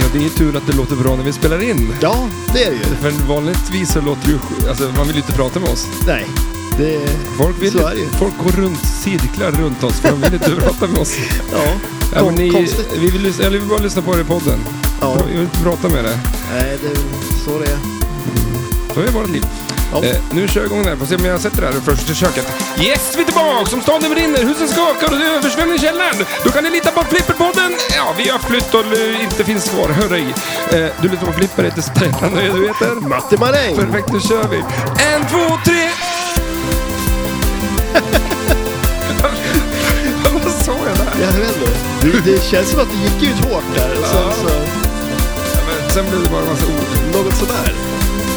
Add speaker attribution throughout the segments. Speaker 1: Ja, det är tur att det låter bra när vi spelar in.
Speaker 2: Ja, det är det ju.
Speaker 1: För vanligtvis så låter det ju... sj- Alltså, man vill ju inte prata med oss.
Speaker 2: Nej, det...
Speaker 1: Folk, vill,
Speaker 2: Så är det ju.
Speaker 1: folk går runt cirklar runt oss för de vill inte prata med oss.
Speaker 2: Ja,
Speaker 1: Ja, men ni,
Speaker 2: konstigt.
Speaker 1: vi vill, lys- eller vi vill bara lyssna på er i podden.
Speaker 2: Ja,
Speaker 1: Vi vill inte prata med er.
Speaker 2: nej, det är så det är.
Speaker 1: Så är vårt liv.
Speaker 2: Ja.
Speaker 1: Eh, nu kör jag igång det här. Får se om jag sätter det här först i köket. Yes, vi är tillbaka! Som staden brinner, husen skakar och det är översvämning i källaren. Då kan ni lita på Flipperpodden. Ja, vi har flytt och eh, inte finns kvar. Hörru. Eh, du lyssnar på Flipper, heter Stefan och du heter...
Speaker 2: Matti Maräng!
Speaker 1: Perfekt, nu kör vi. En, två, tre! Vad sa jag där?
Speaker 2: Jag vet inte. Du, det känns som att det gick ut hårt där. Och
Speaker 1: Ja.
Speaker 2: sen så,
Speaker 1: Ja, men Sen blev det bara en massa ord.
Speaker 2: något sådär.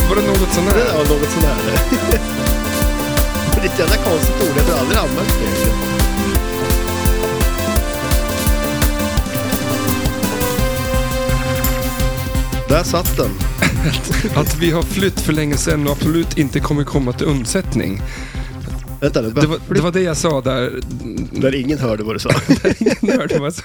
Speaker 1: Var det något sånt
Speaker 2: Det
Speaker 1: här?
Speaker 2: där var något sådär. Det är ett jävla konstigt ord. Jag har aldrig använt det. egentligen. Där satt den.
Speaker 1: Att vi har flytt för länge sedan och absolut inte kommer komma till undsättning.
Speaker 2: Vänta nu.
Speaker 1: Det var det, var det jag sa där.
Speaker 2: Där ingen hörde vad du sa.
Speaker 1: Ni hörde vad jag sa.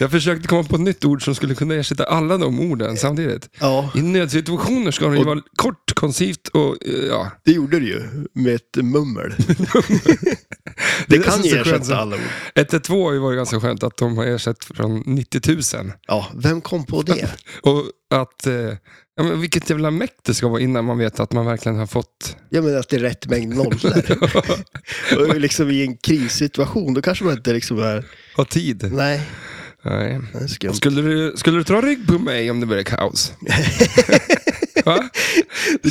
Speaker 1: Jag försökte komma på ett nytt ord som skulle kunna ersätta alla de orden samtidigt.
Speaker 2: Ja,
Speaker 1: I nödsituationer ska de ju
Speaker 2: Och-
Speaker 1: vara kort, koncist och eh, ja.
Speaker 2: det gjorde du ju. Med ett mummel.
Speaker 1: Det
Speaker 2: Det
Speaker 1: är
Speaker 2: kan
Speaker 1: så
Speaker 2: ju
Speaker 1: skönt som-
Speaker 2: ersätta alla ord.
Speaker 1: 112 har ju varit ganska skönt att de har ersatt från 90 000.
Speaker 2: Ja, vem kom på det?
Speaker 1: Och att, eh, ja, men vilket jävla mäkt det ska vara innan man vet att man verkligen har fått...
Speaker 2: Jag menar att det är rätt mängd nollor. Och liksom i en krissituation, då kanske man inte liksom är...
Speaker 1: ha tid.
Speaker 2: Nej,
Speaker 1: Nej.
Speaker 2: det är skumt.
Speaker 1: Skulle du, skulle du ta rygg på mig om det blir kaos? Va?
Speaker 2: Det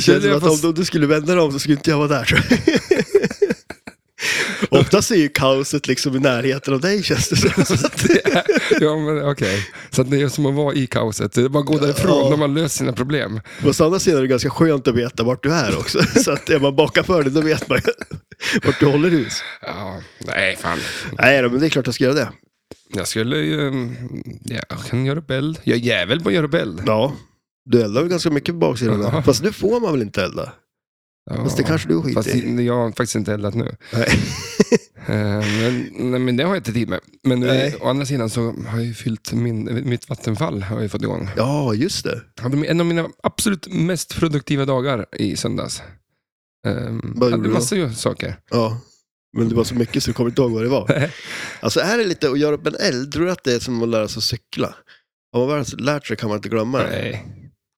Speaker 1: Skulle
Speaker 2: känns som
Speaker 1: jag
Speaker 2: att
Speaker 1: få
Speaker 2: om du- om du skulle vända dig om så skulle inte jag vara där tror jag. Oftast är ju kaoset liksom i närheten av dig känns det som.
Speaker 1: Så att det är, ja, men okej. Så att det är som att vara i kaoset. Det är bara att gå därifrån
Speaker 2: Ja.
Speaker 1: när man löser sina problem.
Speaker 2: På andra sidan är det ganska skönt att veta vart du är också. Så att är man bakanför dig då vet man ju vart du håller hus.
Speaker 1: Ja, nej, fan.
Speaker 2: Nej då, men det är klart jag ska göra det.
Speaker 1: Jag skulle ju... mm, Ja, jag kan göra bäll. Jag är jävel på att göra bäll.
Speaker 2: Ja. Du eldar väl ganska mycket på baksidan där.
Speaker 1: Ja.
Speaker 2: Fast nu får man väl inte elda?
Speaker 1: Ja.
Speaker 2: Fast det kanske du skiter
Speaker 1: Fast
Speaker 2: i.
Speaker 1: jag har faktiskt inte eldat nu.
Speaker 2: Nej.
Speaker 1: Eh, Men, nej, men det har jag inte tid med. Men nu,
Speaker 2: Nej.
Speaker 1: å andra sidan så har jag ju fyllt min, mitt vattenfall. Har jag ju fått igång.
Speaker 2: Ja, just det.
Speaker 1: Jag hade en av mina absolut mest produktiva dagar i söndags. Um, jag
Speaker 2: Vad gjorde
Speaker 1: hade
Speaker 2: du
Speaker 1: massa ju saker.
Speaker 2: Ja. Men det var så mycket så du kommer inte ihåg vad det var. Alltså är det lite att göra upp en eld, tror du att det är som att lära sig att cykla? Om man väl har lärt sig kan man inte glömma det.
Speaker 1: Nej.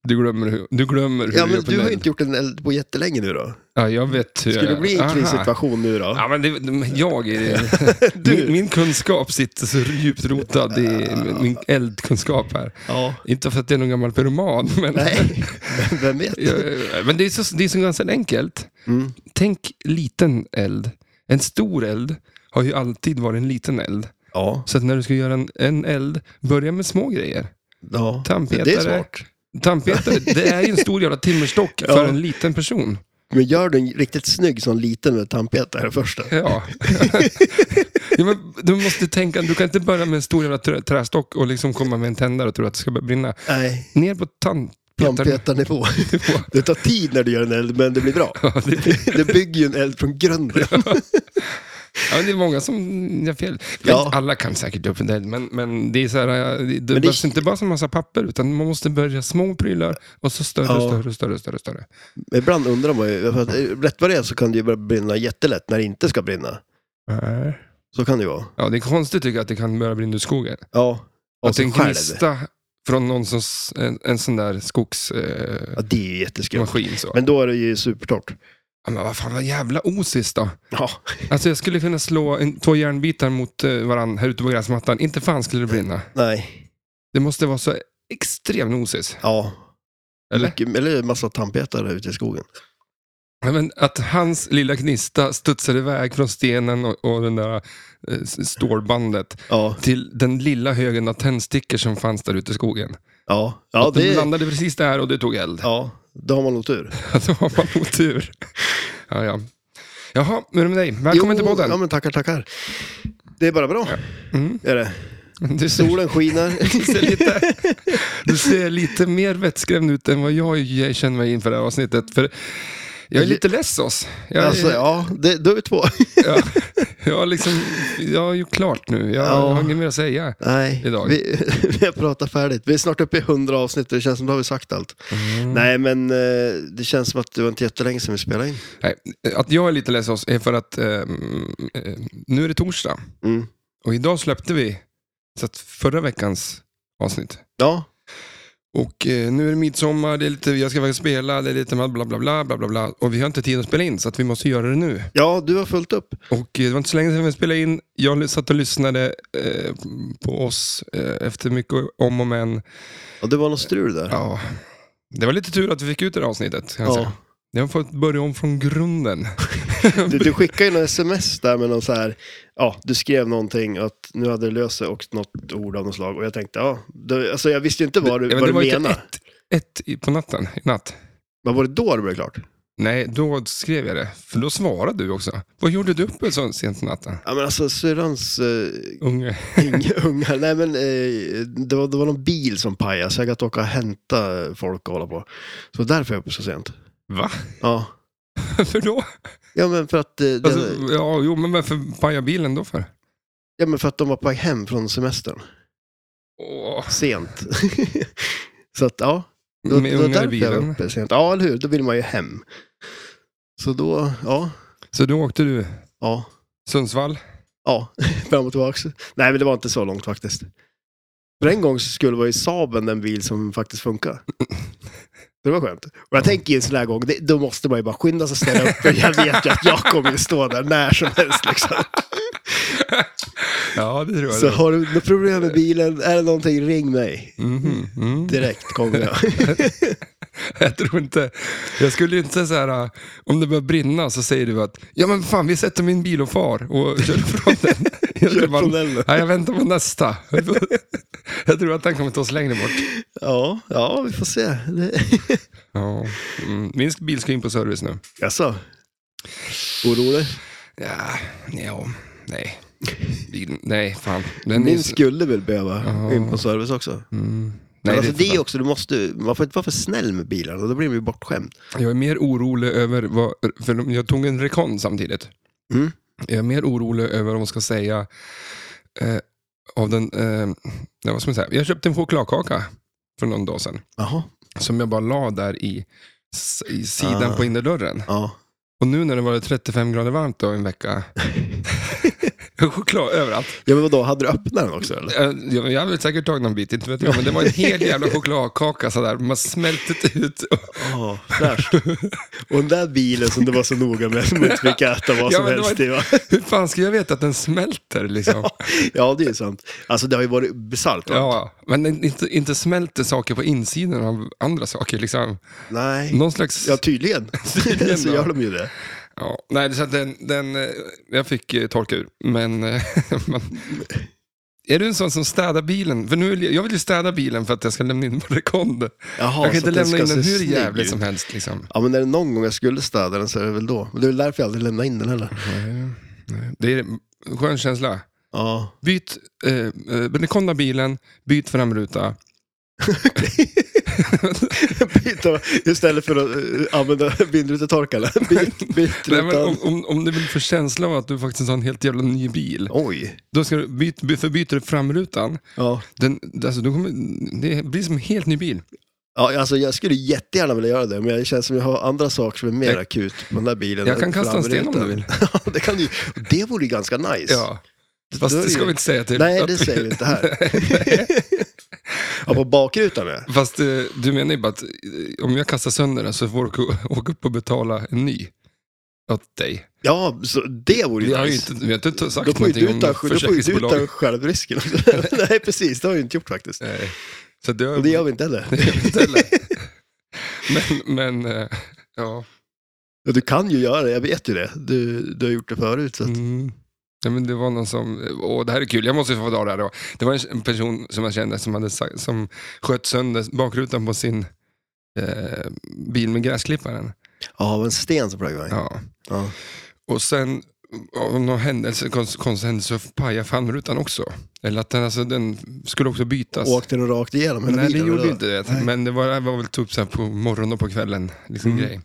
Speaker 1: Du glömmer hur du glömmer hur
Speaker 2: Ja,
Speaker 1: du gör
Speaker 2: men
Speaker 1: på
Speaker 2: du har
Speaker 1: nöd.
Speaker 2: ju inte gjort en eld på jättelänge nu då.
Speaker 1: Ja, jag vet hur
Speaker 2: Skulle det
Speaker 1: jag-
Speaker 2: bli en
Speaker 1: Aha.
Speaker 2: krissituation nu då?
Speaker 1: Ja, men det, de- jag är, min,
Speaker 2: Du?
Speaker 1: min kunskap sitter så djupt rotad i min- min eldkunskap här.
Speaker 2: Ja.
Speaker 1: Inte för att jag är någon gammal pyroman, men,
Speaker 2: Nej, vem vet?
Speaker 1: jag, men det är så, det är så ganska enkelt.
Speaker 2: Mm.
Speaker 1: Tänk liten eld. En stor eld har ju alltid varit en liten eld.
Speaker 2: Ja.
Speaker 1: Så att när du ska göra en, en eld, börja med små grejer.
Speaker 2: ja.
Speaker 1: Tandpetare.
Speaker 2: Det är smart.
Speaker 1: Tandpetare, det är ju en stor jävla timmerstock för
Speaker 2: Ja.
Speaker 1: en liten person.
Speaker 2: Men gör den riktigt snygg sån liten med tandpetare först då.
Speaker 1: Ja. ja men du måste tänka, du kan inte börja med en stor jävla trä, trästock och liksom komma med en tändare och tro att det ska börja brinna.
Speaker 2: Nej,
Speaker 1: Ner på tandpetaren.
Speaker 2: tandpetarnivå. Det tar tid när du gör en eld, men det blir bra.
Speaker 1: Ja, det,
Speaker 2: Det bygger ju en eld från grunden.
Speaker 1: ja, men det är många som gör fel.
Speaker 2: Ja.
Speaker 1: Alla kan säkert göra fel, men, men det är så här, eh, det, det
Speaker 2: det-
Speaker 1: behövs inte bara som massa papper, utan man måste börja små prylar och så större,
Speaker 2: Ja.
Speaker 1: större, större, större, större.
Speaker 2: Men Ibland undrar man ju, för att eh, rätt vad det är så kan det ju börja brinna jättelätt när det inte ska brinna.
Speaker 1: Nej.
Speaker 2: Så kan det ju vara.
Speaker 1: Ja, det är konstigt tycker jag att det kan börja brinna ur skogen.
Speaker 2: Ja, av
Speaker 1: Att en
Speaker 2: sig själv.
Speaker 1: gnista från någon som, s- en, en sån där skogsmaskin.
Speaker 2: Ja, det är ju
Speaker 1: Eh,
Speaker 2: jätteskumt.
Speaker 1: maskin så.
Speaker 2: Men då är det ju supertorrt.
Speaker 1: Ja, men vad fan, vad jävla osist då.
Speaker 2: Ja,
Speaker 1: Alltså jag skulle kunna slå en, två järnbitar mot eh, varandra här ute på gräsmattan. Inte fan skulle det brinna.
Speaker 2: nej.
Speaker 1: Det måste vara så extremt osis.
Speaker 2: Ja.
Speaker 1: Eller?
Speaker 2: Mycket, eller en massa tandpetare ute i skogen.
Speaker 1: Ja, Men att hans lilla gnista studsar iväg från stenen och, och den där eh, s- stålbandet
Speaker 2: Ja,
Speaker 1: till den lilla högen av tändstickor som fanns där ute i skogen.
Speaker 2: ja. ja
Speaker 1: att de
Speaker 2: det
Speaker 1: landade precis där och det tog eld.
Speaker 2: Ja, då har man nog tur.
Speaker 1: Då har man otur. Ja, ja. Jaha, hur är det med dig? Välkommen
Speaker 2: Jo,
Speaker 1: till podden.
Speaker 2: Ja, men tackar, tackar. Det är bara bra,
Speaker 1: Mm.
Speaker 2: är det.
Speaker 1: Du ser,
Speaker 2: Solen skiner.
Speaker 1: du, ser lite, du ser lite mer vettskrämd ut än vad jag känner mig inför det här avsnittet. För Jag är lite less oss. Jag,
Speaker 2: Alltså, ja, det, då är vi två.
Speaker 1: jag, jag, har liksom, jag har gjort klart nu. Jag
Speaker 2: Ja.
Speaker 1: har inget mer att säga.
Speaker 2: Nej,
Speaker 1: Idag.
Speaker 2: Vi, vi har pratat färdigt. Vi är snart uppe i 100 avsnitt och det känns som att vi har sagt allt.
Speaker 1: Mm.
Speaker 2: Nej, men eh, det känns som att det var inte jättelänge sedan vi spelade in.
Speaker 1: Nej, Eh, att jag är lite less oss är för att ehm, eh, nu är det torsdag
Speaker 2: Mm.
Speaker 1: och idag släppte vi så att förra veckans avsnitt.
Speaker 2: Ja,
Speaker 1: Och eh, nu är det midsommar, det är lite, jag ska faktiskt spela, det är lite bla bla bla bla bla bla bla. Och vi har inte tid att spela in så att vi måste göra det nu.
Speaker 2: ja, du har fullt upp.
Speaker 1: Och eh, det var inte så länge sedan vi spelade in. Jag ly- satt och lyssnade eh, på oss eh, efter mycket om och men.
Speaker 2: Och det var något strul där.
Speaker 1: Ja, det var lite tur att vi fick ut det här avsnittet. Kan jag
Speaker 2: Ja.
Speaker 1: säga. Jag har fått börja om från grunden.
Speaker 2: Du, du skickade ju något sms där med någon så här, ja, du skrev någonting att nu hade det löst sig och något ord av något slag. Och jag tänkte, ja, det, alltså jag visste ju inte vad du,
Speaker 1: Ja, men
Speaker 2: vad
Speaker 1: det
Speaker 2: du
Speaker 1: var ju
Speaker 2: menade.
Speaker 1: inte ett, ett i- på natten, i natt.
Speaker 2: Men var det då det blev klart?
Speaker 1: Nej, då skrev jag det. För då svarade du också. Vad gjorde du uppe så sent på natten?
Speaker 2: Ja, men alltså syrrans eh,
Speaker 1: Unge.
Speaker 2: Inga ungar. Nej, men eh, det, var, det var någon bil som pajade, så jag hade åka och hämta folk och hålla på. Så därför är jag uppe så sent.
Speaker 1: Va?
Speaker 2: Ja,
Speaker 1: Varför då?
Speaker 2: ja, men, för att, eh, det,
Speaker 1: Alltså, ja, jo, men varför pajade bilen då för?
Speaker 2: ja men för att de var på väg hem från semestern.
Speaker 1: Åh,
Speaker 2: Sent. så att, ja. Det var,
Speaker 1: med
Speaker 2: det var
Speaker 1: ungar i
Speaker 2: därför jag var
Speaker 1: bilen.
Speaker 2: uppe sent. Ja, eller hur? Då vill man ju hem. Så då, ja.
Speaker 1: Så då åkte du
Speaker 2: Ja.
Speaker 1: Sundsvall?
Speaker 2: Ja, fram och tillbaks. Nej, men det var inte så långt faktiskt. För en gång så skulle det vara i Saaben den bil som faktiskt funkar. Det var skönt. Och jag tänker ju en sån här gång, det, då måste man ju bara skynda sig och ställa upp. För jag vet ju att jag kommer ju stå där när som helst liksom.
Speaker 1: Ja, det tror jag.
Speaker 2: Så
Speaker 1: det.
Speaker 2: har du något problem med bilen, är det någonting, ring mig.
Speaker 1: Mhm, mm.
Speaker 2: Direkt kommer jag.
Speaker 1: Jag tror inte... Jag skulle ju inte så här... äh, Om det börjar brinna så säger du att ja men fan vi sätter min bil och far och kör ifrån den. Jag
Speaker 2: Kör
Speaker 1: skulle bara,
Speaker 2: från elden.
Speaker 1: Nej, jag väntar på nästa. Jag tror att den kommer ta oss längre bort.
Speaker 2: Ja, ja, vi får se. Det...
Speaker 1: Ja. Mm. Min bil ska in på service nu.
Speaker 2: Jaså? Orolig?
Speaker 1: Ja, ja nej. Bilen- Nej, fan. Den är
Speaker 2: Min
Speaker 1: så-
Speaker 2: skulle väl behöva
Speaker 1: Ja.
Speaker 2: in på service också.
Speaker 1: mm.
Speaker 2: Men
Speaker 1: Nej,
Speaker 2: alltså
Speaker 1: det är
Speaker 2: det är också, du måste, man får inte vara för snäll med bilarna, då blir man ju bortskämd.
Speaker 1: Jag är mer orolig över vad, för de- jag tog en rekon samtidigt.
Speaker 2: Mm.
Speaker 1: Jag är mer orolig över vad de ska säga eh, av den, eh, ja, vad ska man säga? Jag köpte en chokladkaka för någon dag sedan.
Speaker 2: Jaha.
Speaker 1: Som jag bara la där i, s- i sidan
Speaker 2: Ah.
Speaker 1: på innerdörren.
Speaker 2: Ja.
Speaker 1: Och nu när det var 35 grader varmt då en vecka. choklad överallt.
Speaker 2: ja, men vadå, hade du öppnat den också eller?
Speaker 1: Eh, Jag, jag hade säkert tagit någon bit, inte vet jag. Men det var en hel jävla chokladkaka sådär. Man smältet ut.
Speaker 2: Ja, fräscht. Och den där bilen som du var så noga med, som inte fick äta vad
Speaker 1: Ja,
Speaker 2: som
Speaker 1: men det
Speaker 2: helst
Speaker 1: var-
Speaker 2: i va?
Speaker 1: Hur fan ska jag veta att den smälter liksom?
Speaker 2: Ja, det är ju sant. Alltså det har ju varit bisarrt. va?
Speaker 1: Ja, men in- inte, inte smälter saker på insidan av andra saker. Liksom.
Speaker 2: Nej.
Speaker 1: Någon slags...
Speaker 2: Ja, tydligen.
Speaker 1: Tydligen,
Speaker 2: så
Speaker 1: va?
Speaker 2: gör de ju det.
Speaker 1: Ja, nej, så att den, den, eh, jag fick eh, torka ur, men... eh, man, är du en sån som städar bilen? För nu vill jag, jag vill ju städa bilen för att jag ska lämna in på rekond.
Speaker 2: Jaha,
Speaker 1: jag kan
Speaker 2: så
Speaker 1: inte
Speaker 2: att den
Speaker 1: lämna
Speaker 2: ska
Speaker 1: in den
Speaker 2: se
Speaker 1: hur
Speaker 2: snygg
Speaker 1: jävligt
Speaker 2: ut.
Speaker 1: som helst. Liksom.
Speaker 2: Ja, men är det någon gång jag skulle städa den så är det väl då. Men det är väl därför jag aldrig lämnar in den heller.
Speaker 1: Nej, nej. Det är en skön känsla.
Speaker 2: Ja.
Speaker 1: Byt, eh, eh, rekonda bilen, byt framruta.
Speaker 2: Byta, istället för att eh, använda vindrutetorkarna. Byt, byt
Speaker 1: Nej, men
Speaker 2: rutan.
Speaker 1: om, om, om du vill få känslan av att du faktiskt har en helt jävla ny bil,
Speaker 2: Oj.
Speaker 1: Då ska du byt, by- förbyter du framrutan.
Speaker 2: Ja.
Speaker 1: Den, alltså, då kommer, det blir som en helt ny bil.
Speaker 2: Ja, alltså jag skulle jättegärna vilja göra det, men det känns som jag har andra saker som är mer
Speaker 1: Jag-
Speaker 2: akut på den där bilen.
Speaker 1: Jag
Speaker 2: än
Speaker 1: kan kasta en sten om
Speaker 2: framrutan.
Speaker 1: du vill.
Speaker 2: Ja, det kan du ju. Och Det vore ju ganska nice.
Speaker 1: Ja. Fast
Speaker 2: Då är
Speaker 1: det ska
Speaker 2: ju-
Speaker 1: vi inte säga till.
Speaker 2: Nej,
Speaker 1: att
Speaker 2: det
Speaker 1: vi-
Speaker 2: säger vi inte här. ja, på bakrutan ja.
Speaker 1: Fast eh, du menar ju bara att eh, om jag kastar sönder den så får du åka- åka upp och betala en ny. Åt dig.
Speaker 2: Ja, så det vore ju
Speaker 1: Vi har ju
Speaker 2: nice.
Speaker 1: inte, vi har inte t- sagt
Speaker 2: Då får ju
Speaker 1: någonting
Speaker 2: du
Speaker 1: om
Speaker 2: ta, då får ju du
Speaker 1: försäkringsbolag.
Speaker 2: ta självrisken. också. Nej, precis. Det har jag ju inte gjort faktiskt.
Speaker 1: Nej. Så det,
Speaker 2: Och det gör vi inte heller.
Speaker 1: det gör vi inte heller. men, men eh, ja.
Speaker 2: Och Du kan ju göra det, jag vet ju det. Du, du har gjort det förut. Så att...
Speaker 1: Mm. Ja, men det var någon som, åh det här är kul, jag måste få dra det här då. Det var en person som jag kände som, hade, sagt- som sköt sönder bakrutan på sin eh, bil med gräsklipparen.
Speaker 2: Ja, det var en sten som flög iväg.
Speaker 1: Ja.
Speaker 2: Ja.
Speaker 1: Och sen, av någon händelse, konst- konstig händelse, så pajade framrutan också. Eller att den, alltså, den skulle också bytas.
Speaker 2: Åkte den rakt igenom hela
Speaker 1: Nej, det
Speaker 2: bilen,
Speaker 1: gjorde
Speaker 2: eller?
Speaker 1: inte det.
Speaker 2: Nej.
Speaker 1: Men det var, det var väl typ så här på morgonen och på kvällen. Liksom
Speaker 2: Mm.
Speaker 1: grej.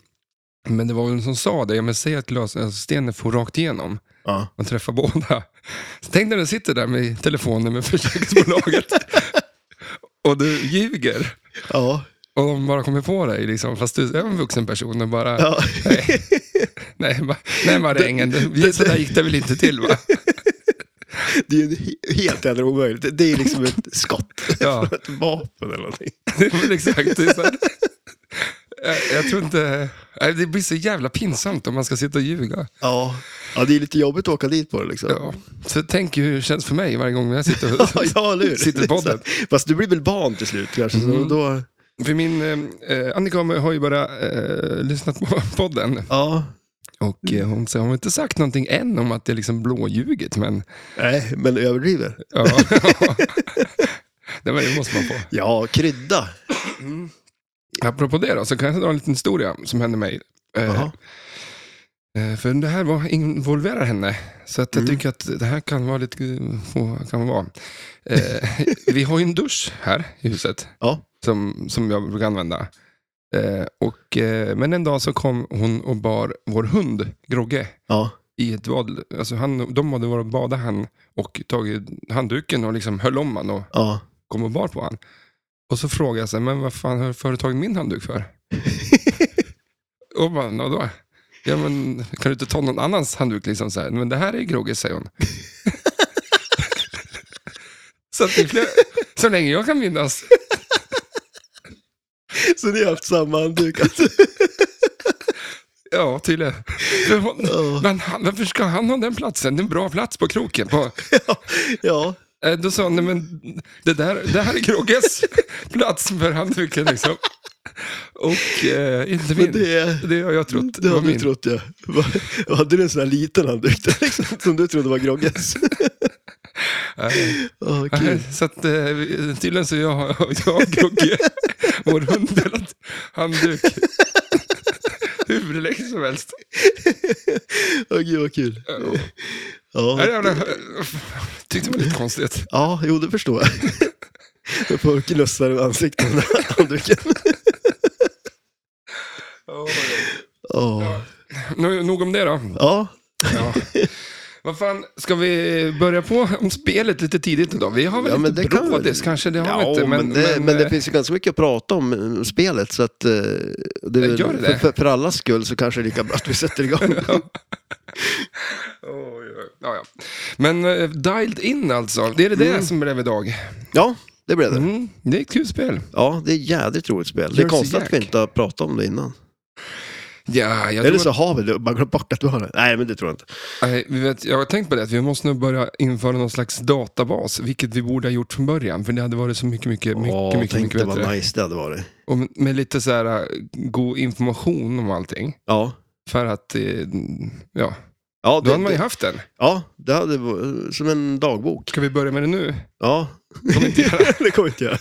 Speaker 1: Men det var väl någon som sa det, ja, men säg att lösenstenen får rakt igenom
Speaker 2: Ja.
Speaker 1: och träffar båda. Så tänk när du sitter där med telefonen med försäkringsbolaget och du ljuger.
Speaker 2: Ja.
Speaker 1: Och de bara kommer på dig, liksom, fast du är en vuxen person och bara,
Speaker 2: ja.
Speaker 1: nej, nej, ma- nej marängen, det- så där gick det väl inte till va?
Speaker 2: Det är ju en he- helt jävla omöjligt. Det- Det är liksom ett skott.
Speaker 1: Ja.
Speaker 2: Ett vapen eller någonting.
Speaker 1: Det är väl exakt. Det är så här. Jag, jag tror inte... Nej, Det blir så jävla pinsamt om man ska sitta och ljuga.
Speaker 2: Ja. ja, det är lite jobbigt att åka dit på det liksom.
Speaker 1: Ja. Så tänk hur det känns för mig varje gång jag sitter och...
Speaker 2: Ja, ja eller hur?
Speaker 1: Sitter i podden. Mm.
Speaker 2: Fast du blir väl van till slut kanske, så då...
Speaker 1: För min... Eh, Annika har ju bara eh, lyssnat på podden.
Speaker 2: Ja.
Speaker 1: Och eh, hon säger, hon har inte sagt någonting än om att det är liksom blåljuget, men...
Speaker 2: Nej, men överdriver.
Speaker 1: Ja. det, var, det måste man få.
Speaker 2: Ja, krydda.
Speaker 1: Apropå det då, så kan jag dra en liten historia som hände mig. Eh,
Speaker 2: Jaha.
Speaker 1: Eh, För det här var, involverar henne, så att jag
Speaker 2: Mm.
Speaker 1: tycker att det här kan vara lite... Få, kan vara. Eh, vi har ju en dusch här i huset
Speaker 2: Ja.
Speaker 1: som, som jag brukar använda. Eh, och, eh, men en dag så kom hon och bar vår hund, Grogge,
Speaker 2: Ja.
Speaker 1: i ett vad. Alltså han, de hade varit och badat han och tagit handduken och liksom höll om han och
Speaker 2: Ja.
Speaker 1: kom och bar på han. Och så frågade jag så här, men vad fan har du företagit min handduk för? och bara, då? Ja men kan du inte ta någon annans handduk liksom så här? Men det här är Grogges, säger hon. så, att det blev, så länge jag kan minnas.
Speaker 2: Så ni har haft samma handduk alltså?
Speaker 1: Ja, tydligen. Men hon-
Speaker 2: Ja.
Speaker 1: Men han, varför ska han ha den platsen? Det är en bra plats på kroken. På,
Speaker 2: Ja.
Speaker 1: eh, då sa han, nej men det, där, det här är Grogges plats för handduken liksom. Och eh, inte min.
Speaker 2: Men
Speaker 1: Det,
Speaker 2: det,
Speaker 1: har jag trott.
Speaker 2: det
Speaker 1: var
Speaker 2: hade du
Speaker 1: min.
Speaker 2: trott ja. Va- Hade du en sån här liten handduk där, liksom, som du trodde var Grogges?
Speaker 1: Nej.
Speaker 2: Oh,
Speaker 1: Nej,
Speaker 2: kul.
Speaker 1: Så att, eh, vi- tydligen så jag har jag och Gugge, vår hund, delat handduk hur länge som helst.
Speaker 2: Åh, gud vad kul.
Speaker 1: Ja. Nej,
Speaker 2: Ja,
Speaker 1: jag tyckte det var lite konstigt.
Speaker 2: ja jo det förstår jag. Jag får knussa i ansiktet med handduken. Ja.
Speaker 1: Nå- Nog om det då.
Speaker 2: Ja.
Speaker 1: Ja. Vad fan, ska vi börja på om spelet lite tidigt idag? Vi har väl
Speaker 2: Ja, men
Speaker 1: lite
Speaker 2: det kan vi.
Speaker 1: brådis kanske, det har vi
Speaker 2: Ja,
Speaker 1: inte.
Speaker 2: men, det, men, det
Speaker 1: eh,
Speaker 2: finns ju ganska mycket att prata om eh, spelet så att eh, det, är väl-
Speaker 1: Gör det det?
Speaker 2: För, för allas skull så kanske det är lika bra att vi sätter igång.
Speaker 1: oj, oj. Ja, ja. Men eh, Dialed In alltså, det är det
Speaker 2: Mm.
Speaker 1: där som blev idag.
Speaker 2: ja, det blev det.
Speaker 1: Mm, det är ett kul spel.
Speaker 2: Ja, det är jädrigt roligt spel. Det är
Speaker 1: Jersey
Speaker 2: konstigt att vi
Speaker 1: Jack.
Speaker 2: inte har pratat om det innan.
Speaker 1: Ja, jag
Speaker 2: Eller
Speaker 1: tror
Speaker 2: så har vi det och bara glömt bort att vi har det. Nej, men det tror jag inte.
Speaker 1: Nej, vi vet, jag har tänkt på det, att vi måste nog börja införa någon slags databas, vilket vi borde ha gjort från början, för det hade varit så mycket, mycket, mycket,
Speaker 2: Åh,
Speaker 1: mycket,
Speaker 2: tänk
Speaker 1: mycket
Speaker 2: det
Speaker 1: bättre.
Speaker 2: vad nice det hade varit.
Speaker 1: Och med- med lite så här äh, god information om allting.
Speaker 2: Ja.
Speaker 1: För att, eh, ja,
Speaker 2: Ja,
Speaker 1: då
Speaker 2: det,
Speaker 1: hade man ju
Speaker 2: det,
Speaker 1: haft den.
Speaker 2: ja, det hade varit som en dagbok.
Speaker 1: Ska vi börja med det nu?
Speaker 2: Ja,
Speaker 1: Kommer inte göra.
Speaker 2: det kommer vi inte göra.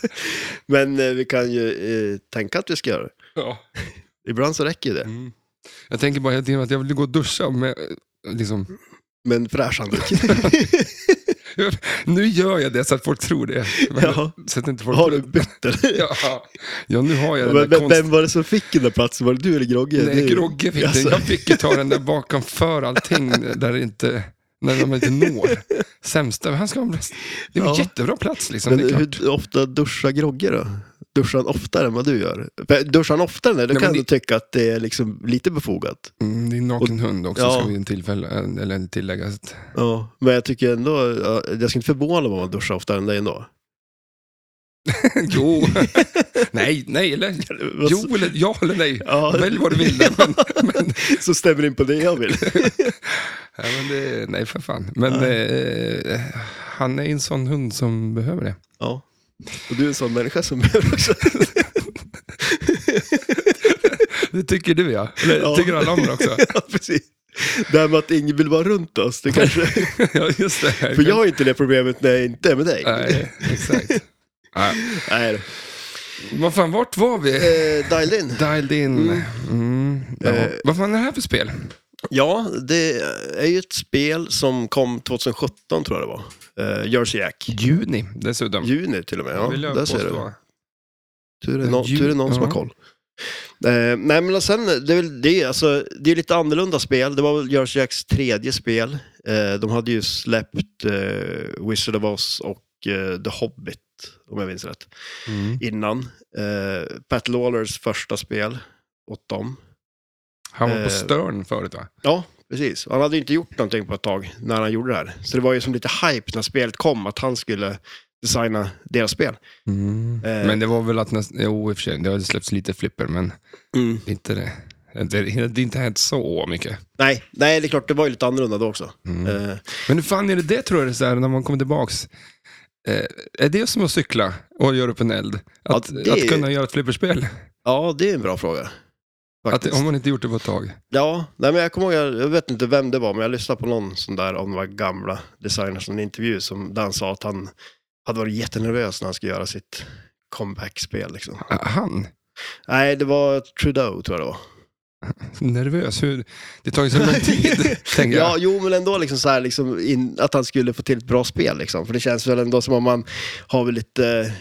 Speaker 2: Men eh, vi kan ju eh, tänka att vi ska göra det.
Speaker 1: Ja.
Speaker 2: Ibland så räcker ju det.
Speaker 1: Mm. Jag tänker bara hela tiden att jag vill gå och duscha med, eh, liksom,
Speaker 2: Men fräsch handduk.
Speaker 1: nu gör jag det så att folk tror det. Men,
Speaker 2: Ja.
Speaker 1: Så att inte folk
Speaker 2: har du bytt eller?
Speaker 1: Ja. ja, nu har jag den
Speaker 2: Men,
Speaker 1: där
Speaker 2: vem,
Speaker 1: konst...
Speaker 2: vem var det som fick den där platsen? Var det du eller Grogge? Det
Speaker 1: Nej,
Speaker 2: är ju- alltså.
Speaker 1: Grogge fick
Speaker 2: Jaså.
Speaker 1: den. Jag fick ju ta den där bakom för allting där det inte, när de inte når. Sämsta, han ska ha en plats. Det är en
Speaker 2: Ja.
Speaker 1: jättebra plats liksom.
Speaker 2: Men
Speaker 1: det är klart.
Speaker 2: hur ofta duschar Grogge då? Duschar han oftare än vad du gör? För Duschar han oftare än det, då
Speaker 1: Nej,
Speaker 2: kan
Speaker 1: men
Speaker 2: jag tycka att det är liksom lite befogat.
Speaker 1: Mm, det är en naken hund också,
Speaker 2: Ja.
Speaker 1: ska vi en tillfälle, eh, eller en tillägga. Så att-
Speaker 2: Ja, men jag tycker ändå, ja, jag ska inte förvåna mig om han duschar oftare än dig ändå.
Speaker 1: jo, nej, nej, eller
Speaker 2: Alltså-
Speaker 1: jo, eller ja eller nej.
Speaker 2: Ja,
Speaker 1: Välj vad du vill. där, Men, men,
Speaker 2: så stämmer in på det jag vill.
Speaker 1: ja, men det, nej, för fan. Men
Speaker 2: Ja.
Speaker 1: eh, han är en sån hund som behöver det.
Speaker 2: Ja. Och du är en sån människa som behöver också.
Speaker 1: Det tycker du ja. Eller
Speaker 2: Ja.
Speaker 1: tycker alla andra också.
Speaker 2: ja, precis. Det här med att ingen vill vara runt oss, det kanske...
Speaker 1: ja, just det.
Speaker 2: För jag har ju inte det problemet när jag inte är med dig.
Speaker 1: Nej, exakt. Nej.
Speaker 2: Nej.
Speaker 1: Vad fan, vart var vi?
Speaker 2: Eh, dial in.
Speaker 1: Dialed in. Mm. Ja.
Speaker 2: Eh.
Speaker 1: Vad fan är det här för spel?
Speaker 2: Ja, det är ju ett spel som kom 2017 tror jag det var. Eh, Jersey Jack.
Speaker 1: Juni, dessutom.
Speaker 2: Juni till och med. Ja,
Speaker 1: Vill jag
Speaker 2: där ser du.
Speaker 1: påstå.
Speaker 2: Tur är, no-
Speaker 1: Ju-
Speaker 2: tur är någon som
Speaker 1: ja.
Speaker 2: har koll. Eh, nej, men och sen, det är väl det, alltså, det är lite annorlunda spel. Det var väl Jersey Jacks tredje spel. Eh, de hade ju släppt eh, Wizard of Oz och eh, The Hobbit, om jag minns rätt, Mm. innan. Eh, Pat Lawlers första spel åt dem.
Speaker 1: Han var
Speaker 2: Eh.
Speaker 1: på Stern förut va?
Speaker 2: Ja, precis. Han hade ju inte gjort någonting på ett tag när han gjorde det här. Så det var ju som lite hype när spelet kom, att han skulle designa deras spel. Eh.
Speaker 1: Men det var väl att nästan, jo i och för sig, det har släppts lite flipper men inte det. Det det har inte hänt så mycket.
Speaker 2: Nej, nej, det är klart, det var ju lite annorlunda då också.
Speaker 1: Mm.
Speaker 2: Eh,
Speaker 1: Men hur fan är det det tror jag, det är så här, när man kommer tillbaks? Eh, är det som att cykla och göra upp en eld?
Speaker 2: Ja,
Speaker 1: Att,
Speaker 2: det-
Speaker 1: att kunna göra ett flipperspel?
Speaker 2: ja, det är en bra fråga.
Speaker 1: Att,
Speaker 2: Faktiskt.
Speaker 1: om man inte gjort det på ett tag.
Speaker 2: Ja, nej, men jag kommer ihåg, jag jag vet inte vem det var, men jag lyssnade på någon sån där av de här gamla designers, en intervju som, där han sa att han hade varit jättenervös när han skulle göra sitt comeback-spel. Liksom.
Speaker 1: Ah, Han?
Speaker 2: Nej, det var Trudeau tror jag det var.
Speaker 1: Nervös? Hur? Det tar ju så lång tid, tänker jag.
Speaker 2: Ja, jo, men ändå liksom så här, liksom in, att han skulle få till ett bra spel. Liksom. För det känns väl ändå som om man har väl lite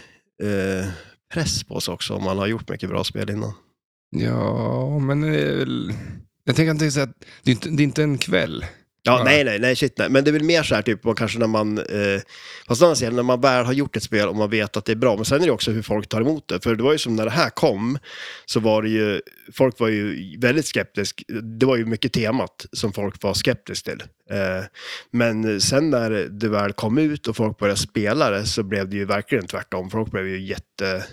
Speaker 2: eh, press på sig också, om man har gjort mycket bra spel innan.
Speaker 1: Ja, men det är väl- jag tänker att det är, så att det är, inte, det är inte en kväll.
Speaker 2: Ja,
Speaker 1: Ja.
Speaker 2: nej, nej, nej, shit, nej. Men det är väl mer så här typ, man kanske när man, eh, fast å andra sidan, när man väl har gjort ett spel och man vet att det är bra, men sen är det också hur folk tar emot det. För det var ju som när det här kom, så var det ju, folk var ju väldigt skeptisk det var ju mycket temat som folk var skeptiska till. Eh, men sen när det väl kom ut och folk började spela det, så blev det ju verkligen tvärtom. Folk blev ju jätte,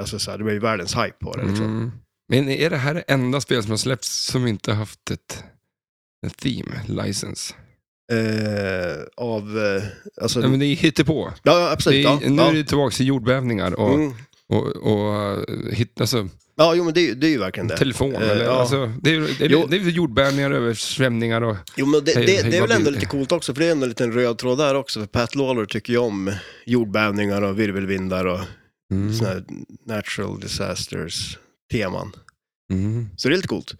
Speaker 2: alltså så här, det blev ju världens hype på det. Liksom.
Speaker 1: Mm. Men är det här det enda spel som har släppts som inte har haft ett, ett theme, license?
Speaker 2: Eh, av, eh, alltså,
Speaker 1: Nej, men det är hittepå.
Speaker 2: ja, ja,
Speaker 1: Det är,
Speaker 2: absolut. Ja,
Speaker 1: Nu
Speaker 2: ja.
Speaker 1: är det tillbaka till jordbävningar och,
Speaker 2: Mm.
Speaker 1: och, och eh, hit, alltså,
Speaker 2: Ja, jo, men det, är ju- det är ju verkligen det.
Speaker 1: telefon.
Speaker 2: Eh,
Speaker 1: eller,
Speaker 2: ja.
Speaker 1: alltså, det, är, det,
Speaker 2: Jo.
Speaker 1: är, det är jordbävningar, översvämningar och...
Speaker 2: Jo, men det,
Speaker 1: Hej-
Speaker 2: det,
Speaker 1: hej,
Speaker 2: det är
Speaker 1: vad
Speaker 2: väl ändå
Speaker 1: blir-
Speaker 2: lite coolt också, för det är ändå en liten röd tråd där också. För Pat Lawler tycker ju om jordbävningar och virvelvindar och
Speaker 1: Mm.
Speaker 2: såna här natural disasters-teman.
Speaker 1: Mm.
Speaker 2: Så det är lite coolt.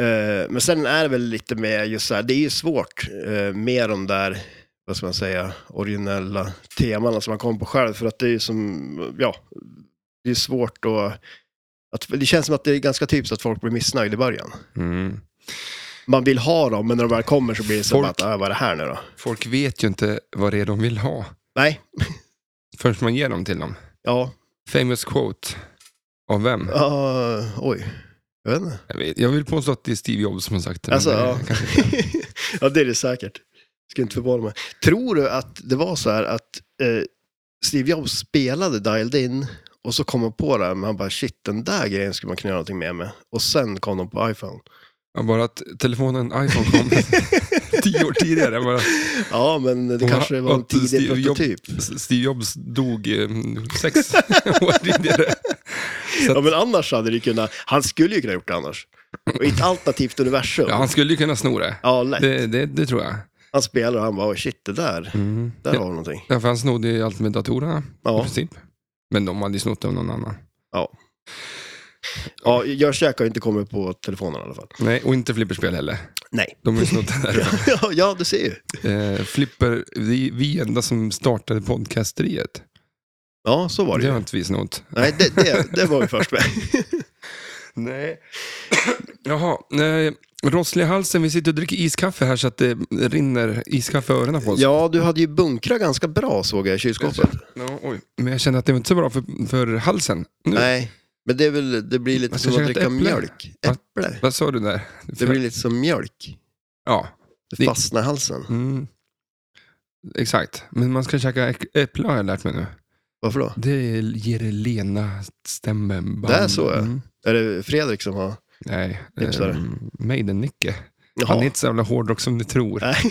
Speaker 2: Eh, men sen är det väl lite med just så här, det är ju svårt eh, med de där, vad ska man säga, originella teman som man kommer på själv. För att det är ju som, ja, det är svårt att... att det känns som att det är ganska typiskt att folk blir missnöjda i början.
Speaker 1: Mm.
Speaker 2: man vill ha dem, men när de väl kommer så blir det som
Speaker 1: Folk-
Speaker 2: att, ah, vad är det här nu då?
Speaker 1: Folk vet ju inte vad det är de vill ha
Speaker 2: Nej,
Speaker 1: förrän man ger dem till dem.
Speaker 2: ja,
Speaker 1: Famous quote. Av vem?
Speaker 2: uh, oj, jag vet inte.
Speaker 1: Jag, vet, jag vill påstå att det är Steve Jobs som har sagt det. men
Speaker 2: Alltså,
Speaker 1: det är
Speaker 2: ja.
Speaker 1: kanske-
Speaker 2: ja, det är det säkert. Ska inte förvåna mig. Tror du att det var så här att eh, Steve Jobs spelade Dialed In och så kom han på det här, men han bara shit, den där grejen skulle man kunna göra någonting med med. Och sen kom de på iPhone.
Speaker 1: Ja, bara att telefonen iPhone kom tio år tidigare. Bara,
Speaker 2: Ja, men det
Speaker 1: Och
Speaker 2: kanske
Speaker 1: han-
Speaker 2: var en
Speaker 1: och Steve
Speaker 2: tidig
Speaker 1: Jobs-
Speaker 2: prototyp.
Speaker 1: Steve Jobs dog eh, sex år tidigare.
Speaker 2: Ja, men annars hade det kunnat, han skulle ju kunna gjort det annars. Och I ett alternativt universum.
Speaker 1: Ja, han skulle ju kunna sno det.
Speaker 2: Ja, lätt.
Speaker 1: Det, det, det tror jag.
Speaker 2: Han spelar och han bara, "Oj, shit, det där,
Speaker 1: Mm.
Speaker 2: där
Speaker 1: Ja,
Speaker 2: har vi någonting.
Speaker 1: för han snodde ju allt med datorerna i
Speaker 2: Ja,
Speaker 1: princip. Men de hade ju snott av någon annan.
Speaker 2: ja jag käkar inte kommit på telefonen i alla fall.
Speaker 1: Nej, och inte flipperspel heller.
Speaker 2: Nej.
Speaker 1: De har ju snott det där.
Speaker 2: ja, ja, du ser ju.
Speaker 1: Eh, flipper, vi, vi enda som startade podcasteriet.
Speaker 2: Ja, så var det
Speaker 1: Det har
Speaker 2: ju.
Speaker 1: inte vi snott.
Speaker 2: Nej, det, det, det var vi först med.
Speaker 1: Nej. Jaha, eh, rosslig halsen. Vi sitter och dricker iskaffe här så att det rinner iskaffe i öronen på oss.
Speaker 2: ja, du hade ju bunkrat ganska bra såg jag i kylskåpet.
Speaker 1: Ja, oj. Men jag känner att det var inte så bra för, för halsen. Nu.
Speaker 2: Nej, men det, är väl, det blir lite
Speaker 1: Man ska
Speaker 2: som att
Speaker 1: käka ett
Speaker 2: dricka
Speaker 1: äpple.
Speaker 2: mjölk. Äpple.
Speaker 1: Vad sa du där?
Speaker 2: Det blir lite som mjölk.
Speaker 1: Ja,
Speaker 2: Det
Speaker 1: Det-
Speaker 2: fastnar i halsen.
Speaker 1: mm. exakt. Men man ska käka äk- äpple har jag lärt mig nu.
Speaker 2: Varför då?
Speaker 1: Det ger det lena stämband.
Speaker 2: Det är så, ja.
Speaker 1: Mm.
Speaker 2: Är det Fredrik som har...
Speaker 1: Nej,
Speaker 2: Tipsare.
Speaker 1: ehm, Maiden-Nicke.
Speaker 2: Jaha.
Speaker 1: Han är inte så jävla hårdrock som ni tror.
Speaker 2: Nej,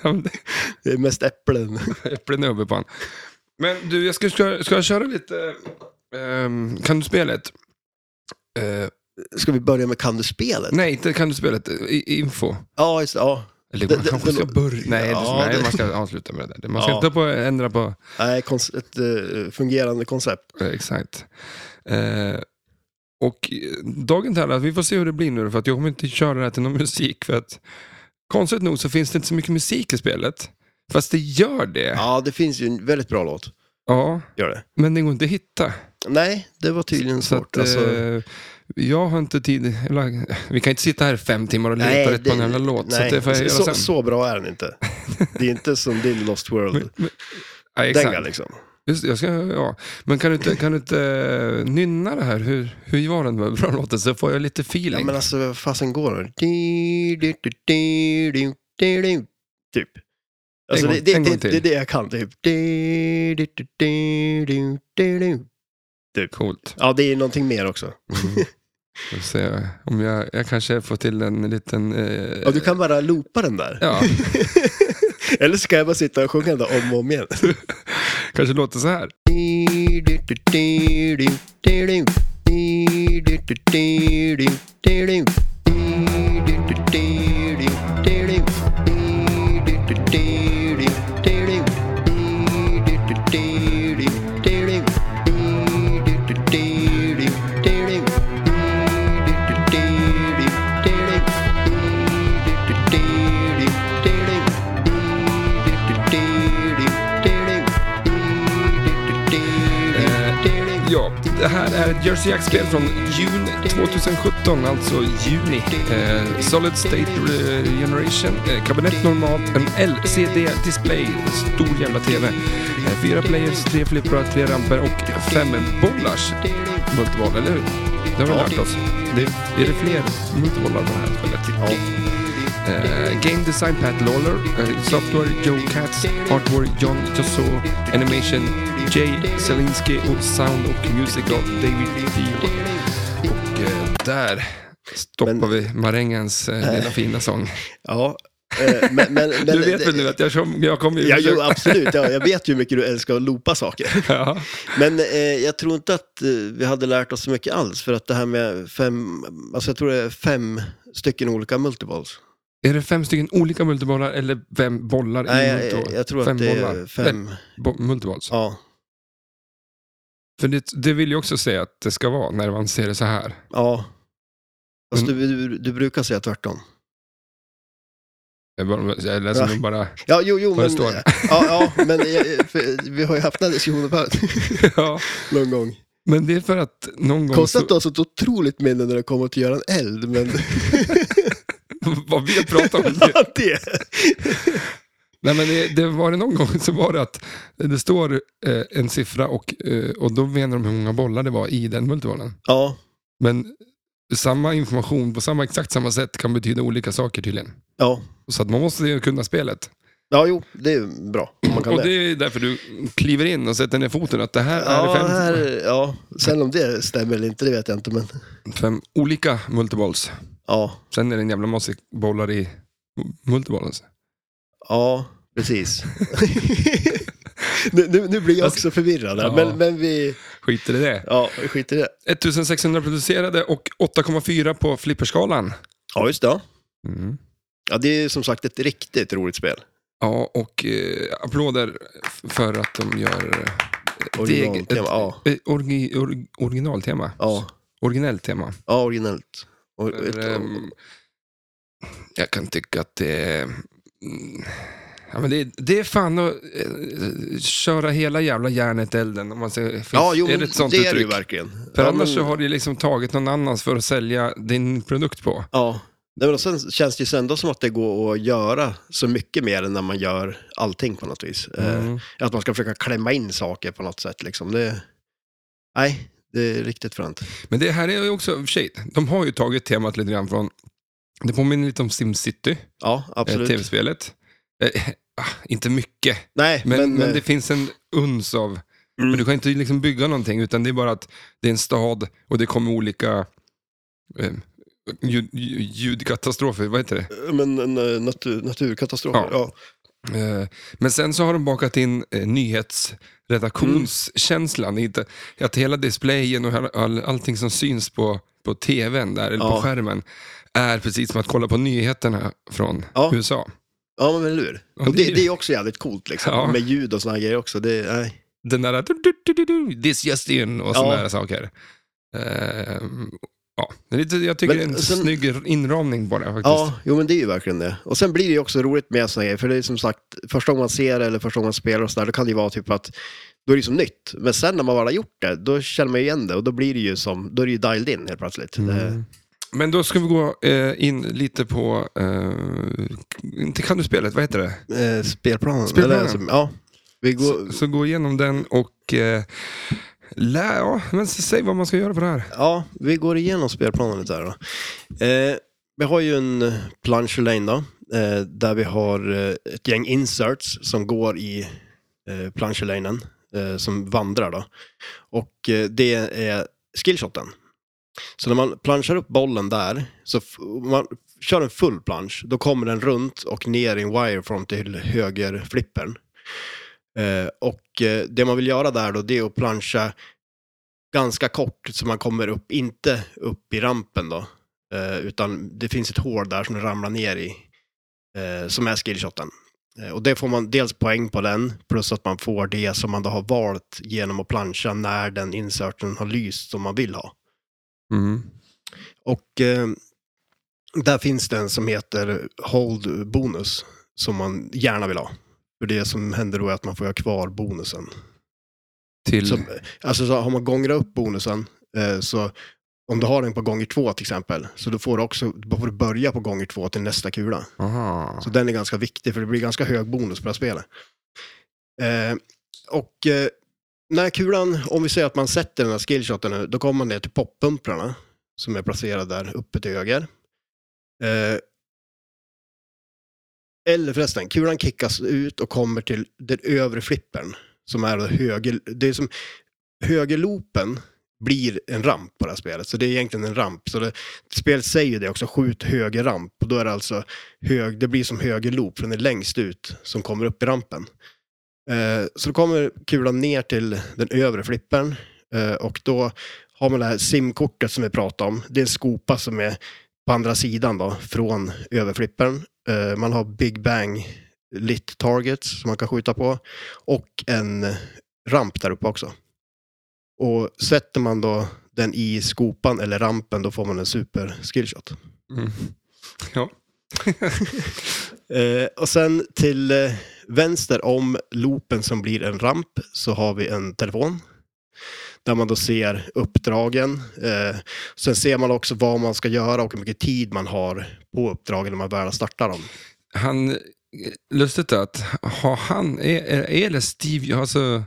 Speaker 1: Han-
Speaker 2: det är mest äpplen.
Speaker 1: Äpplen över på han. Men du, jag ska, ska, ska jag köra lite... ehm, kan du spelet? Eh,
Speaker 2: Ska vi börja med Kan du spelet?
Speaker 1: nej, inte kan du spelet. I, info.
Speaker 2: Ja, just det. Ja.
Speaker 1: Eller
Speaker 2: Det-
Speaker 1: man
Speaker 2: det-
Speaker 1: kanske
Speaker 2: det
Speaker 1: ska
Speaker 2: lå-
Speaker 1: börja. Nej,
Speaker 2: Ja,
Speaker 1: det, nej
Speaker 2: det-
Speaker 1: man ska avsluta med det där. Man ska
Speaker 2: Ja.
Speaker 1: inte på, ändra på...
Speaker 2: Nej, kons- ett eh, fungerande koncept.
Speaker 1: eh, Exakt. Eh, och eh, dagen till ära, vi får se hur det blir nu för att jag kommer inte köra det här till någon musik. För att, konstigt nog så finns det inte så mycket musik i spelet. Fast det gör det. Ja.
Speaker 2: Ja, det finns ju en väldigt bra låt. Gör det.
Speaker 1: men det går inte att hitta.
Speaker 2: Nej, det var tydligen
Speaker 1: Så
Speaker 2: svårt.
Speaker 1: att,
Speaker 2: alltså,
Speaker 1: eh, jag har inte tid. Eller, vi kan inte sitta här fem timmar och leta
Speaker 2: nej,
Speaker 1: rätt på en jävla låt. Så
Speaker 2: nej,
Speaker 1: att det får jag göra
Speaker 2: så,
Speaker 1: sen.
Speaker 2: så bra är den inte. Det är inte som din Lost World.
Speaker 1: ja,
Speaker 2: Dänga
Speaker 1: exakt.
Speaker 2: liksom.
Speaker 1: Just, det, jag ska, ja. Men kan du inte, kan du inte eh, nynna det här? Hur, hur var den bra låten? Så får jag lite
Speaker 2: Ja,
Speaker 1: feeling.
Speaker 2: men alltså, vad fasen går den? Di, di, di, di, di, di, di. Typ. Alltså,
Speaker 1: gång-
Speaker 2: det, det,
Speaker 1: en gång
Speaker 2: det,
Speaker 1: till.
Speaker 2: det är det jag kan, typ. Di, di, di, di, di, di, di.
Speaker 1: Coolt.
Speaker 2: Ja, det är någonting mer också.
Speaker 1: Mm. Får se om jag, jag kanske får till en liten... Eh,
Speaker 2: Ja, du kan bara loopa den där.
Speaker 1: ja,
Speaker 2: Eller så kan jag bara sitta och sjunga den där om och om igen.
Speaker 1: kanske låter så här. Ja, det här är ett Jersey Jack-spel från juni 2017, alltså juni. Eh, Solid State Generation, eh, kabinett normalt, en LCD-display, stor jävla TV. Eh, fyra players, tre flipprar, tre ramper och fem bollars multiboll, eller hur? Det har vi
Speaker 2: Ja.
Speaker 1: lärt oss. Det, är det fler multibollar på det här spelet? Eh, game Design Pat Lawler, eh, Software Joe Katz, Artwork John Josso, Animation Jay Selinski och Sound och Music av David Thiel. Och eh, där stoppar
Speaker 2: Men-
Speaker 1: vi marängens eh, lilla fina sång.
Speaker 2: Ja, eh, men, men, men, eh,
Speaker 1: du vet väl nu att jag, som- jag kommer ju...
Speaker 2: Ja, jo, absolut. Ja, jag vet ju hur mycket du älskar att loopa saker.
Speaker 1: ja.
Speaker 2: Men eh, jag tror inte att eh, vi hade lärt oss så mycket alls, för att det här med fem, alltså jag tror det är fem stycken olika multiballs.
Speaker 1: Är det fem stycken olika multibollar eller fem bollar
Speaker 2: Nej,
Speaker 1: i
Speaker 2: jag,
Speaker 1: multiboll?
Speaker 2: jag, jag tror
Speaker 1: Mm, Fem
Speaker 2: att det är
Speaker 1: bollar.
Speaker 2: fem,
Speaker 1: Bo- multibolls?
Speaker 2: ja,
Speaker 1: För det, det vill jag också säga att det ska vara när man ser det så här.
Speaker 2: ja. Fast du,
Speaker 1: Mm.
Speaker 2: du, du brukar säga tvärtom.
Speaker 1: Jag, bara, jag läser
Speaker 2: Ja.
Speaker 1: nu bara...
Speaker 2: Ja, jo, jo,
Speaker 1: Vad det
Speaker 2: men,
Speaker 1: står.
Speaker 2: ja, ja, men eh, för, vi har ju haft den här diskussionen förut,
Speaker 1: ja.
Speaker 2: någon gång.
Speaker 1: Men det är för att någon gång...
Speaker 2: Konstigt
Speaker 1: så-
Speaker 2: att du har så otroligt minne när det kommer till att göra en eld, men
Speaker 1: vad vi har pratat om. Det.
Speaker 2: det.
Speaker 1: Nej, men det, det var det någon gång så var det att det står eh, en siffra och, eh, och då menar de hur många bollar det var i den multibollen.
Speaker 2: Ja,
Speaker 1: Men samma information på samma, exakt samma sätt kan betyda olika saker tydligen.
Speaker 2: ja.
Speaker 1: Så att man måste ju kunna spelet.
Speaker 2: Ja, jo, det är bra. om Man kan
Speaker 1: och det är därför du kliver in och sätter ner foten att det här
Speaker 2: Ja,
Speaker 1: är fem,
Speaker 2: här, ja, sen om det stämmer eller inte, det vet jag inte, men
Speaker 1: fem olika multibolls.
Speaker 2: ja,
Speaker 1: Sen är det en jävla massa bollar i multibollen.
Speaker 2: ja, precis. nu, nu, nu blir jag också förvirrad, här,
Speaker 1: Ja.
Speaker 2: men, men vi,
Speaker 1: Skiter i det.
Speaker 2: ja, vi skiter i det.
Speaker 1: 1600 producerade och 8,4 på flipperskalan.
Speaker 2: Ja, just det. ja.
Speaker 1: Mm.
Speaker 2: Ja, det är som sagt ett riktigt roligt spel.
Speaker 1: Ja, och eh, applåder f- för att de gör eh,
Speaker 2: Originaltema,
Speaker 1: ett-
Speaker 2: ja.
Speaker 1: eh, orgi, or, originaltema.
Speaker 2: Ja,
Speaker 1: Originellt tema.
Speaker 2: ja originellt. Och,
Speaker 1: För,
Speaker 2: ett,
Speaker 1: ehm, jag kan tycka att det är... mm, Ja, men det, är- det är fan att eh, köra hela jävla järnet i elden. Om man säger, finns,
Speaker 2: ja, jo,
Speaker 1: är det ett sånt
Speaker 2: det är det ju
Speaker 1: uttryck?
Speaker 2: verkligen.
Speaker 1: för
Speaker 2: ja,
Speaker 1: annars
Speaker 2: men-
Speaker 1: så har det liksom tagit någon annans för att sälja din produkt på.
Speaker 2: Ja. Nej, men och sen känns det ju ändå som att det går att göra så mycket mer än när man gör allting på något vis. Eh,
Speaker 1: Mm.
Speaker 2: Att man ska försöka klämma in saker på något sätt. Liksom. Det, nej, det är riktigt fränt.
Speaker 1: Men det här är ju också, i och för sig, de har ju tagit temat lite grann från, det påminner lite om SimCity.
Speaker 2: Ja,
Speaker 1: eh,
Speaker 2: absolut.
Speaker 1: tv-spelet. Eh, ah, inte mycket,
Speaker 2: nej,
Speaker 1: men, men,
Speaker 2: eh, mm.
Speaker 1: det finns en uns av... Men du kan inte liksom bygga någonting, utan det är bara att det är en stad och det kommer olika eh, ljud, ljud- ljudkatastrofer. Vad heter det?
Speaker 2: men en eh, natur, naturkatastrof.
Speaker 1: Ja.
Speaker 2: Ja.
Speaker 1: Eh, men sen så har de bakat in eh, nyhetsredaktionskänslan. i det- Att hela displayen och all, all, allting som syns på, på tvn där, eller på
Speaker 2: Ja.
Speaker 1: skärmen, är precis som att kolla på nyheterna från
Speaker 2: Ja.
Speaker 1: USA.
Speaker 2: ja, men eller hur?
Speaker 1: Ja,
Speaker 2: Och
Speaker 1: det
Speaker 2: det,
Speaker 1: är ju-
Speaker 2: det är också jävligt coolt, liksom.
Speaker 1: Ja.
Speaker 2: med ljud och såna här grejer också. Det, nej.
Speaker 1: den där du, du, du, du, du, this just in och sådana
Speaker 2: Ja.
Speaker 1: där saker. Ehm, Ja, det är lite, jag tycker
Speaker 2: Men
Speaker 1: det är en
Speaker 2: sen-
Speaker 1: snygg inramning bara faktiskt.
Speaker 2: Ja, jo men det är ju verkligen det. Och sen blir det ju också roligt med sådana grejer, för det är som sagt, första gången man ser det eller första gången man spelar och sådär, då kan det ju vara typ att, då är det ju som nytt. Men sen när man väl har gjort det, då känner man ju igen det och då blir det ju som, då är det ju dialed in helt plötsligt.
Speaker 1: Mm.
Speaker 2: Det,
Speaker 1: Men då ska vi gå eh, in lite på, eh, inte kan du spelet, vad heter det?
Speaker 2: eh, spelplanen?
Speaker 1: Spelplanen.
Speaker 2: Eller, som, ja. Vi går,
Speaker 1: Så, så gå igenom den och eh, lä, ja, men s- säg vad man ska göra på det här.
Speaker 2: ja, vi går igenom spelplanen lite här då. Eh, vi har ju en plunger lane då, eh, där vi har eh, ett gäng inserts som går i eh, plunger lanen, eh, som vandrar då. Och eh, det är skillshoten. Så när man planchar upp bollen där, så f- om man kör en full plansch, då kommer den runt och ner i en wireform till högerflippern. Eh, och eh, det man vill göra där då, det är att plancha ganska kort så man kommer upp, inte upp i rampen då. Eh, utan det finns ett hål där som den ramlar ner i, eh, som är skillshoten. Eh, och det får man dels poäng på den, plus att man får det som man då har valt genom att plancha när den inserten har lyst som man vill ha.
Speaker 1: Mm.
Speaker 2: Och eh, där finns den som heter Hold Bonus som man gärna vill ha. För det som händer då är att man får ha kvar bonusen.
Speaker 1: Till,
Speaker 2: Så, alltså så har man gångrat upp bonusen eh, så om du har den på gånger två till exempel så då får du också då får du börja på gånger två till nästa kula.
Speaker 1: aha.
Speaker 2: Så den är ganska viktig för det blir ganska hög bonus på det här spelet. Eh, och eh, när kulan, om vi säger att man sätter den här skillshoten nu, då kommer man ner till poppumprarna som är placerade där uppe till höger. Eh, eller förresten, kulan kickas ut och kommer till den övre flippern som är då höger, det är som högerloopen blir en ramp på det här spelet, så det är egentligen en ramp. Så det, spelet säger det också, skjut höger ramp, och då är det alltså hög, det blir som höger loop, för den är längst ut som kommer upp i rampen. Eh, så då kommer kulan ner till den övre flippern eh, och då har man det här simkortet som vi pratade om. Det är en skopa som är på andra sidan då, från överflippern. Eh, man har Big Bang lit targets som man kan skjuta på och en ramp där uppe också. Och sätter man då den i skopan eller rampen då får man en super skillshot.
Speaker 1: Mm. Ja.
Speaker 2: Eh, och sen till eh, vänster om loopen som blir en ramp så har vi en telefon. Där man då ser uppdragen. Eh, sen ser man också vad man ska göra och hur mycket tid man har på uppdragen när man väl startar dem.
Speaker 1: Han, lustigt att, har han, är, är, är det Steve, alltså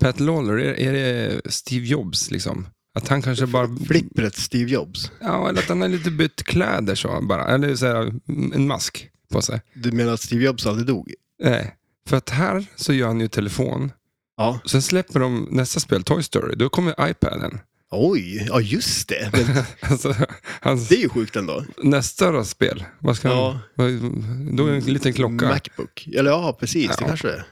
Speaker 1: Pat Lawler, är, är det Steve Jobs liksom? Att han kanske bara...
Speaker 2: Flippret Steve Jobs.
Speaker 1: Ja, eller att han har lite bytt kläder så bara. Eller så här, en mask på sig.
Speaker 2: Du menar att Steve Jobs aldrig dog?
Speaker 1: Nej. För att här så gör han ju telefon.
Speaker 2: Ja.
Speaker 1: Sen släpper de nästa spel, Toy Story. Då kommer iPaden.
Speaker 2: Oj, ja just det. Men
Speaker 1: Alltså, hans
Speaker 2: det är ju sjukt ändå.
Speaker 1: nästa då spel. Vad ska
Speaker 2: Ja.
Speaker 1: han... Då är det en liten klocka.
Speaker 2: Macbook. Eller ja, precis. Det
Speaker 1: Ja.
Speaker 2: kanske det är.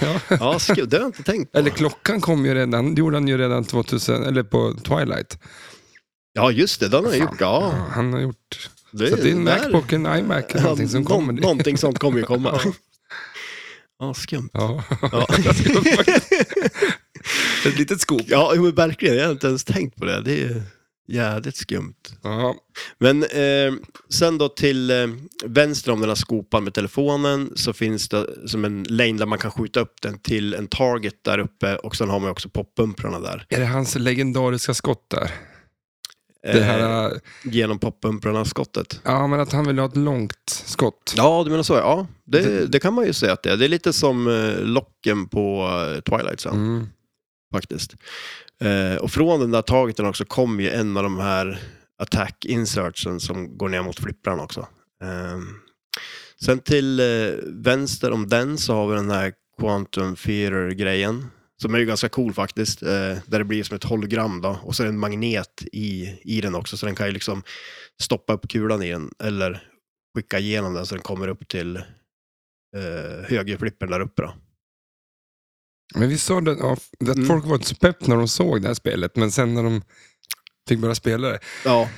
Speaker 1: Ja.
Speaker 2: Ja, sku- det har jag inte tänkt på.
Speaker 1: Eller klockan kom ju redan, det gjorde han ju redan 2000, eller på Twilight.
Speaker 2: Ja, just det. Den har jag
Speaker 1: Fan.
Speaker 2: gjort. Ja,
Speaker 1: han har gjort...
Speaker 2: det,
Speaker 1: så det är en
Speaker 2: där-
Speaker 1: Macbook, en iMac eller någonting som
Speaker 2: någon-
Speaker 1: kommer.
Speaker 2: Någonting sånt kommer ju komma.
Speaker 1: Ja.
Speaker 2: Ja, skumt.
Speaker 1: Ja.
Speaker 2: Ja.
Speaker 1: Ett litet skop.
Speaker 2: ja, jo, men verkligen. Jag har inte ens tänkt på det. Det är jävligt skumt.
Speaker 1: Ja.
Speaker 2: Men eh, sen då till eh, vänster om den här skopan med telefonen så finns det som en lane där man kan skjuta upp den till en target där uppe och sen har man ju också poppumprarna där.
Speaker 1: Är det hans legendariska skott där? Det
Speaker 2: Eh,
Speaker 1: här, äh,
Speaker 2: genom poppumprarna skottet.
Speaker 1: ja men att han vill ha ett långt skott.
Speaker 2: Ja, du menar så. Ja, det,
Speaker 1: Det-
Speaker 2: det kan man ju säga att det är. Det är lite som eh, locken på eh, Twilight sen.
Speaker 1: Mm.
Speaker 2: faktiskt. Eh, och från den där targeten också kom ju en av de här attack insertsen som går ner mot flippran också. Ehm, sen till eh, vänster om den så har vi den här Quantum Fear-grejen. Som är ju ganska cool faktiskt. Eh, där det blir som ett hologram då. Och så är det en magnet i, i den också. Så den kan ju liksom stoppa upp kulan i den. Eller skicka igenom den så den kommer upp till eh, högerflippen där uppe då.
Speaker 1: Men vi sa det, ja, att
Speaker 2: Mm.
Speaker 1: folk var inte så pepp när de såg det här spelet, men sen när de fick börja spela det.
Speaker 2: Ja,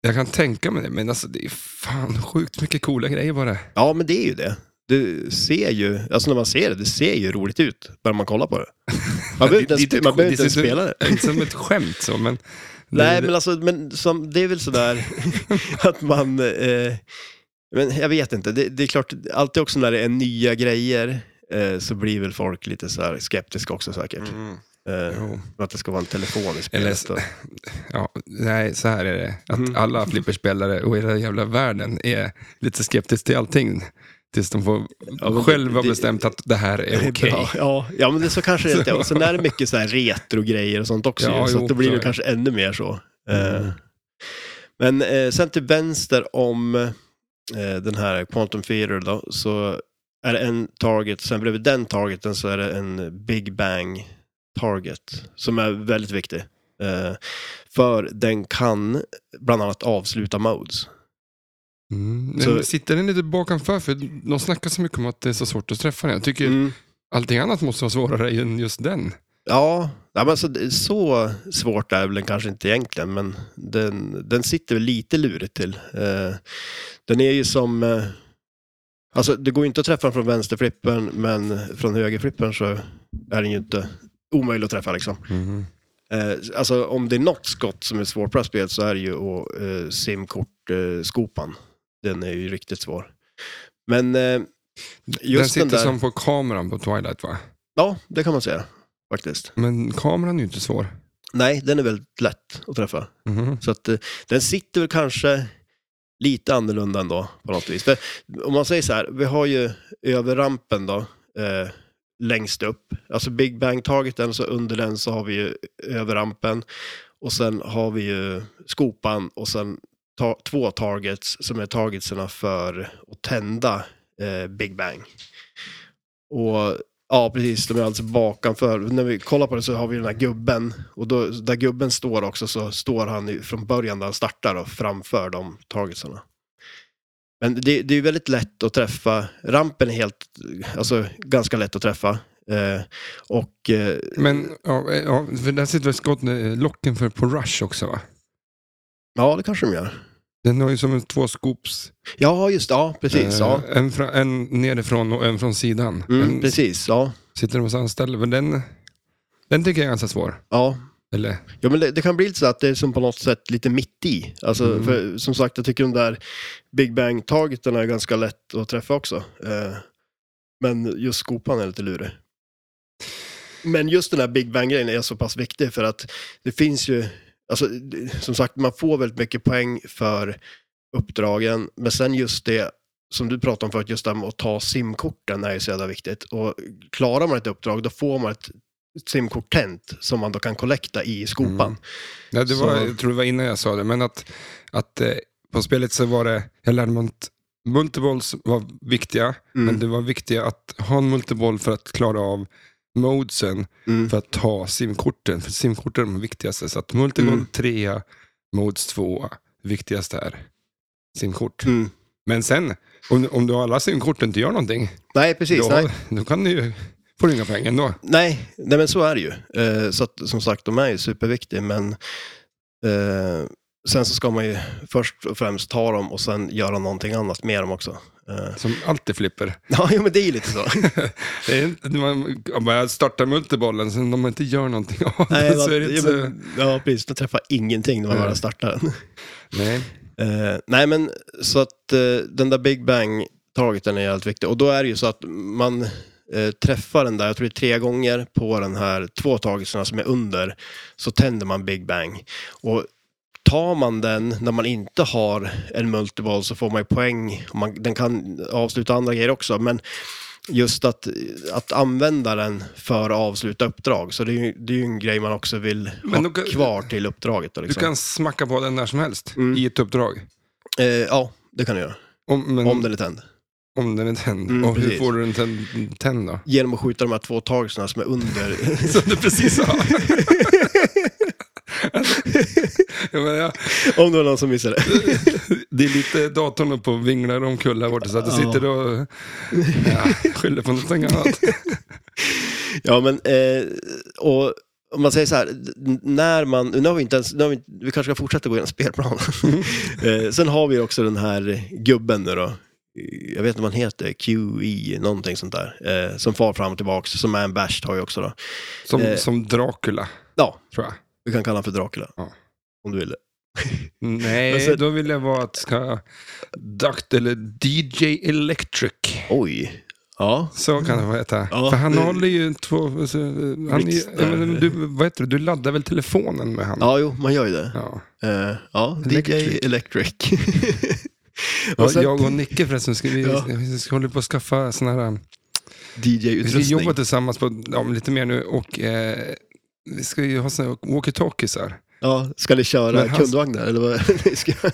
Speaker 1: Jag kan tänka mig det, men alltså det är fan sjukt mycket coola grejer bara.
Speaker 2: Ja, men det är ju det. Du ser ju, alltså när man ser det, det ser ju roligt ut bara man kollar på det. Man behöver inte ens, man behöver inte ens
Speaker 1: ser
Speaker 2: spela det.
Speaker 1: Inte som ett skämt så, men
Speaker 2: Nej, men alltså, men som, det är väl sådär att man... Eh, men jag vet inte, det, det är klart, alltid också när det är nya grejer eh, så blir väl folk lite så här skeptiska också säkert.
Speaker 1: Mm.
Speaker 2: Eh,
Speaker 1: Jo.
Speaker 2: att det ska vara en telefon i
Speaker 1: Eller-
Speaker 2: spelet. då.
Speaker 1: Ja, nej, så här är det. Att
Speaker 2: Mm.
Speaker 1: alla flipperspelare och hela jävla världen är lite skeptisk till allting. Tills de får
Speaker 2: Ja, men
Speaker 1: själva
Speaker 2: det-
Speaker 1: bestämt att det här är okej.
Speaker 2: Ja, ja, ja, men det, så kanske det inte är. Och sen är det mycket så här retrogrejer och sånt också.
Speaker 1: Ja,
Speaker 2: ju, så
Speaker 1: jo,
Speaker 2: att då blir
Speaker 1: så
Speaker 2: det
Speaker 1: är det.
Speaker 2: kanske ännu mer så. Eh,
Speaker 1: Mm.
Speaker 2: Men eh, sen till vänster om eh, den här Quantum Theater då, så är det en target, sen bredvid den targeten så är det en Big Bang target som är väldigt viktig. Eh, för den kan bland annat avsluta modes.
Speaker 1: Mm. Men
Speaker 2: Så-
Speaker 1: Sitter den lite bakanför? För de snackar så mycket om att det är så svårt att träffa den. Jag tycker
Speaker 2: Mm.
Speaker 1: allting annat måste vara svårare än just den.
Speaker 2: Ja, ja men så, så svårt är väl den kanske inte egentligen, men den, den sitter väl lite lurigt till. Eh, den är ju som... Eh, alltså, det går ju inte att träffa den från vänsterflippen, men från högerflippen så är den ju inte omöjlig att träffa. Liksom. Eh, alltså, om det är något skott som är svårt på det här spelet så är det ju att, eh, simkortskopan. Eh, skopan. den är ju riktigt svår. Men eh,
Speaker 1: den
Speaker 2: just
Speaker 1: sitter
Speaker 2: den, där...
Speaker 1: som på kameran på Twilight va?
Speaker 2: Ja, det kan man säga faktiskt.
Speaker 1: Men kameran är ju inte svår.
Speaker 2: Nej, den är väldigt lätt att träffa.
Speaker 1: Mhm.
Speaker 2: Så att eh, den sitter väl kanske lite annorlunda ändå på något vis. För om man säger så här, vi har ju överrampen då, eh, längst upp. Alltså Big Bang-targeten, så under den så har vi ju överrampen. Och sen har vi ju skopan och sen ta- två targets som är targetserna för att tända eh, Big Bang. Och ja, precis, de är alltså bakanför. När vi kollar på det så har vi den här gubben och då, där gubben står också så står han ju från början där han startar då, framför de targetsarna. Men det, det är ju väldigt lätt att träffa. Rampen är helt, alltså ganska lätt att träffa. Eh, och eh,
Speaker 1: Men ja, eh, ja, för där sitter väl skott, eh, locken för på Rush också va?
Speaker 2: ja, det kanske de gör.
Speaker 1: Den har ju som en två scoops.
Speaker 2: Ja, just ja, precis.
Speaker 1: Eh,
Speaker 2: Ja.
Speaker 1: en, fra, en nerifrån och en från sidan.
Speaker 2: Mm,
Speaker 1: en,
Speaker 2: precis, ja.
Speaker 1: Sitter de på samma ställe. Men den, den tycker jag är ganska svår.
Speaker 2: ja.
Speaker 1: Eller?
Speaker 2: Ja, men det, det kan bli lite så att det är som på något sätt lite mitt i. Alltså,
Speaker 1: Mm.
Speaker 2: för, som sagt, jag tycker de där Big Bang-targeten är ganska lätt att träffa också. Eh, men just skopan är lite lurig. Men just den här Big Bang-grejen är så pass viktig för att det finns ju, alltså, det- som sagt, man får väldigt mycket poäng för uppdragen, men sen just det som du pratade om förut, just det här med att ta simkorten är ju så jävla viktigt. Och klarar man ett uppdrag, då får man ett ett simkort tänt som man då kan kollekta i skopan.
Speaker 1: Mm. Ja, det var,
Speaker 2: Så-
Speaker 1: jag tror det var innan jag sa det, men att, att eh, på spelet så var det, jag lärde mig att multiballs var viktiga,
Speaker 2: Mm.
Speaker 1: men det var viktigt att ha en multiball för att klara av modesen
Speaker 2: Mm.
Speaker 1: för att ta simkorten. För simkorten är de viktigaste, så att multiball
Speaker 2: Mm.
Speaker 1: trea, modes tvåa, viktigast är simkort.
Speaker 2: Mm.
Speaker 1: Men sen, om, om du har alla simkort och inte gör någonting,
Speaker 2: Nej, precis.
Speaker 1: då,
Speaker 2: Nej.
Speaker 1: då kan du ju, får du inga poäng ändå.
Speaker 2: Nej. nej, men så är det ju. Eh, så att, som sagt, de är ju superviktiga, men eh, sen så ska man ju först och främst ta dem och sen göra någonting annat med dem också. Eh,
Speaker 1: Som alltid flipper.
Speaker 2: ja, jo, men det är ju lite så.
Speaker 1: Det är inte, man, om man startar multibollen, sen om man inte gör någonting av
Speaker 2: nej,
Speaker 1: det så är det inte
Speaker 2: ja,
Speaker 1: så...
Speaker 2: men, ja, precis. De träffar ingenting när man
Speaker 1: Nej.
Speaker 2: bara startar den.
Speaker 1: Nej.
Speaker 2: Eh, nej, men så att eh, den där Big Bang-targeten är jävligt viktig. Och då är det ju så att man eh, träffar den där, jag tror det är tre gånger, på den här två targetsarna som är under, så tänder man Big Bang. Och tar man den när man inte har en multiball så får man ju poäng. Och Man, den kan avsluta andra grejer också, men just att, att använda den för att avsluta uppdrag. Så det är ju, det är ju en grej man också vill
Speaker 1: Men
Speaker 2: ha
Speaker 1: då kan-
Speaker 2: kvar till uppdraget. Då,
Speaker 1: Du
Speaker 2: liksom.
Speaker 1: kan smacka på den när som helst
Speaker 2: Mm.
Speaker 1: i ett uppdrag.
Speaker 2: eh, ja, det kan du göra.
Speaker 1: Om, men,
Speaker 2: Om den är tänd.
Speaker 1: om den är tänd.
Speaker 2: Mm,
Speaker 1: och hur
Speaker 2: precis.
Speaker 1: får du den tänd, tänd då?
Speaker 2: genom att skjuta de här två targetsarna som är under.
Speaker 1: Som du precis sa. jag menar,
Speaker 2: Om det var någon som missade det.
Speaker 1: det är lite datorn på vinglar omkull här borta, så att du
Speaker 2: Ja.
Speaker 1: sitter och ja, skyller på någonting annat.
Speaker 2: Ja, men eh, och om man säger så här, n- när man, nu har vi inte ens, nu har vi, inte- vi kanske ska fortsätta gå igenom spelplanen. eh, sen har vi också den här gubben nu då, Eh, jag vet inte vad han heter, QE, någonting sånt där, eh, som far fram och tillbaks, som är en bash toy också då.
Speaker 1: Som,
Speaker 2: Eh.
Speaker 1: som Dracula,
Speaker 2: Ja,
Speaker 1: tror jag.
Speaker 2: vi kan kalla honom för Dracula.
Speaker 1: Ja.
Speaker 2: Om du ville.
Speaker 1: Nej,
Speaker 2: Alltså-
Speaker 1: då vill jag vara att ska Duct eller DJ Electric.
Speaker 2: Oj. Ja.
Speaker 1: Så kan det vara heta.
Speaker 2: Ja.
Speaker 1: För han håller ju två... Alltså, han är, ju-
Speaker 2: Mix där.
Speaker 1: ja, men du, vad heter det? Du laddar väl telefonen med han?
Speaker 2: Ja, jo, man gör ju det.
Speaker 1: Ja.
Speaker 2: Eh, ja, DJ
Speaker 1: Electric.
Speaker 2: Electric.
Speaker 1: Ja,
Speaker 2: och sen
Speaker 1: jag och Nicke förresten, ska vi,
Speaker 2: Ja.
Speaker 1: vi ska hålla på att skaffa såna här... Vi ska
Speaker 2: DJ-utrustning.
Speaker 1: jobba tillsammans på, ja, men lite mer nu och eh, vi ska ju ha såna här walkie-talkiesar.
Speaker 2: Ja, ska ni köra
Speaker 1: Men han-
Speaker 2: kundvagnar eller vad? Ni ska...
Speaker 1: Ja,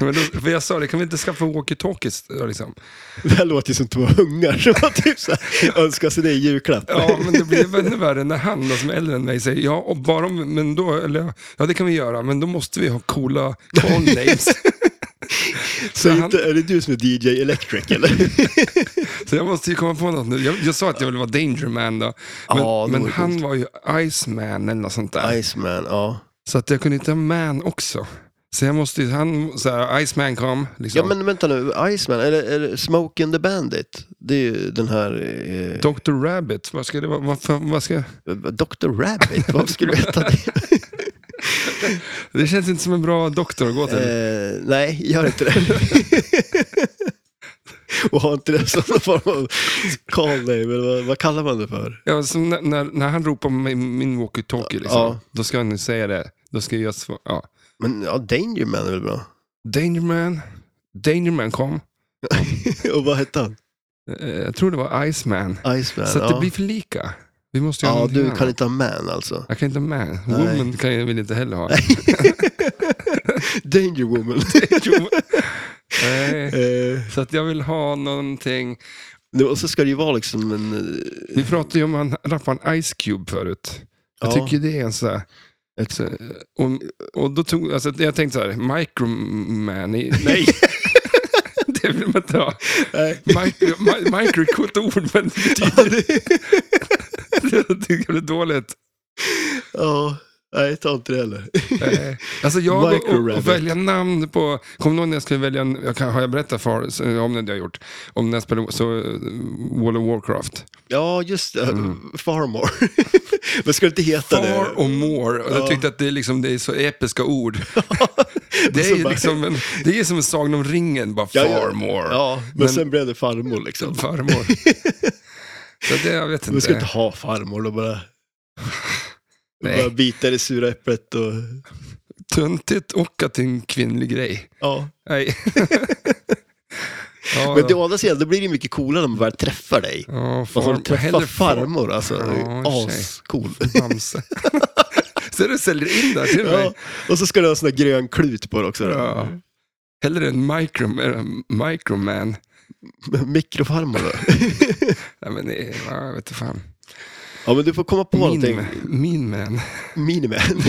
Speaker 1: men då- För jag sa det, kan vi inte skaffa walkie-talkies? då, Liksom?
Speaker 2: Det här låter ju som två ungar som har typ så här, önskar sig det i julklapp.
Speaker 1: Ja, men det blir ännu värre när han då, som är äldre än mig säger, ja, och bara om, men då, eller, ja det kan vi göra, men då måste vi ha coola call names.
Speaker 2: så
Speaker 1: han-
Speaker 2: inte, är det du som är DJ Electric eller?
Speaker 1: Så jag måste ju komma på något nu. Jag, jag sa att jag ville vara Danger Man då, men,
Speaker 2: Ja, det
Speaker 1: men
Speaker 2: vore
Speaker 1: han
Speaker 2: coolt.
Speaker 1: var ju Iceman eller något sånt där.
Speaker 2: Iceman, ja.
Speaker 1: Så att jag kunde inte ha Man också. Så jag måste ju, han, så här, Iceman kom, liksom.
Speaker 2: Ja men vänta nu, Iceman, eller, eller Smoke and the Bandit? Det är ju den här... Eh,
Speaker 1: Dr. Rabbit, vad ska det vara? Vad, fan- vad ska...
Speaker 2: Dr. Rabbit, vad skulle du veta det?
Speaker 1: Det känns inte som en bra doktor att gå till.
Speaker 2: Eh, nej, gör inte det. Och har inte det som någon form av call name, eller vad, vad kallar man det för?
Speaker 1: Ja, som när, när, när han ropar min, min walkie-talkie, liksom,
Speaker 2: Ja.
Speaker 1: då ska han ju säga det. Då ska jag svara. Ja.
Speaker 2: Men ja, Danger Man är väl bra?
Speaker 1: Dangerman, Dangerman kom.
Speaker 2: Och vad hette han?
Speaker 1: Eh, Jag tror det var Iceman.
Speaker 2: Iceman,
Speaker 1: Så att
Speaker 2: ja.
Speaker 1: det blir för lika. Vi måste göra
Speaker 2: Ja,
Speaker 1: någonting
Speaker 2: du
Speaker 1: annat.
Speaker 2: kan inte ha man alltså.
Speaker 1: Jag kan inte ha man.
Speaker 2: Nej.
Speaker 1: Woman kan jag väl inte heller ha.
Speaker 2: Danger Woman.
Speaker 1: Jo. Nej.
Speaker 2: Eh,
Speaker 1: Så att jag vill ha någonting.
Speaker 2: nu, och så ska det ju vara liksom en... eh,
Speaker 1: Vi pratade ju om han, rapparen Ice Cube förut. Jag
Speaker 2: ja,
Speaker 1: tycker det är en sån här...
Speaker 2: Ett-
Speaker 1: Så, och, och då tog, alltså, jag tänkte så här, microman, i- nej, det vill man inte ha.
Speaker 2: nej.
Speaker 1: Micro, mi, micro är ett coolt ord, men det betyder... det tycker jag är dåligt.
Speaker 2: Ja, nej, ta inte det heller.
Speaker 1: Eh, Alltså jag och, och,
Speaker 2: Micro-rabbit.
Speaker 1: och välja namn på... Kommer du ihåg när jag skulle välja... en- Jag kan, har jag berättat för så- om det jag har gjort? Om när jag spelade så, eh, World of Warcraft.
Speaker 2: Ja, just det.
Speaker 1: Mm.
Speaker 2: Farmore. Men ska det inte heta det?
Speaker 1: Far och more. Och
Speaker 2: Ja.
Speaker 1: jag tyckte att det är, liksom, det är så episka ord. Det
Speaker 2: Och så
Speaker 1: är ju
Speaker 2: bara-
Speaker 1: liksom en, det är som en Sagan om ringen, bara
Speaker 2: Ja, ja.
Speaker 1: far more.
Speaker 2: Ja, men,
Speaker 1: Men-
Speaker 2: sen blev det farmor liksom.
Speaker 1: Farmor. Så det, jag vet
Speaker 2: Du
Speaker 1: inte.
Speaker 2: ska inte ha farmor, då bara, bara
Speaker 1: Nej.
Speaker 2: bita i det sura äpplet och...
Speaker 1: Töntigt och att det är en kvinnlig grej.
Speaker 2: Ja.
Speaker 1: Nej. ja,
Speaker 2: Men det, å andra sidan, då blir det mycket coolare när man väl träffar dig.
Speaker 1: ja,
Speaker 2: Och så
Speaker 1: far,
Speaker 2: träffar
Speaker 1: hellre
Speaker 2: farmor alltså. Det är ju
Speaker 1: Ja, i och för sig.
Speaker 2: Ascool.
Speaker 1: Bamse. Så du säljer in det här till
Speaker 2: Ja.
Speaker 1: mig.
Speaker 2: Och så ska du ha en sån där grön klut på det också. då.
Speaker 1: Ja. Hellre en micro, eh, microman.
Speaker 2: Mikrofarmor då.
Speaker 1: Nej, men det är, ja, jag vet inte fan.
Speaker 2: Ja, men du får komma på någonting.
Speaker 1: Min, min man.
Speaker 2: Miniman.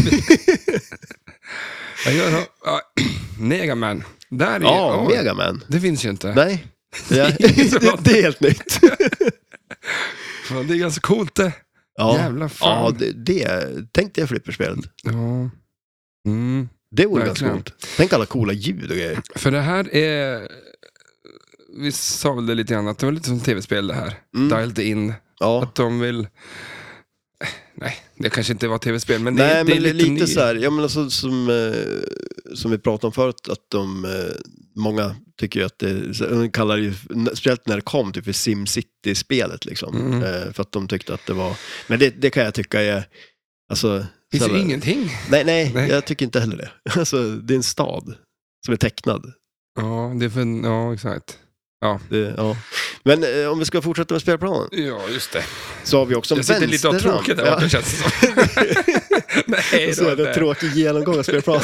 Speaker 1: Jag gör, ja, Negaman. Där är
Speaker 2: ja,
Speaker 1: ja,
Speaker 2: Megaman.
Speaker 1: Det finns ju inte.
Speaker 2: Nej. Det,
Speaker 1: Ingen som har-
Speaker 2: det, det är helt nytt.
Speaker 1: Fan, Det är ganska coolt det.
Speaker 2: Ja,
Speaker 1: Jävla fan.
Speaker 2: ja det, det, tänk det flipperspelet.
Speaker 1: Ja. Mm.
Speaker 2: Det vore ganska
Speaker 1: Verkligen.
Speaker 2: coolt. Tänk alla coola ljud och grejer.
Speaker 1: För det här är... Vi sa väl det lite grann, att det var lite som tv-spel det här.
Speaker 2: Mm.
Speaker 1: Dialed in.
Speaker 2: Ja.
Speaker 1: Att de vill... Eh, Nej, det kanske inte var tv-spel, men det,
Speaker 2: Nej,
Speaker 1: är- det är
Speaker 2: men lite,
Speaker 1: lite, ny.
Speaker 2: lite så här, ja, men alltså, som, eh, som vi pratade om förut, att de, eh, många tycker ju att det, så- de kallar det ju, speciellt när det kom, typ för SimCity-spelet liksom.
Speaker 1: Mm.
Speaker 2: Eh, för att de tyckte att det var, men det, det kan jag tycka är, alltså,
Speaker 1: Det
Speaker 2: så
Speaker 1: finns
Speaker 2: här-
Speaker 1: ju ingenting.
Speaker 2: nej, nej,
Speaker 1: Nej.
Speaker 2: jag tycker inte heller det. Alltså, det är en stad som är tecknad.
Speaker 1: Ja, det är för... Ja, exakt.
Speaker 2: Det, ja. Men eh, om vi ska fortsätta med spelplanen,
Speaker 1: Ja, just det.
Speaker 2: så har vi också en
Speaker 1: jag sitter lite
Speaker 2: vänsterramp.
Speaker 1: avtråkad där
Speaker 2: Ja.
Speaker 1: borta, känns det som. Nej,
Speaker 2: Så
Speaker 1: det var
Speaker 2: jävla
Speaker 1: inte.
Speaker 2: tråkig genomgång av spelplanen.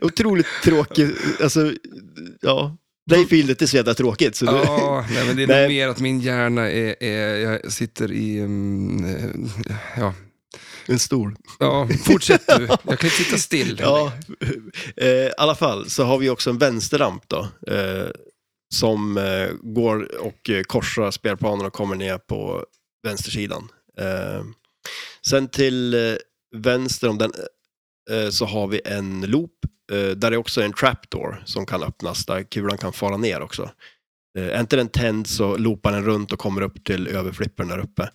Speaker 2: Otroligt tråkig, alltså, ja. Playfieldet är så jävla tråkigt. Så det,
Speaker 1: Ja, nej, men det är nog
Speaker 2: Nej.
Speaker 1: mer att min hjärna är, är... Jag sitter i... mm, eh, ja.
Speaker 2: En stol.
Speaker 1: ja, fortsätt du. Jag kan inte sitta still.
Speaker 2: Ja, eh, i alla fall så har vi också en vänsterramp då. Eh, som eh, går och eh, korsar spelplanen och kommer ner på vänstersidan. Eh, sen till eh, vänster om den eh, så har vi en loop. Eh, där det också är en trapdoor som kan öppnas, där kulan kan fara ner också. Eh, är inte den tänd så loopar den runt och kommer upp till överflippen där uppe.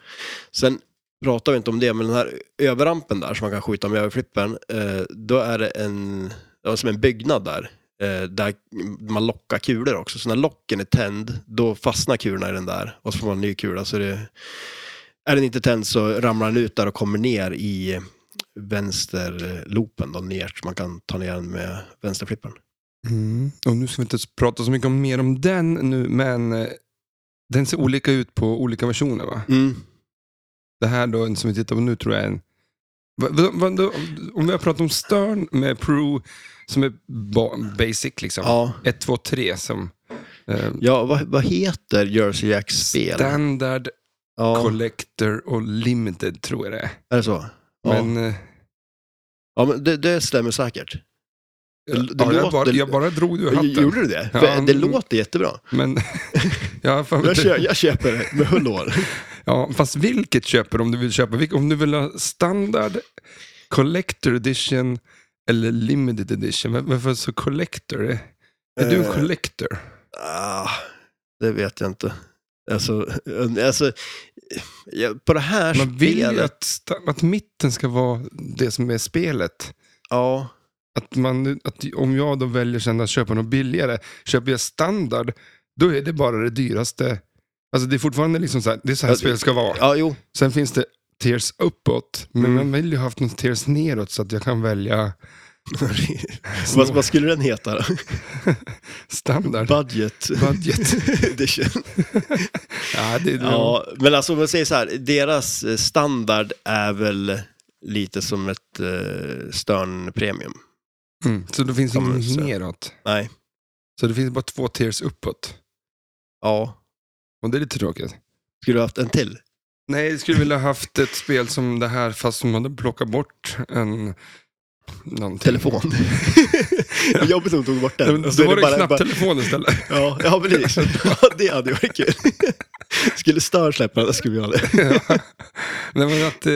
Speaker 2: Sen pratar vi inte om det, men den här överrampen där som man kan skjuta med överflippen, eh, då är det en, det var som en byggnad där, eh, där man lockar kulor också. Så när locken är tänd, då fastnar kulorna i den där och så får man en ny kula. Så det, är den inte tänd så ramlar den ut där och kommer ner i vänsterloopen då ner så man kan ta ner den med vänsterflippen.
Speaker 1: Mm. Och nu ska vi inte prata så mycket om, mer om den nu, men eh, den ser olika ut på olika versioner va?
Speaker 2: Mm.
Speaker 1: Det här då som vi tittar på nu tror jag är en... Va- va- va- då- Om vi har pratat om Stern med Pro som är ba- basic liksom.
Speaker 2: Ja,
Speaker 1: 1, 2, 3 som eh,
Speaker 2: ja vad, vad heter Jersey Jacks spel?
Speaker 1: standard,
Speaker 2: Ja,
Speaker 1: collector och limited tror jag det är.
Speaker 2: är det så? Ja.
Speaker 1: Men, eh,
Speaker 2: Ja, men det, det stämmer säkert. Det- det
Speaker 1: ja, jag,
Speaker 2: låter-
Speaker 1: bara, jag bara drog ur hatten.
Speaker 2: Gjorde du det?
Speaker 1: Ja.
Speaker 2: För Det låter jättebra.
Speaker 1: Men, ja, fan,
Speaker 2: Jag, kö, jag köper det med hull och hår.
Speaker 1: ja, fast vilket köper du om du vill köpa? Vilk- Om du vill ha standard, collector edition eller limited edition. Men Varför så collector? Är, är du en
Speaker 2: Eh,
Speaker 1: collector?
Speaker 2: Ah, det vet jag inte. Alltså, alltså ja, på det här
Speaker 1: Man vill ju
Speaker 2: spelet...
Speaker 1: att, sta- att mitten ska vara det som är spelet.
Speaker 2: Ja,
Speaker 1: Att man, att om jag då väljer sen att köpa något billigare, köper jag standard, då är det bara det dyraste. Alltså det är fortfarande liksom så här, det är så här
Speaker 2: Ja, det-
Speaker 1: spel ska vara.
Speaker 2: ja jo.
Speaker 1: Sen finns det tears uppåt, men
Speaker 2: Mm.
Speaker 1: man vill ju haft något tears neråt så att jag kan välja
Speaker 2: vad,
Speaker 1: snå-
Speaker 2: vad skulle den heta då?
Speaker 1: standard.
Speaker 2: Budget.
Speaker 1: Budget.
Speaker 2: Edition.
Speaker 1: ja, det, ja.
Speaker 2: Ja, men alltså om jag säger så här, deras eh, standard är väl lite som ett eh, Stern Premium.
Speaker 1: Mm. Så då finns det
Speaker 2: Ja, men
Speaker 1: inget
Speaker 2: så.
Speaker 1: neråt.
Speaker 2: Nej,
Speaker 1: Så det finns bara två tears uppåt.
Speaker 2: ja.
Speaker 1: Och det är lite tråkigt.
Speaker 2: Skulle du haft en till?
Speaker 1: Nej, jag skulle vilja haft ett spel som det här fast som hade plockat bort en... Någonting.
Speaker 2: Telefon. Det är Jobbigt om de tog bort
Speaker 1: Ja,
Speaker 2: den.
Speaker 1: men
Speaker 2: Och så
Speaker 1: Då var
Speaker 2: är
Speaker 1: det
Speaker 2: bara- bara-
Speaker 1: knapptelefon istället.
Speaker 2: Ja, ja precis. Ja, det hade ju varit kul. Skulle Stör släppa den, då skulle vi ha det.
Speaker 1: Ja. Nej, men att... Eh,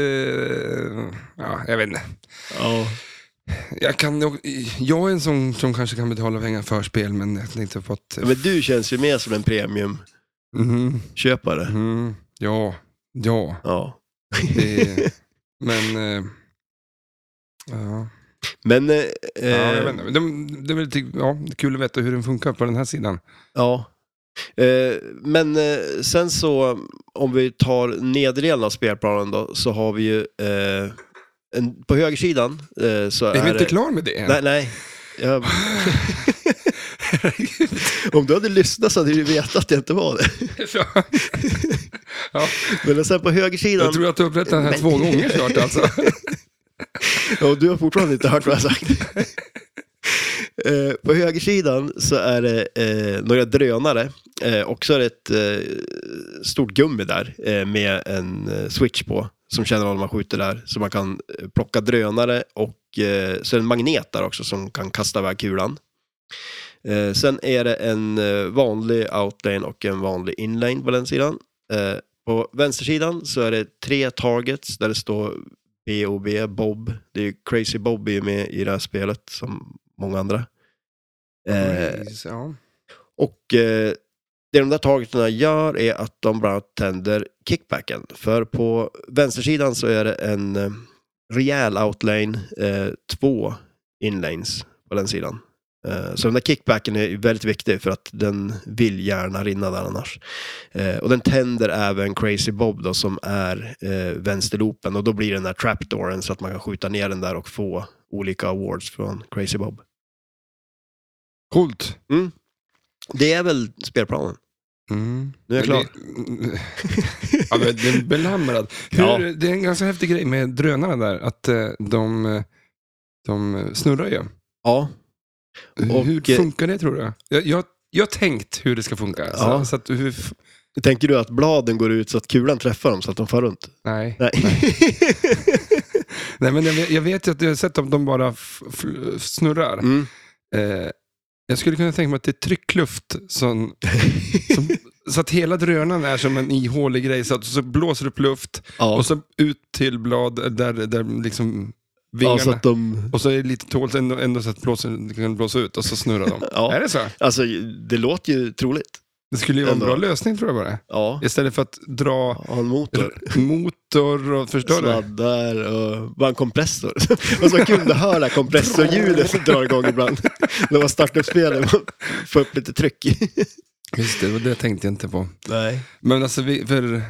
Speaker 1: ja, jag vet inte.
Speaker 2: Ja.
Speaker 1: Jag, kan, nog- jag är en sån som kanske kan betala pengar för spel, men jag tänkte på att...
Speaker 2: Men du känns ju mer som en premiumköpare.
Speaker 1: Mhm,
Speaker 2: Mm.
Speaker 1: mhm, ja, ja.
Speaker 2: Ja.
Speaker 1: Det, är- men... Eh, ja.
Speaker 2: Men, eh, eh,
Speaker 1: ja, jag vet inte. De, de är lite, ja, det är kul att veta hur den funkar på den här sidan.
Speaker 2: ja. Eh, men eh, sen så, om vi tar nederdelen av spelplanen då, så har vi ju eh, en, på högersidan eh, så är,
Speaker 1: är vi inte
Speaker 2: det-
Speaker 1: klara med det än?
Speaker 2: Nej, nej. Jag, om du hade lyssnat så hade du vetat att jag inte var det.
Speaker 1: Ja. ja,
Speaker 2: Men sen på högersidan...
Speaker 1: jag tror att du har berättat det här
Speaker 2: Men-
Speaker 1: två gånger snart alltså.
Speaker 2: Ja, Och du har fortfarande inte hört vad jag har sagt. Eh, På högersidan så är det eh, några drönare eh, och så är det ett eh, stort gummi där eh, med en eh, switch på som känner av när man skjuter där. Så man kan eh, plocka drönare och eh, så är det en magnet där också som kan kasta iväg kulan. Eh, sen är det en eh, vanlig outlane och en vanlig inlane på den sidan. Eh, på vänstersidan så är det tre targets där det står BOB, Bob. Det är ju Crazy Bob är ju med i det här spelet som många andra. Eh,
Speaker 1: ja.
Speaker 2: och eh, det de där targeterna gör är att de bland annat tänder kickbacken. För på vänstersidan så är det en eh, rejäl outlane, eh, två inlanes på den sidan. Eh, så den där kickbacken är väldigt viktig för att den vill gärna rinna där annars. Eh, och den tänder även Crazy Bob då som är eh, vänsterloopen och då blir det den där trapdooren så att man kan skjuta ner den där och få olika awards från Crazy Bob.
Speaker 1: Coolt.
Speaker 2: Det är väl spelplanen.
Speaker 1: Mm.
Speaker 2: Nu är jag klar.
Speaker 1: ja, men den är belamrad. Hur,
Speaker 2: Ja.
Speaker 1: Det är en ganska häftig grej med drönarna där, att eh, de, eh, de snurrar ju.
Speaker 2: Ja, Och,
Speaker 1: hur
Speaker 2: eh,
Speaker 1: funkar det tror du? Jag, jag, jag har tänkt hur det ska funka. Så,
Speaker 2: Ja.
Speaker 1: så att, hur, f-
Speaker 2: Tänker du att bladen går ut så att kulan träffar dem så att de far runt?
Speaker 1: nej.
Speaker 2: Nej.
Speaker 1: nej, men jag, vet- jag vet ju att jag har sett att de bara f, f, snurrar.
Speaker 2: Mm.
Speaker 1: Eh, jag skulle kunna tänka mig att det är tryckluft som, som, så att hela drönaren är som en ihålig grej. Så, att, så blåser det upp luft
Speaker 2: Ja.
Speaker 1: och så ut till blad där, där liksom vingarna.
Speaker 2: ja, så att de...
Speaker 1: Och så är det lite tåligt ändå, ändå så att blåsen kan blåsa ut och så snurrar de.
Speaker 2: Ja.
Speaker 1: Är det så?
Speaker 2: Alltså, det låter ju troligt.
Speaker 1: Det skulle ju vara en
Speaker 2: Ändå.
Speaker 1: bra lösning tror jag bara.
Speaker 2: Ja,
Speaker 1: Istället för att dra
Speaker 2: ha en motor.
Speaker 1: motor och förstöra.
Speaker 2: Sladdar och bara en kompressor. Och så kul att höra det här kompressorljudet som drar igång ibland. När man startar upp spelet, man får upp lite tryck.
Speaker 1: Just det, och det tänkte jag inte på.
Speaker 2: Nej.
Speaker 1: Men alltså, vi, för, eh,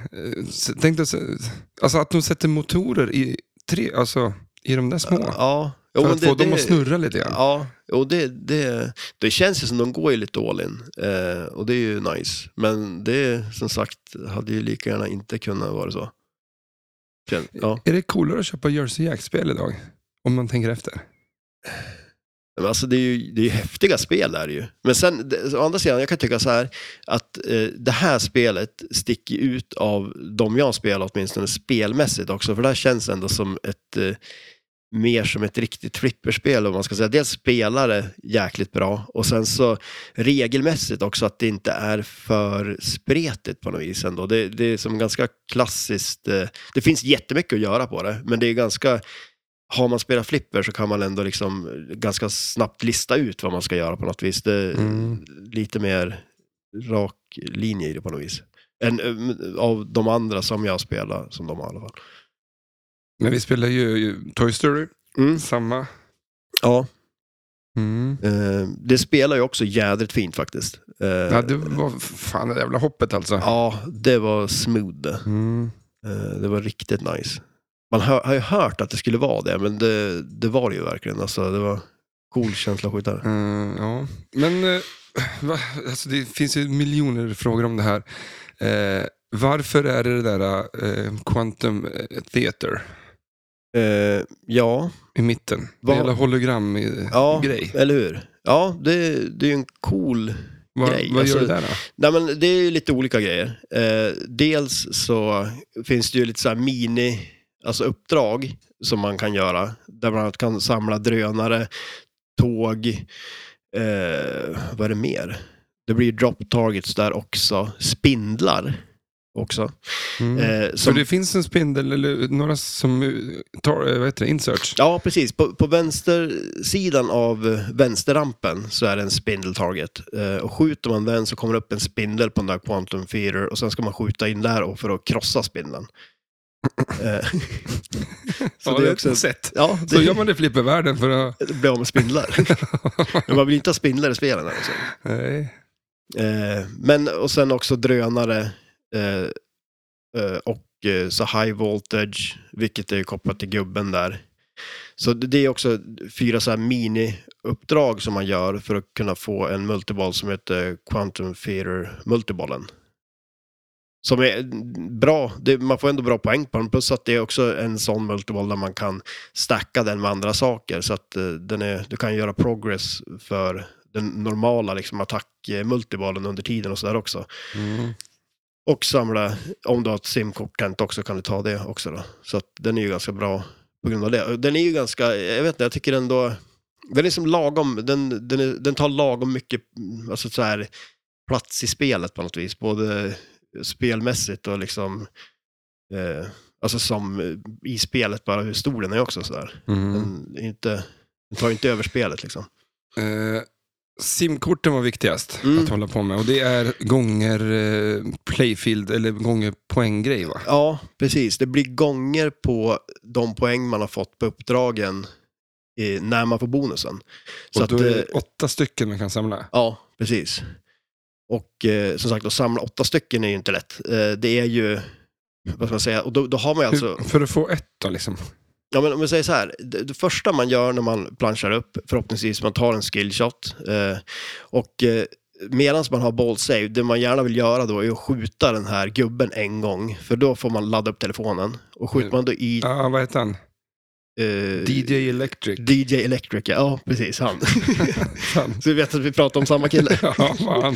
Speaker 1: s- tänk dig, så- alltså att de sätter motorer i, tre, alltså, i de där små.
Speaker 2: Ja. Jo,
Speaker 1: för
Speaker 2: men
Speaker 1: att få dem att snurra lite grann.
Speaker 2: Ja, och det, det, det känns ju som de går ju lite all in. Eh, och det är ju nice. Men det, som sagt, hade ju lika gärna inte kunnat vara så. Kän- Ja.
Speaker 1: Är det coolare att köpa Jersey Jack-spel idag? Om man tänker efter.
Speaker 2: Men alltså det är ju det är ju häftiga spel är det ju. Men sen, det, å andra sidan, jag kan tycka så här att eh, det här spelet sticker ut av de jag spelar åtminstone spelmässigt också. För det här känns ändå som ett eh, mer som ett riktigt flipperspel om man ska säga. Dels spelar det jäkligt bra och sen så regelmässigt också att det inte är för spretigt på något vis ändå. Det, det är som ganska klassiskt. Eh, det finns jättemycket att göra på det, men det är ganska har man spelat flipper så kan man ändå liksom ganska snabbt lista ut vad man ska göra på något vis. Det är
Speaker 1: Mm.
Speaker 2: lite mer rak linje i det på något vis. Än, eh, av de andra som jag spelar, som de har i alla fall.
Speaker 1: Men vi spelar ju ju Toy Story,
Speaker 2: Mm.
Speaker 1: samma.
Speaker 2: Ja,
Speaker 1: Mm.
Speaker 2: eh, det spelar ju också jädrigt fint faktiskt. Eh,
Speaker 1: Ja, det var fan det jävla hoppet alltså.
Speaker 2: ja, det var smooth.
Speaker 1: Mm.
Speaker 2: Eh, det var riktigt nice. Man hör, har ju hört att det skulle vara det, men det, det var det ju verkligen. Alltså, det var cool känsla att skjuta det.
Speaker 1: Eh, ja. Men eh, va, alltså det finns ju miljoner frågor om det här. Eh, varför är det det där eh, Quantum eh, Theater
Speaker 2: Eh, ja.
Speaker 1: i mitten?
Speaker 2: Vad-
Speaker 1: Det hela hologram-grej.
Speaker 2: Ja, eller hur? Ja, det, det är ju en cool...
Speaker 1: vad
Speaker 2: grej,
Speaker 1: vad
Speaker 2: alltså-
Speaker 1: gör det där då?
Speaker 2: Nej, men det är ju lite olika grejer. Eh, dels så finns det ju lite så här mini, alltså uppdrag som man kan göra. Där man kan samla drönare, tåg, eh, vad är det mer? Det blir ju drop targets där också. Spindlar också.
Speaker 1: Mm.
Speaker 2: Eh,
Speaker 1: Så
Speaker 2: som-
Speaker 1: det finns en spindel, eller några som eh, tar, eh, vad heter det, inserts?
Speaker 2: Ja, precis. På, på vänstersidan av eh, vänsterrampen så är det en spindeltarget. Eh, och skjuter man den så kommer det upp en spindel på den där Quantum Feeder och sen ska man skjuta in där och för att krossa spindeln. Eh, så det är också
Speaker 1: ett
Speaker 2: ett-
Speaker 1: sätt.
Speaker 2: ja, det,
Speaker 1: Så gör man det i flippervärlden för att...
Speaker 2: blir av med spindlar. Men man vill inte ha spindlar i spelen. Alltså.
Speaker 1: Nej.
Speaker 2: Eh, men och sen också drönare eh, eh, och eh, så high voltage, vilket är ju kopplat till gubben där. Så det det är också fyra så här mini-uppdrag som man gör för att kunna få en multiboll som heter Quantum Theater Multibollen. Som är mm, bra, det, man får ändå bra poäng på den, plus att det är också en sån multiboll där man kan stacka den med andra saker. Så att eh, den är, du kan göra progress för den normala liksom, attack-multibollen under tiden och sådär också.
Speaker 1: Mm.
Speaker 2: Och samla, om du har ett simkort tänt också kan du ta det också då. Så att den är ju ganska bra på grund av det. Och Den är ju ganska, jag vet inte, jag tycker ändå, den är som lagom, den, den, är, den tar lagom mycket alltså så här, plats i spelet på något vis. Både spelmässigt och liksom, eh, alltså som eh, i spelet bara hur stor den är också sådär.
Speaker 1: Mm.
Speaker 2: Den, är inte, den tar inte över spelet liksom.
Speaker 1: Eh, simkorten var viktigast
Speaker 2: Mm.
Speaker 1: att hålla på med och det är gånger eh, playfield eller gånger poänggrej va?
Speaker 2: Ja, precis. Det blir gånger på de poäng man har fått på uppdragen eh, när man får bonusen. Så
Speaker 1: och
Speaker 2: att,
Speaker 1: då är
Speaker 2: eh,
Speaker 1: det åtta stycken man kan samla.
Speaker 2: ja, precis. Och eh, som sagt, att samla åtta stycken är ju inte lätt. Eh, det är ju, vad ska man säga, och då, då har man ju alltså...
Speaker 1: Hur, för att få ett då liksom.
Speaker 2: Ja, men om vi säger så här, det, det första man gör när man planchar upp, förhoppningsvis man tar en skillshot, eh, och eh, medan man har ball save, det man gärna vill göra då är att skjuta den här gubben en gång, för då får man ladda upp telefonen. Och
Speaker 1: Mm.
Speaker 2: skjuter man då i...
Speaker 1: Ja, vad heter han?
Speaker 2: eh,
Speaker 1: DJ Electric.
Speaker 2: DJ Electric, ja, ja precis han.
Speaker 1: Fan.
Speaker 2: så vi vet att vi pratar om samma kille.
Speaker 1: ja, fan.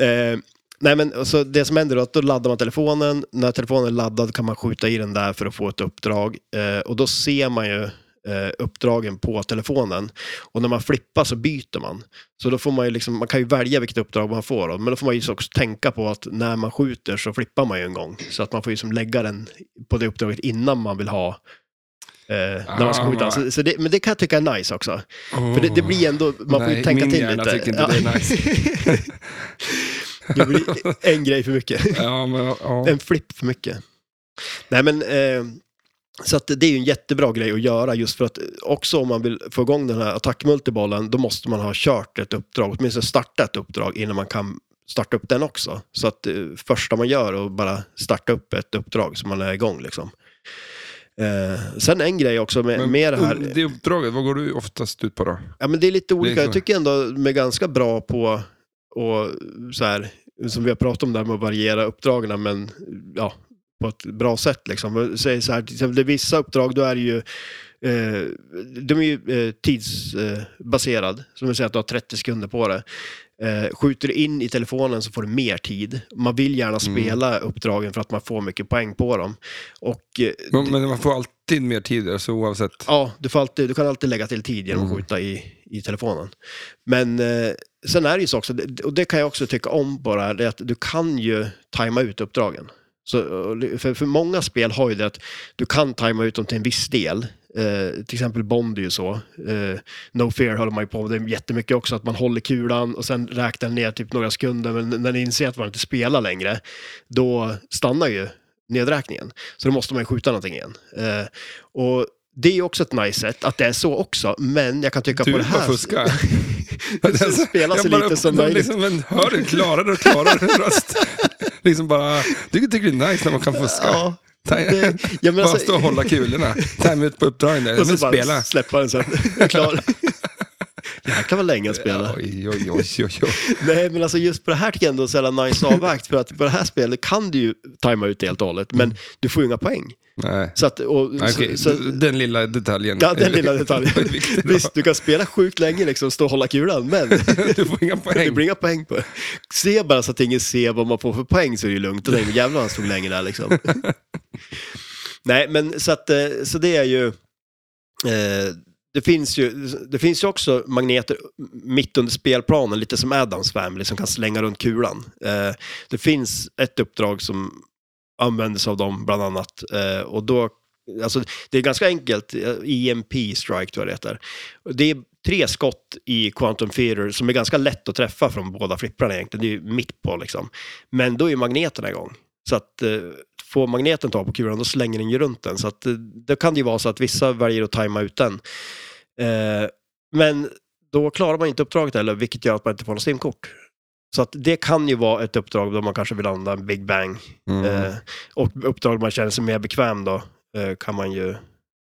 Speaker 2: Eh, nej men så det som händer är att då laddar man telefonen. När telefonen är laddad kan man skjuta i den där för att få ett uppdrag. Eh, och då ser man ju eh, uppdragen på telefonen. Och när man flippar så byter man. Så då får man ju liksom, man kan ju välja vilket uppdrag man får. Då, men då får man ju också tänka på att när man skjuter så flippar man ju en gång. Så att man får ju som lägga den på det uppdraget innan man vill ha eh, när man ska
Speaker 1: Ah.
Speaker 2: skjuta. Så, så det, men det kan jag tycka är nice också.
Speaker 1: Oh.
Speaker 2: För det, det blir ändå, man får
Speaker 1: Nej,
Speaker 2: ju tänka
Speaker 1: min
Speaker 2: till
Speaker 1: hjärna
Speaker 2: lite.
Speaker 1: tycker inte det är nice.
Speaker 2: Det blir en grej för mycket.
Speaker 1: Ja, men, ja.
Speaker 2: En flipp för mycket. Nej men, eh, så att det är ju en jättebra grej att göra just för att eh, också om man vill få igång den här attackmultibollen då måste man ha kört ett uppdrag, åtminstone starta ett uppdrag innan man kan starta upp den också. Så att eh, första man gör är att bara starta upp ett uppdrag så man är igång liksom. Eh, sen en grej också med,
Speaker 1: Men
Speaker 2: med det här.
Speaker 1: um, Det uppdraget, vad går du oftast ut på då?
Speaker 2: Ja, men det är lite olika.
Speaker 1: så.
Speaker 2: Jag tycker ändå de är ganska bra på och så här, som vi har pratat om där med att variera uppdragen, men ja, på ett bra sätt. Liksom. Säg så här, till exempel, det är vissa uppdrag, då är det ju Eh, de är ju eh, tidsbaserad, eh, baserad. som vill säga att du har 30 sekunder på det. Eh, skjuter du in i telefonen så får du mer tid. Man vill gärna spela uppdragen för att man får mycket poäng på dem. Och eh,
Speaker 1: Men, men man får alltid mer tid, alltså, oavsett.
Speaker 2: Ja, du, får alltid, du kan alltid lägga till tid genom att skjuta i, i telefonen. Men eh, sen är det ju så också, och det kan jag också tycka om på det här, det är att du kan ju tajma ut uppdragen. Så, eh, för, för många spel har ju det att du kan tajma ut dem till en viss del. Eh, till exempel Bond är ju så. Eh, no Fear håller man ju på med det jättemycket också, att man håller kulan och sen räknar ner typ några sekunder, men när ni inser att man inte spelar längre, då stannar ju nedräkningen. Så då måste man ju skjuta någonting igen. Eh, och det är ju också ett nice sätt att det är så också, men jag kan tycka
Speaker 1: Du
Speaker 2: på det
Speaker 1: bara
Speaker 2: här...
Speaker 1: fuskar.
Speaker 2: Det spelar så
Speaker 1: Jag bara
Speaker 2: lite som
Speaker 1: öppnar
Speaker 2: möjligt.
Speaker 1: Liksom en, hör du klarare och klarare röst. liksom bara, du tycker det är nice när man kan fuska.
Speaker 2: Ja,
Speaker 1: Ta-
Speaker 2: det, alltså, jag menar,
Speaker 1: bara stå och
Speaker 2: så,
Speaker 1: hålla kulorna. Tajma ut på uppdragen där.
Speaker 2: och
Speaker 1: Men
Speaker 2: så bara
Speaker 1: spela.
Speaker 2: släppa den sen. Jag är Klar. Jäklar vad länge att spela.
Speaker 1: Oj, oj, oj, oj, oj.
Speaker 2: Nej, men alltså just på det här tycker jag ändå är så jävla nice avvägt. För att på det här spelet kan du ju tajma ut det helt och hållet, men du får ju inga poäng.
Speaker 1: Nej.
Speaker 2: Så att, och,
Speaker 1: Nej, okej.
Speaker 2: så, så,
Speaker 1: den lilla detaljen.
Speaker 2: ja, den lilla detaljen.
Speaker 1: Det är viktigt.
Speaker 2: Visst, du kan spela sjukt länge liksom, och stå och hålla kulan, men
Speaker 1: Du får inga
Speaker 2: det
Speaker 1: poäng.
Speaker 2: blir inga poäng på det. Se bara så att ingen ser vad man får för poäng så är det ju lugnt. Och tänker, jävlar han stod länge där liksom. Nej, men så att, eh, så det är ju... Eh, det finns, ju, det finns ju också magneter mitt under spelplanen, lite som Adams Family, som kan slänga runt kulan. Eh, det finns ett uppdrag som användes av dem, bland annat. Eh, och då, alltså, det är ganska enkelt, eh, EMP strike tror jag det heter. Det är tre skott i Quantum Theater som är ganska lätt att träffa från båda flipprarna egentligen. Det är ju mitt på liksom. Men då är ju magneterna igång. Så att eh, får magneten tag på kulan då slänger den ju runt den. Så att eh, då kan det ju vara så att vissa väljer att tajma ut den. Eh, men då klarar man inte uppdraget heller, vilket gör att man inte får något simkort. Så att det kan ju vara ett uppdrag då man kanske vill använda en Big Bang.
Speaker 1: Mm.
Speaker 2: Eh, och uppdrag man känner sig mer bekväm då eh, kan man ju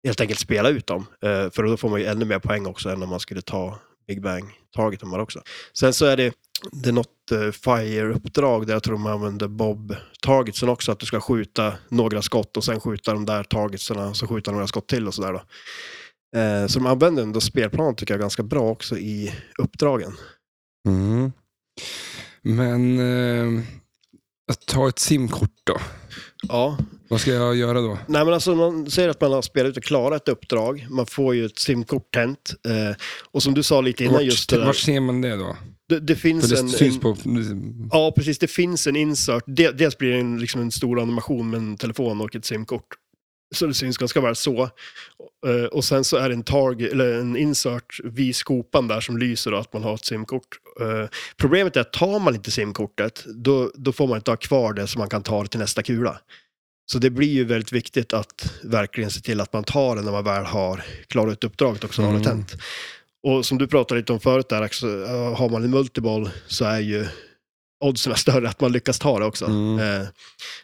Speaker 2: helt enkelt spela ut dem. Eh, för då får man ju ännu mer poäng också än om man skulle ta Big Bang-taget de här också. Sen så är det, det är något eh, Fire-uppdrag där jag tror de använder Bob-tagetsen också, att du ska skjuta några skott och sen skjuta de där tagetserna, så skjuta några skott till och sådär då. Eh, så de använder ändå spelplanen tycker jag ganska bra också i uppdragen.
Speaker 1: Mm. Men eh, att ta ett simkort då?
Speaker 2: Ja,
Speaker 1: Vad ska jag göra då?
Speaker 2: Nej, men alltså, man säger att man har spelat ut och klarat ett uppdrag. Man får ju ett simkort tänt. Eh, och som du sa lite innan,
Speaker 1: Vart,
Speaker 2: just det, där,
Speaker 1: vart ser man det då?
Speaker 2: det, det
Speaker 1: För
Speaker 2: finns
Speaker 1: det
Speaker 2: en...
Speaker 1: syns
Speaker 2: en
Speaker 1: på...
Speaker 2: ja, precis. Det finns en insert. De- Dels blir det en, liksom en stor animation med en telefon och ett simkort. Så det syns ganska väl så. Eh, och sen så är det en, targ, eller en insert vid skopan där som lyser då, att man har ett simkort. Eh, problemet är att tar man inte simkortet, då, då får man inte ha kvar det så man kan ta det till nästa kula. Så det blir ju väldigt viktigt att verkligen se till att man tar det när man väl har klarat ut uppdraget och så har det
Speaker 1: Mm.
Speaker 2: tänt. Och som du pratade lite om förut där, Axel, eh, har man en multiboll så är ju oddsen är större att man lyckas ta det också.
Speaker 1: Mm.
Speaker 2: Eh,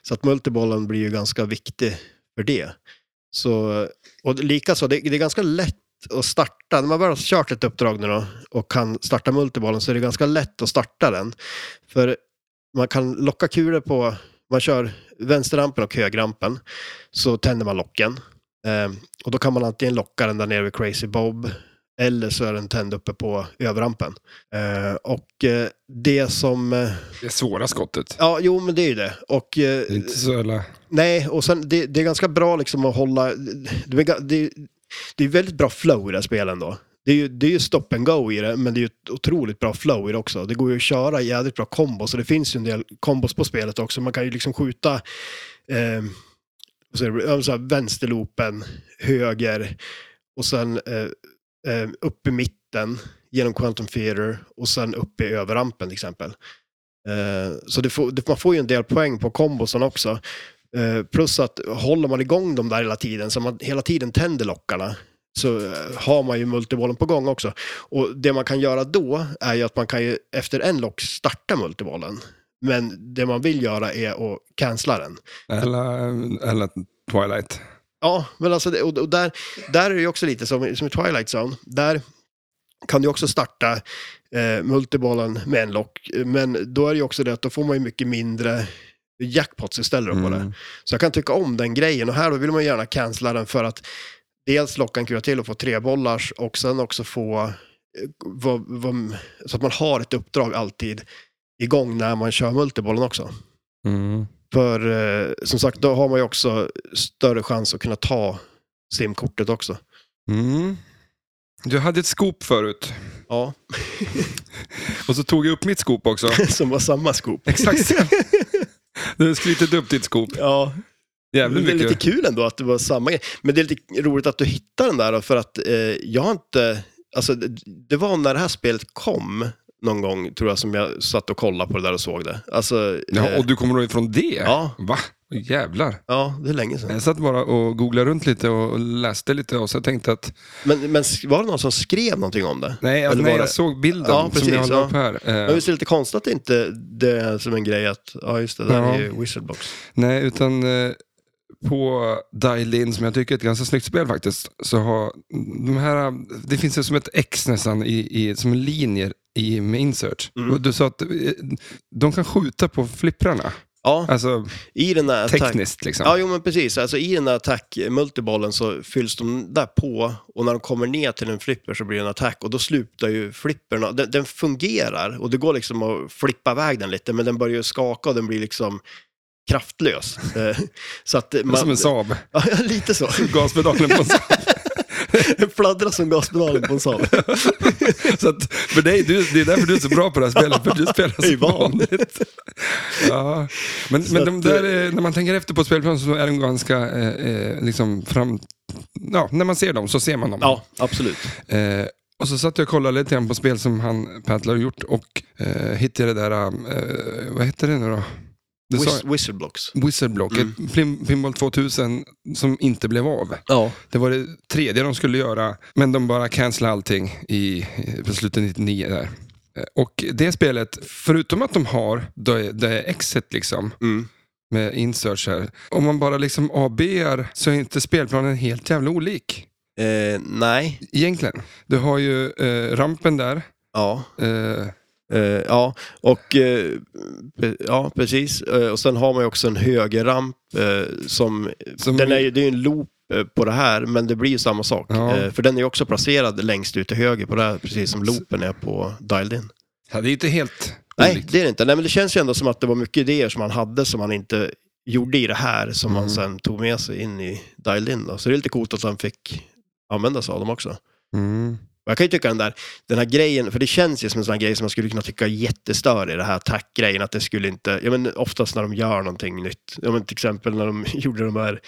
Speaker 2: Så att multibollen blir ju ganska viktig för det. Så, och likaså, det, det är ganska lätt att starta, när man väl har kört ett uppdrag nu då och kan starta multibollen så är det ganska lätt att starta den. För man kan locka kulor på, man kör vänsterrampen och högerrampen, så tänder man locken. Eh, och då kan man antingen locka den där nere vid Crazy Bob, eller så är den tänd uppe på överrampen. Eh, och eh, det som... Eh,
Speaker 1: Det svåra skottet.
Speaker 2: ja, jo men det är ju det. Och eh,
Speaker 1: Det är inte så jävla...
Speaker 2: Nej, och sen det, det är ganska bra liksom att hålla... Det är, ga- det, det är väldigt bra flow i det här spelet ändå. Det är, ju, det är ju stop and go i det, men det är ju ett otroligt bra flow i det också. Det går ju att köra jädrigt bra kombos, och det finns ju en del kombos på spelet också. Man kan ju liksom skjuta eh, vad säger du, ja, så här, vänsterloopen, höger, och sen eh, eh, upp i mitten genom Quantum Theater och sen upp i överrampen till exempel. Eh, så det får, det, man får ju en del poäng på kombosen också. Eh, plus att håller man igång dem där hela tiden, så man hela tiden tänder lockarna, så eh, har man ju multibollen på gång också. Och det man kan göra då är ju att man kan ju efter en lock starta multibollen. Men det man vill göra är att cancella den.
Speaker 1: Eller, eller Twilight.
Speaker 2: Ja, men alltså, det- och, och där, där är det ju också lite som, som i Twilight Zone. Där kan du också starta eh, multibollen med en lock, men då är det ju också det att då får man ju mycket mindre jackpots istället på det.
Speaker 1: Mm.
Speaker 2: Så jag kan tycka om den grejen och här då vill man ju gärna cancella den för att dels locka en kula till och få tre bollars och sen också få eh, vad, vad, så att man har ett uppdrag alltid igång när man kör multibollen också.
Speaker 1: Mm.
Speaker 2: För eh, som sagt, då har man ju också större chans att kunna ta simkortet också.
Speaker 1: Mm. Du hade ett skop förut.
Speaker 2: Ja,
Speaker 1: Och så tog jag upp mitt skop också.
Speaker 2: som var samma skop.
Speaker 1: Exakt. Du har sklitit upp ditt skop.
Speaker 2: Ja,
Speaker 1: Jävligt
Speaker 2: det är
Speaker 1: mycket.
Speaker 2: lite kul ändå att det var samma grej. Men det är lite roligt att du hittar den där då, för att eh, jag har inte... Alltså, det, det var när det här spelet kom någon gång, tror jag, som jag satt och kollade på det där och såg det. Alltså,
Speaker 1: Ja,
Speaker 2: eh,
Speaker 1: och du kommer då ifrån det?
Speaker 2: ja,
Speaker 1: Va? Åh, Jävlar.
Speaker 2: ja, det är länge sedan.
Speaker 1: Jag satt bara och googlade runt lite och läste lite och så tänkte att
Speaker 2: Men, men var det någon som skrev någonting om det?
Speaker 1: Nej, alltså,
Speaker 2: Eller
Speaker 1: nej
Speaker 2: var
Speaker 1: jag
Speaker 2: det-
Speaker 1: såg bilden
Speaker 2: Ja, precis,
Speaker 1: som jag la
Speaker 2: ja.
Speaker 1: upp här. Eh,
Speaker 2: Men visst är det lite konstigt att det inte det är som en grej att, ja just det, där
Speaker 1: Ja.
Speaker 2: är ju Wizardbox.
Speaker 1: Nej, utan eh, på Dial-In, som jag tycker är ett ganska snyggt spel faktiskt, så har de här, det finns ju som ett X nästan, i, i, som linjer i, med insert.
Speaker 2: Mm.
Speaker 1: Och Du sa att eh, de kan skjuta på flipprarna,
Speaker 2: Ja,
Speaker 1: alltså
Speaker 2: i den där attack...
Speaker 1: tekniskt liksom.
Speaker 2: Ja, jo men precis. Alltså i den där attack-multibollen så fylls de där på och när de kommer ner till en flipper så blir det en attack och då slutar ju flipperna. Den, den fungerar och det går liksom att flippa iväg den lite men den börjar ju skaka och den blir liksom kraftlös. Eh, så att eh,
Speaker 1: Det är Som en
Speaker 2: man...
Speaker 1: Saab,
Speaker 2: Ja, lite så.
Speaker 1: gaspedalen på en Saab.
Speaker 2: Fladdra som gaspedalen på en Saab.
Speaker 1: Så att, för dig, du, det är därför du är så bra på det här spelet, för du spelar
Speaker 2: Jag är
Speaker 1: så
Speaker 2: van.
Speaker 1: vanligt. Ja. Men,
Speaker 2: Så
Speaker 1: men de
Speaker 2: att,
Speaker 1: där, eh, när man tänker efter på spelplanen så är de ganska, eh, eh, liksom fram... Ja, när man ser dem så ser man dem.
Speaker 2: Ja, absolut.
Speaker 1: Eh, och så satt jag och kollade lite grann på spel som han, Patler, har gjort och eh, hittade det där, eh, vad heter det nu då? Du
Speaker 2: Whis-
Speaker 1: sa,
Speaker 2: Whistleblox.
Speaker 1: Whistleblock,
Speaker 2: Mm.
Speaker 1: ett Plim- Pinball 2000 som inte blev av.
Speaker 2: Ja.
Speaker 1: Det var det tredje de skulle göra, men de bara cancellade allting i, i- på slutet 99 där. Eh, Och det spelet, förutom att de har det, det exet liksom,
Speaker 2: Mm.
Speaker 1: med inserts här. Om man bara liksom ABR så är inte spelplanen helt jävla olik.
Speaker 2: Eh, nej.
Speaker 1: Egentligen. Du har ju eh, rampen där.
Speaker 2: Ja.
Speaker 1: Eh,
Speaker 2: Eh, ja, och eh, pe- ja, precis. Eh, och sen har man ju också en högerramp eh, som,
Speaker 1: Som-
Speaker 2: den är ju, det är ju en loop eh, på det här, men det blir ju samma sak.
Speaker 1: Ja.
Speaker 2: Eh, för den är ju också placerad längst ut till höger på det här, precis som loopen är på dialed in.
Speaker 1: ja, det är ju inte helt
Speaker 2: Nej,
Speaker 1: olikt.
Speaker 2: det är det inte. Nej, men det känns ju ändå som att det var mycket idéer som man hade som man inte gjorde i det här, som man
Speaker 1: Mm.
Speaker 2: sen tog med sig in i dialed in. Då. Så det är lite coolt att han fick använda sig av dem också.
Speaker 1: Mm.
Speaker 2: Och Jag kan ju tycka den där, den här grejen, för det känns ju som en sån här grej som man skulle kunna tycka är jättestörig, det här attack-grejen, att det skulle inte, ja men oftast när de gör någonting nytt, ja men till exempel när de gjorde de här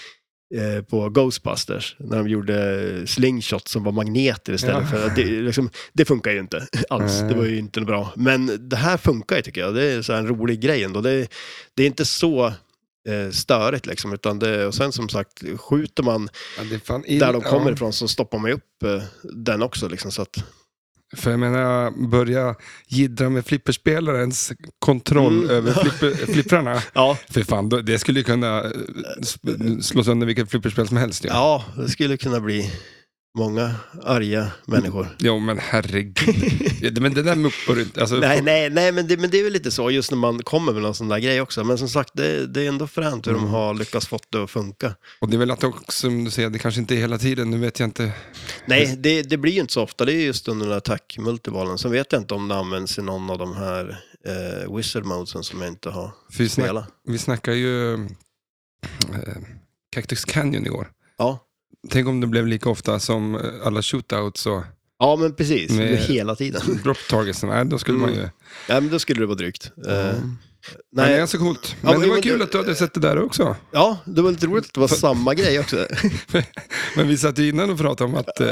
Speaker 2: eh, på Ghostbusters, när de gjorde slingshots som var magneter istället
Speaker 1: Ja.
Speaker 2: för, att det, liksom, det funkar ju inte alls,
Speaker 1: Nej.
Speaker 2: det var ju inte bra. Men det här funkar ju tycker jag, det är så här en rolig grej ändå, det, det är inte så eh, störigt liksom, utan det, och sen som sagt, skjuter man
Speaker 1: Ja, det är fan in-
Speaker 2: där de
Speaker 1: ja.
Speaker 2: kommer ifrån så stoppar man ju upp eh, den också. Liksom, så att,
Speaker 1: För jag menar, börja jiddra med flipperspelarens kontroll
Speaker 2: Mm.
Speaker 1: över flipper, flipprarna.
Speaker 2: ja.
Speaker 1: För fan, då- det skulle ju kunna eh, sp- slå sönder vilket flipperspel som helst. Ja.
Speaker 2: ja, det skulle kunna bli många arga människor.
Speaker 1: Jo, men herregud. Ja, det- men det där muppar du inte. Alltså,
Speaker 2: Nej, nej, nej men, det, men det är väl lite så just när man kommer med någon sån där grej också. Men som sagt, det, det är ändå fränt hur de
Speaker 1: Mm.
Speaker 2: har lyckats få det att funka.
Speaker 1: Och det är väl att också, som du säger, det kanske inte är hela tiden. Nu vet jag inte.
Speaker 2: Nej, det, det blir ju inte så ofta. Det är just under den där attack-multibollen. Sen vet jag inte om det används i någon av de här eh, wizard modesen som jag inte har
Speaker 1: För vi, snack,
Speaker 2: spelat.
Speaker 1: vi snackade ju eh, Cactus Canyon igår.
Speaker 2: Ja.
Speaker 1: Tänk om det blev lika ofta som eh, alla shootouts och
Speaker 2: ja, men precis.
Speaker 1: Med-
Speaker 2: Hela tiden.
Speaker 1: drop targets. Nej, då skulle man ju...
Speaker 2: Nej, men då skulle det vara drygt. Mm. Eh,
Speaker 1: Mm. Nej. Det
Speaker 2: Nej,
Speaker 1: är så coolt.
Speaker 2: Ja,
Speaker 1: Men
Speaker 2: men-
Speaker 1: det var
Speaker 2: men-
Speaker 1: kul att du hade sett det där också.
Speaker 2: ja, det var lite roligt att det var samma grej också.
Speaker 1: Men vi satt ju innan och pratade om att eh,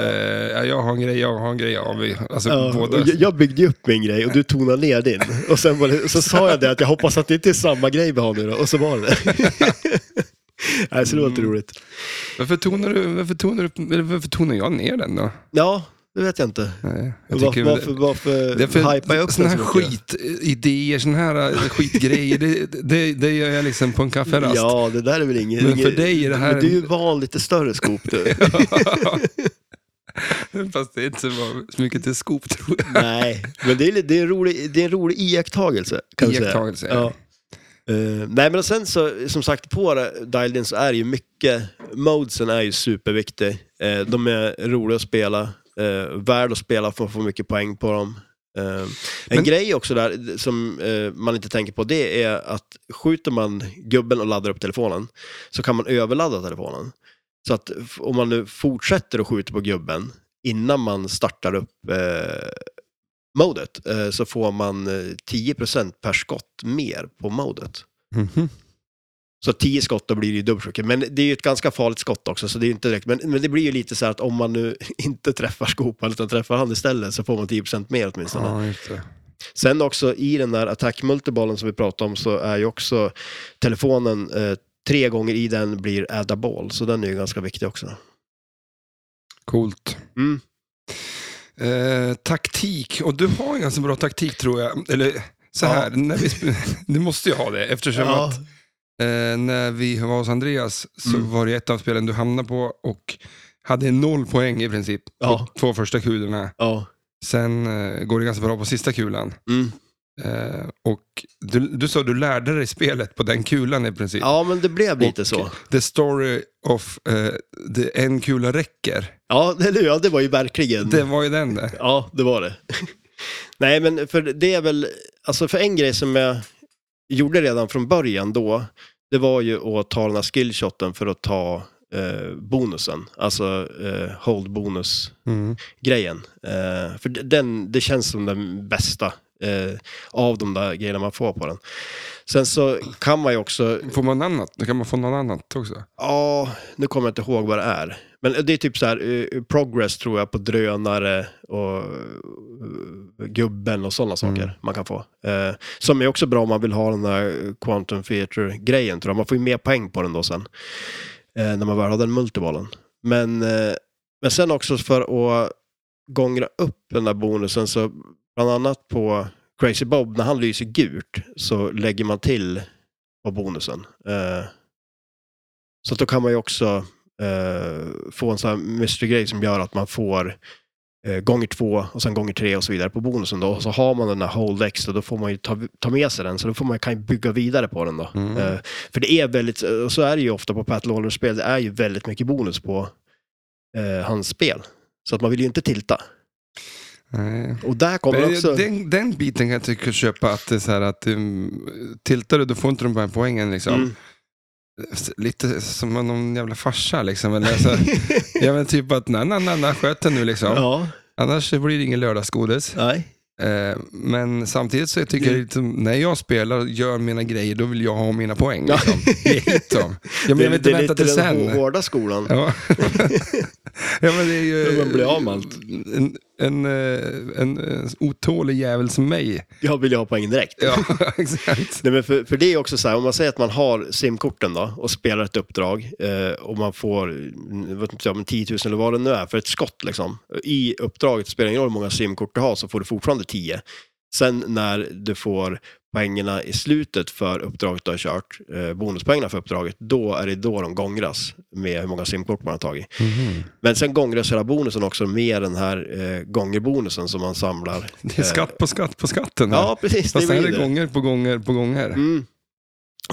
Speaker 1: ja, jag har en grej, jag har en grej, ja, vi, alltså
Speaker 2: Ja, och
Speaker 1: båda.
Speaker 2: jag- jag byggde ju upp min grej och du tonade ner din. Och sen var det, så sa jag det att jag hoppas att det inte är samma grej vi har nu då, och så var det det. Nej, så det var
Speaker 1: Mm.
Speaker 2: lite roligt.
Speaker 1: Varför tonar, du, varför, tonar du, eller varför tonar jag ner den då?
Speaker 2: Ja, det vet jag inte.
Speaker 1: Nej, jag
Speaker 2: Varför,
Speaker 1: tycker väl-
Speaker 2: varför, varför
Speaker 1: Det är för
Speaker 2: hypar jag upp
Speaker 1: såna
Speaker 2: den
Speaker 1: här
Speaker 2: så mycket?
Speaker 1: skitidéer, såna här eh, skitgrejer, det, det, det gör jag liksom på en kafferast.
Speaker 2: Ja, det där är väl inget...
Speaker 1: Men
Speaker 2: inget-
Speaker 1: för dig är det här
Speaker 2: Men du är ju
Speaker 1: en-
Speaker 2: van lite större skop du.
Speaker 1: Fast det är inte så bra- så mycket till skop tror jag.
Speaker 2: Nej, men det är, li- det är, en, rolig, det är en rolig iakttagelse. Kan vi
Speaker 1: Iakttagelse,
Speaker 2: Säga.
Speaker 1: ja.
Speaker 2: Ja. Eh, nej, men sen så, som sagt, på det- Dialed In så är det ju mycket, modesen är ju superviktig. Eh, de är roliga att spela, uh, värd att spela för att få mycket poäng på dem. Eh, en
Speaker 1: Men-
Speaker 2: grej också där som eh, man inte tänker på, det är att skjuter man gubben och laddar upp telefonen så kan man överladda telefonen. Så att f- om man nu fortsätter att skjuta på gubben innan man startar upp eh, modet eh, så får man eh, 10% per skott mer på modet.
Speaker 1: Mhm.
Speaker 2: Så 10 skott då blir det ju dubbelt så mycket. Men det är ju ett ganska farligt skott också, så det är ju inte direkt. Men, men det blir ju lite så här att om man nu inte träffar skopan utan träffar han istället så får man 10% mer åtminstone.
Speaker 1: Ja, just det.
Speaker 2: Sen också i den där attackmultiballen som vi pratade om så är ju också telefonen eh, tre gånger i den blir adda ball, så den är ju ganska viktig också.
Speaker 1: Coolt.
Speaker 2: Mm.
Speaker 1: Eh, taktik, och du har en ganska bra taktik tror jag. Eller så här, när vi, sp- du måste ju ha det eftersom att Eh, när vi var hos Andreas så
Speaker 2: Mm.
Speaker 1: var det ett av spelen du hamnade på och hade noll poäng i princip på
Speaker 2: Ja.
Speaker 1: två första kulorna.
Speaker 2: ja.
Speaker 1: Sen eh, går det ganska bra på sista kulan.
Speaker 2: Mm.
Speaker 1: Eh, och du, du sa att du lärde dig spelet på den kulan i princip.
Speaker 2: ja, men det blev lite
Speaker 1: Och
Speaker 2: så.
Speaker 1: The story of eh, the en kula räcker.
Speaker 2: Ja, eller hur? Ja, det var ju verkligen.
Speaker 1: Det var ju den där.
Speaker 2: Ja, det var det. Nej, men för det är väl, alltså för en grej som jag gjorde redan från början då, det var ju att ta den här skillshoten för att ta eh, bonusen, alltså eh, hold bonus
Speaker 1: Mm.
Speaker 2: grejen. Eh, för d- den, det känns som den bästa eh, av de där grejerna man får på den. Sen så kan man ju också
Speaker 1: Får man annat? Då kan man få något annat också.
Speaker 2: Ja, nu kommer jag inte ihåg vad det är. Men det är typ så här, eh, progress tror jag på drönare och eh, gubben och sådana saker man kan få. Eh, som är också bra om man vill ha den där quantum theater-grejen tror jag. Man får ju mer poäng på den då sen. Eh, när man väl har den multibollen. Men, eh, men sen också för att gångra upp den där bonusen så bland annat på Crazy Bob, när han lyser gult så lägger man till på bonusen. Eh, så att då kan man ju också eh, få en sån här mystery-grej som gör att man får eh, gånger två och sen gånger tre och så vidare på bonusen. Då. Och så har man den här hold extra, då får man ju ta, ta med sig den. Så då får man, kan ju bygga vidare på den då.
Speaker 1: Mm.
Speaker 2: Eh, för det är väldigt, och så är det ju ofta på Pat Lawler-spel, det är ju väldigt mycket bonus på eh, hans spel. Så att man vill ju inte tilta.
Speaker 1: Nej.
Speaker 2: Och där kommer
Speaker 1: Men
Speaker 2: också...
Speaker 1: Den, den biten kan jag tycka köpa, att det är så här att um, tiltar du då får inte de här poängen liksom.
Speaker 2: Mm.
Speaker 1: Lite som någon jävla farsa liksom. Eller så, jag menar typ att nej, nej, nej, nej, sköt den nu liksom.
Speaker 2: ja,
Speaker 1: Annars blir det ingen lördagsgodis.
Speaker 2: nej.
Speaker 1: Eh, men samtidigt så tycker jag liksom, när jag spelar och gör mina grejer, då vill jag ha mina poäng.
Speaker 2: Ja.
Speaker 1: Liksom. Ge hit dem. Ja, men jag vill
Speaker 2: det
Speaker 1: inte
Speaker 2: är
Speaker 1: vänta
Speaker 2: lite
Speaker 1: till
Speaker 2: den
Speaker 1: sen.
Speaker 2: hårda skolan.
Speaker 1: Ja. ja, men det är ju...
Speaker 2: Ja, man blir av med allt.
Speaker 1: En, en, eh, en, eh, otålig jävel som mig.
Speaker 2: Jag vill ju ha poäng direkt.
Speaker 1: Ja, exakt.
Speaker 2: Nej, men för, för det är också så här, om man säger att man har simkorten då och spelar ett uppdrag eh, och man får mm, jag vet inte, jag, men 10 000 eller vad det nu är för ett skott. Liksom. I uppdraget spelar det ingen roll hur många simkort du har så får du fortfarande 10. Sen när du får poängerna i slutet för uppdraget du har kört, eh, bonuspoängerna för uppdraget, då är det då de gångras med hur många simkort man har tagit. Men sen gångras hela bonusen också med den här eh, gångerbonusen som man samlar.
Speaker 1: Det är skatt på skatt på skatten. här.
Speaker 2: Ja, precis.
Speaker 1: Fast här
Speaker 2: blir
Speaker 1: är det gånger på gånger på gånger.
Speaker 2: Mm.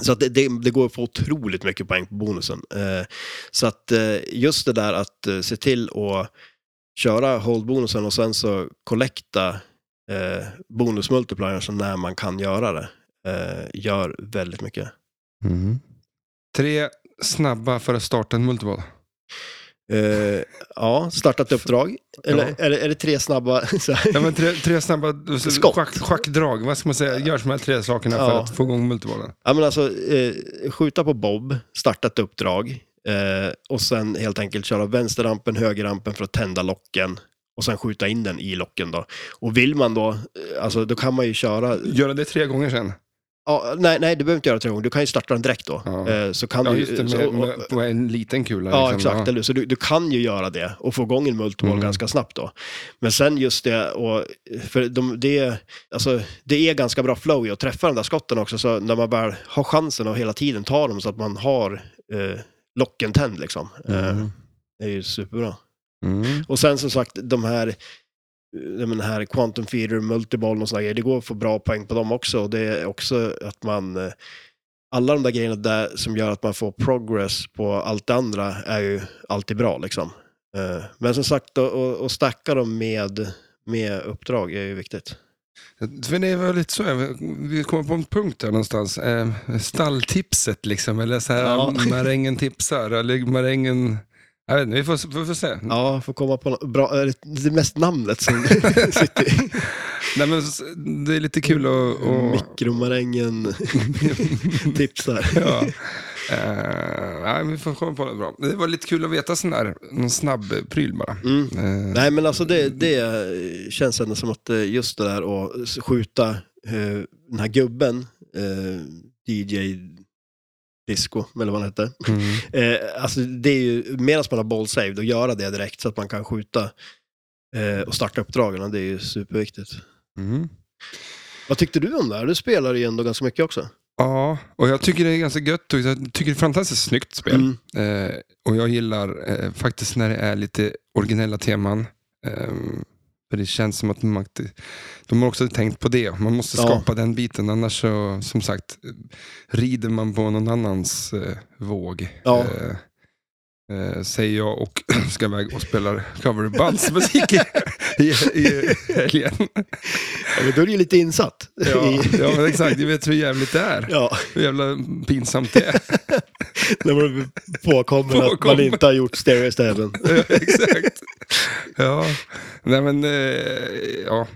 Speaker 2: Så att det, det, det går att få otroligt mycket poäng på bonusen. Eh, så att eh, just det där att eh, se till att köra hold-bonusen och sen så kollekta eh, bonusmultipliern så när man kan göra det. Eh, gör väldigt mycket.
Speaker 1: Tre snabba för att starta en multiball.
Speaker 2: Eh, ja, starta ett uppdrag. Eller
Speaker 1: Ja.
Speaker 2: är, det, är det tre snabba... Så här.
Speaker 1: Ja, men tre, tre snabba
Speaker 2: Skott.
Speaker 1: schack, schackdrag, vad ska man säga? Gör de här tre sakerna för
Speaker 2: Ja.
Speaker 1: att få igång multibollen.
Speaker 2: Ja, men alltså, eh, skjuta på Bob, starta ett uppdrag eh, och sen helt enkelt köra vänsterrampen, högerrampen för att tända locken och sen skjuta in den i locken då. Och vill man då, eh, alltså då kan man ju köra,
Speaker 1: Göra det tre gånger sen.
Speaker 2: ja, nej, nej du behöver inte göra det tre gånger, du kan ju starta den direkt då.
Speaker 1: Ja.
Speaker 2: Eh, så kan
Speaker 1: Ja,
Speaker 2: du,
Speaker 1: just det,
Speaker 2: så,
Speaker 1: med, med, på en liten kula.
Speaker 2: Ja,
Speaker 1: liksom.
Speaker 2: exakt. Eller, hur? så du, du kan ju göra det och få igång en multiball
Speaker 1: Mm.
Speaker 2: ganska snabbt då. Men sen just det, och, för de, det, alltså, det är ganska bra flow i att träffa de där skotten också, så när man bara har chansen att hela tiden ta dem så att man har eh, locken tänd liksom. Eh,
Speaker 1: Mm.
Speaker 2: det är ju superbra.
Speaker 1: Mm.
Speaker 2: Och sen som sagt, de här eh, den här Quantum Feeder, Multiball och sådana grejer, det går att få bra poäng på dem också. Och det är också att man, eh, alla de där grejerna där som gör att man får progress på allt det andra är ju alltid bra liksom. Eh, Men som sagt, att- att att stacka dem med, med uppdrag är ju viktigt.
Speaker 1: För det var lite så, jag- vi kommer på en punkt där någonstans. Eh, stalltipset liksom, eller så här,
Speaker 2: Ja.
Speaker 1: marängen tipsar, eller marängen... Jag vet inte, vi får, vi får se.
Speaker 2: Ja, får komma på något bra, eh, det är mest namnet som sitter i
Speaker 1: Nej, men, s- det är lite kul att... att
Speaker 2: mikromarängen tipsar.
Speaker 1: ja. Eh, nej, vi får komma på det bra. Det var lite kul att veta sån där, någon snabb pryl bara.
Speaker 2: Mm.
Speaker 1: Eh,
Speaker 2: Nej, men alltså det, det känns ändå som att eh, just det där att s- skjuta eh, den här gubben, eh, DJ Disco, eller vad han hette.
Speaker 1: mm.
Speaker 2: Eh, alltså det är ju, medan man har ball saved, att göra det direkt så att man kan skjuta eh, och starta uppdragen, det är ju superviktigt.
Speaker 1: Mm.
Speaker 2: Vad tyckte du om det här? Du spelar ju ändå ganska mycket också.
Speaker 1: Ja, och jag tycker det är ganska gött och jag tycker det är ett fantastiskt snyggt spel.
Speaker 2: Mm.
Speaker 1: Eh, och jag gillar eh, faktiskt när det är lite originella teman. Eh, för det känns som att man, alltid- de har också tänkt på det. Man måste
Speaker 2: Ja.
Speaker 1: skapa den biten, annars så, som sagt, eh, rider man på någon annans eh, våg.
Speaker 2: Ja.
Speaker 1: Eh, eh, säger jag och ska iväg och spela coverbandsmusik i, i, i helgen.
Speaker 2: Ja, men då är du ju lite insatt.
Speaker 1: Ja,
Speaker 2: I,
Speaker 1: ja men exakt, du vet hur jävligt det är.
Speaker 2: ja,
Speaker 1: Hur jävla pinsamt det är.
Speaker 2: när man blir påkommen att man
Speaker 1: Påkommen.
Speaker 2: inte har gjort stereo stäven.
Speaker 1: Ja, Exakt. Ja, nej men, eh, ja.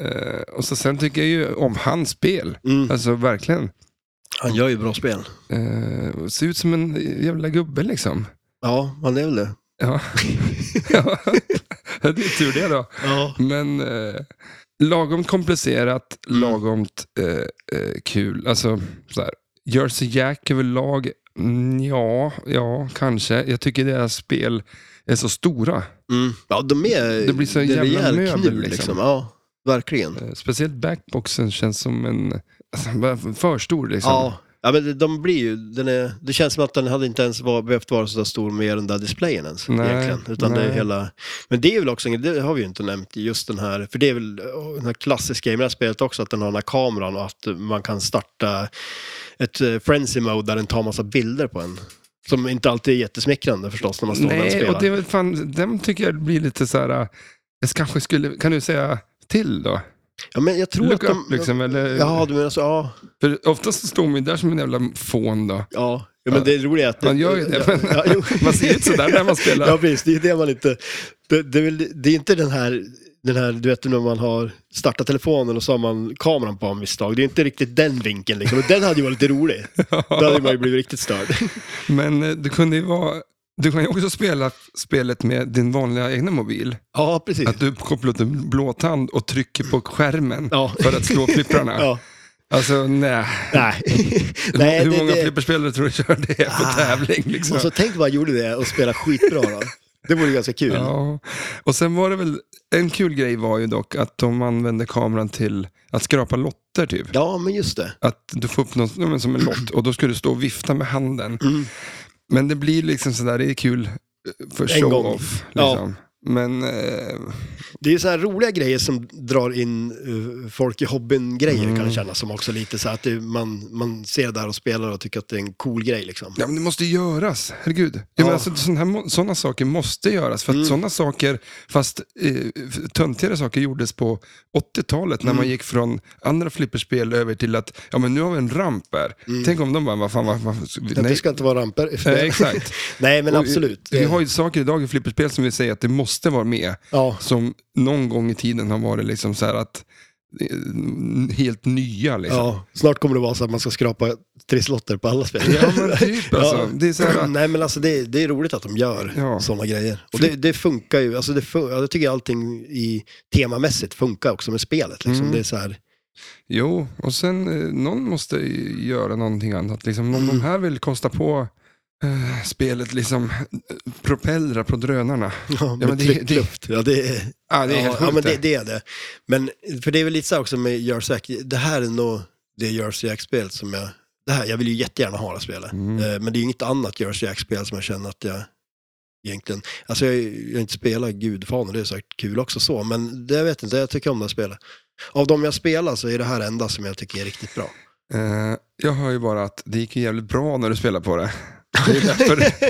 Speaker 1: Eh, och så sen tycker jag ju om hans spel.
Speaker 2: Mm.
Speaker 1: Alltså verkligen.
Speaker 2: Han gör ju bra spel.
Speaker 1: Eh, ser ut som en jävla gubbe liksom.
Speaker 2: Ja, han är väl det.
Speaker 1: Ja, ja. det är tur det då.
Speaker 2: Ja.
Speaker 1: Men eh, lagomt komplicerat,
Speaker 2: Mm.
Speaker 1: lagomt eh, eh, kul. Alltså, så här. Jersey Jack överlag, mm, ja, ja, kanske. Jag tycker deras spel är så stora.
Speaker 2: Mm. Ja, de är...
Speaker 1: Det blir så
Speaker 2: är
Speaker 1: jävla
Speaker 2: rejäl
Speaker 1: möbel,
Speaker 2: kniv,
Speaker 1: liksom.
Speaker 2: Ja, verkligen.
Speaker 1: Eh, Speciellt backboxen känns som en alltså, bara för stor. Liksom.
Speaker 2: Ja. ja, men det- de blir ju... Den är, det känns som att den hade inte ens var, behövt vara så där stor med den där displayen ens.
Speaker 1: Nej,
Speaker 2: egentligen. Utan det är
Speaker 1: nej.
Speaker 2: hela... Men det är väl också, en- det har vi ju inte nämnt, just den här... För det är väl åh, den här klassiska i det här spelet också, att den har den här kameran och att man kan starta ett eh, frenzy mode där den tar massa bilder på en. Som inte alltid är jättesmickrande förstås när man står där och
Speaker 1: Nej,
Speaker 2: spelar.
Speaker 1: och det är väl fan, den tycker jag blir lite så här, äh, jag kanske skulle, kan du säga till då?
Speaker 2: Ja, men jag tror
Speaker 1: Look
Speaker 2: att de...
Speaker 1: up liksom, eller?
Speaker 2: Ja, du menar så, ja.
Speaker 1: För oftast så står man ju där som en jävla fån då.
Speaker 2: Ja, ja men det roliga är att...
Speaker 1: Man gör ju det, men
Speaker 2: Ja, jo.
Speaker 1: man ser ju ut sådär när man spelar.
Speaker 2: Ja, precis. Det är ju det man inte... Det, det, är väl, det är inte den här, den här, du vet när man har startat telefonen och så har man kameran på av misstag. Det är inte riktigt den vinkeln liksom. Och den hade ju varit lite rolig. Då hade man ju blivit riktigt störd.
Speaker 1: Men eh, du kunde ju vara, du kan ju också spela spelet med din vanliga egna mobil.
Speaker 2: Ja, precis.
Speaker 1: Att du kopplar upp en blåtand och trycker på skärmen
Speaker 2: Ja.
Speaker 1: för att slå flipprarna.
Speaker 2: Ja,
Speaker 1: Alltså nej.
Speaker 2: nej.
Speaker 1: Hur
Speaker 2: det-
Speaker 1: många
Speaker 2: det-
Speaker 1: flipperspelare tror du kör det på
Speaker 2: Ah.
Speaker 1: tävling? Liksom?
Speaker 2: Och så tänk vad gjorde det och spela skitbra då. Det vore ganska kul.
Speaker 1: Ja, och sen var det väl, en kul grej var ju dock att de använde kameran till att skrapa lotter typ.
Speaker 2: Ja, men just det.
Speaker 1: Att du får upp något ja, men som en lott och då ska du stå och vifta med handen.
Speaker 2: Mm.
Speaker 1: Men det blir liksom sådär, det är kul eh, för
Speaker 2: En gång.
Speaker 1: show-off. Liksom. Men... Eh,
Speaker 2: Det är ju så här roliga grejer som drar in eh, folk i hobbyn-grejer
Speaker 1: Mm.
Speaker 2: kan det kännas som också lite så här att det, man, man ser det där och spelar och tycker att det är en cool grej liksom.
Speaker 1: ja, men det måste ju göras. Herregud. Ja,
Speaker 2: Ja.
Speaker 1: Men alltså, sådana, här, må- sådana saker måste göras. För att
Speaker 2: Mm.
Speaker 1: sådana saker, fast eh, töntigare saker gjordes på 80-talet när
Speaker 2: Mm.
Speaker 1: man gick från andra flipperspel över till att, ja men nu har vi en ramp här.
Speaker 2: Mm.
Speaker 1: Tänk om de bara, vad fan, vad, vad,
Speaker 2: Det
Speaker 1: nej.
Speaker 2: ska inte vara ramper.
Speaker 1: Eh, exakt.
Speaker 2: Nej, men
Speaker 1: Och eh,
Speaker 2: absolut.
Speaker 1: Vi, vi har ju saker idag i flipperspel som vi säger att det måste vara med.
Speaker 2: Ja,
Speaker 1: Som någon gång i tiden har varit liksom så här att eh, helt nya liksom. Ja.
Speaker 2: ja, snart kommer det vara så att man ska skrapa trisslotter på alla spel.
Speaker 1: men typ alltså.
Speaker 2: Ja.
Speaker 1: Det är så här,
Speaker 2: Nej men alltså det, är- det är roligt att de gör
Speaker 1: Ja.
Speaker 2: såna sådana grejer. Och det, det funkar ju, alltså det fun- ja, jag tycker allting i temamässigt funkar också med spelet. Liksom.
Speaker 1: Mm.
Speaker 2: Det är så här,
Speaker 1: jo, och sen eh, någon måste ju göra någonting annat. Liksom, om de här vill kosta på eh, spelet liksom eh, propellrar på drönarna.
Speaker 2: ja,
Speaker 1: men
Speaker 2: med
Speaker 1: det-
Speaker 2: tryckt
Speaker 1: det-
Speaker 2: luft. Ja, det är,
Speaker 1: Ah, det är
Speaker 2: ja,
Speaker 1: helt
Speaker 2: ja, men
Speaker 1: sjukt
Speaker 2: det,
Speaker 1: det.
Speaker 2: det är det. Men för det är väl lite så här också med Jersey Jack, det här är nog det Jersey Jack-spelet som jag, det här, jag vill ju jättegärna ha det här spelet.
Speaker 1: Mm.
Speaker 2: Eh, Men det är ju inget annat Jersey Jack-spel som jag känner att jag egentligen, alltså jag jag har inte spelat Gudfadern, det är säkert kul också så, men det, jag vet inte, jag tycker om det här spelet. Av de jag spelar så är det här enda som jag tycker är riktigt bra.
Speaker 1: Eh, jag hör ju bara att det gick ju jävligt bra när du spelade på det. Det är därför-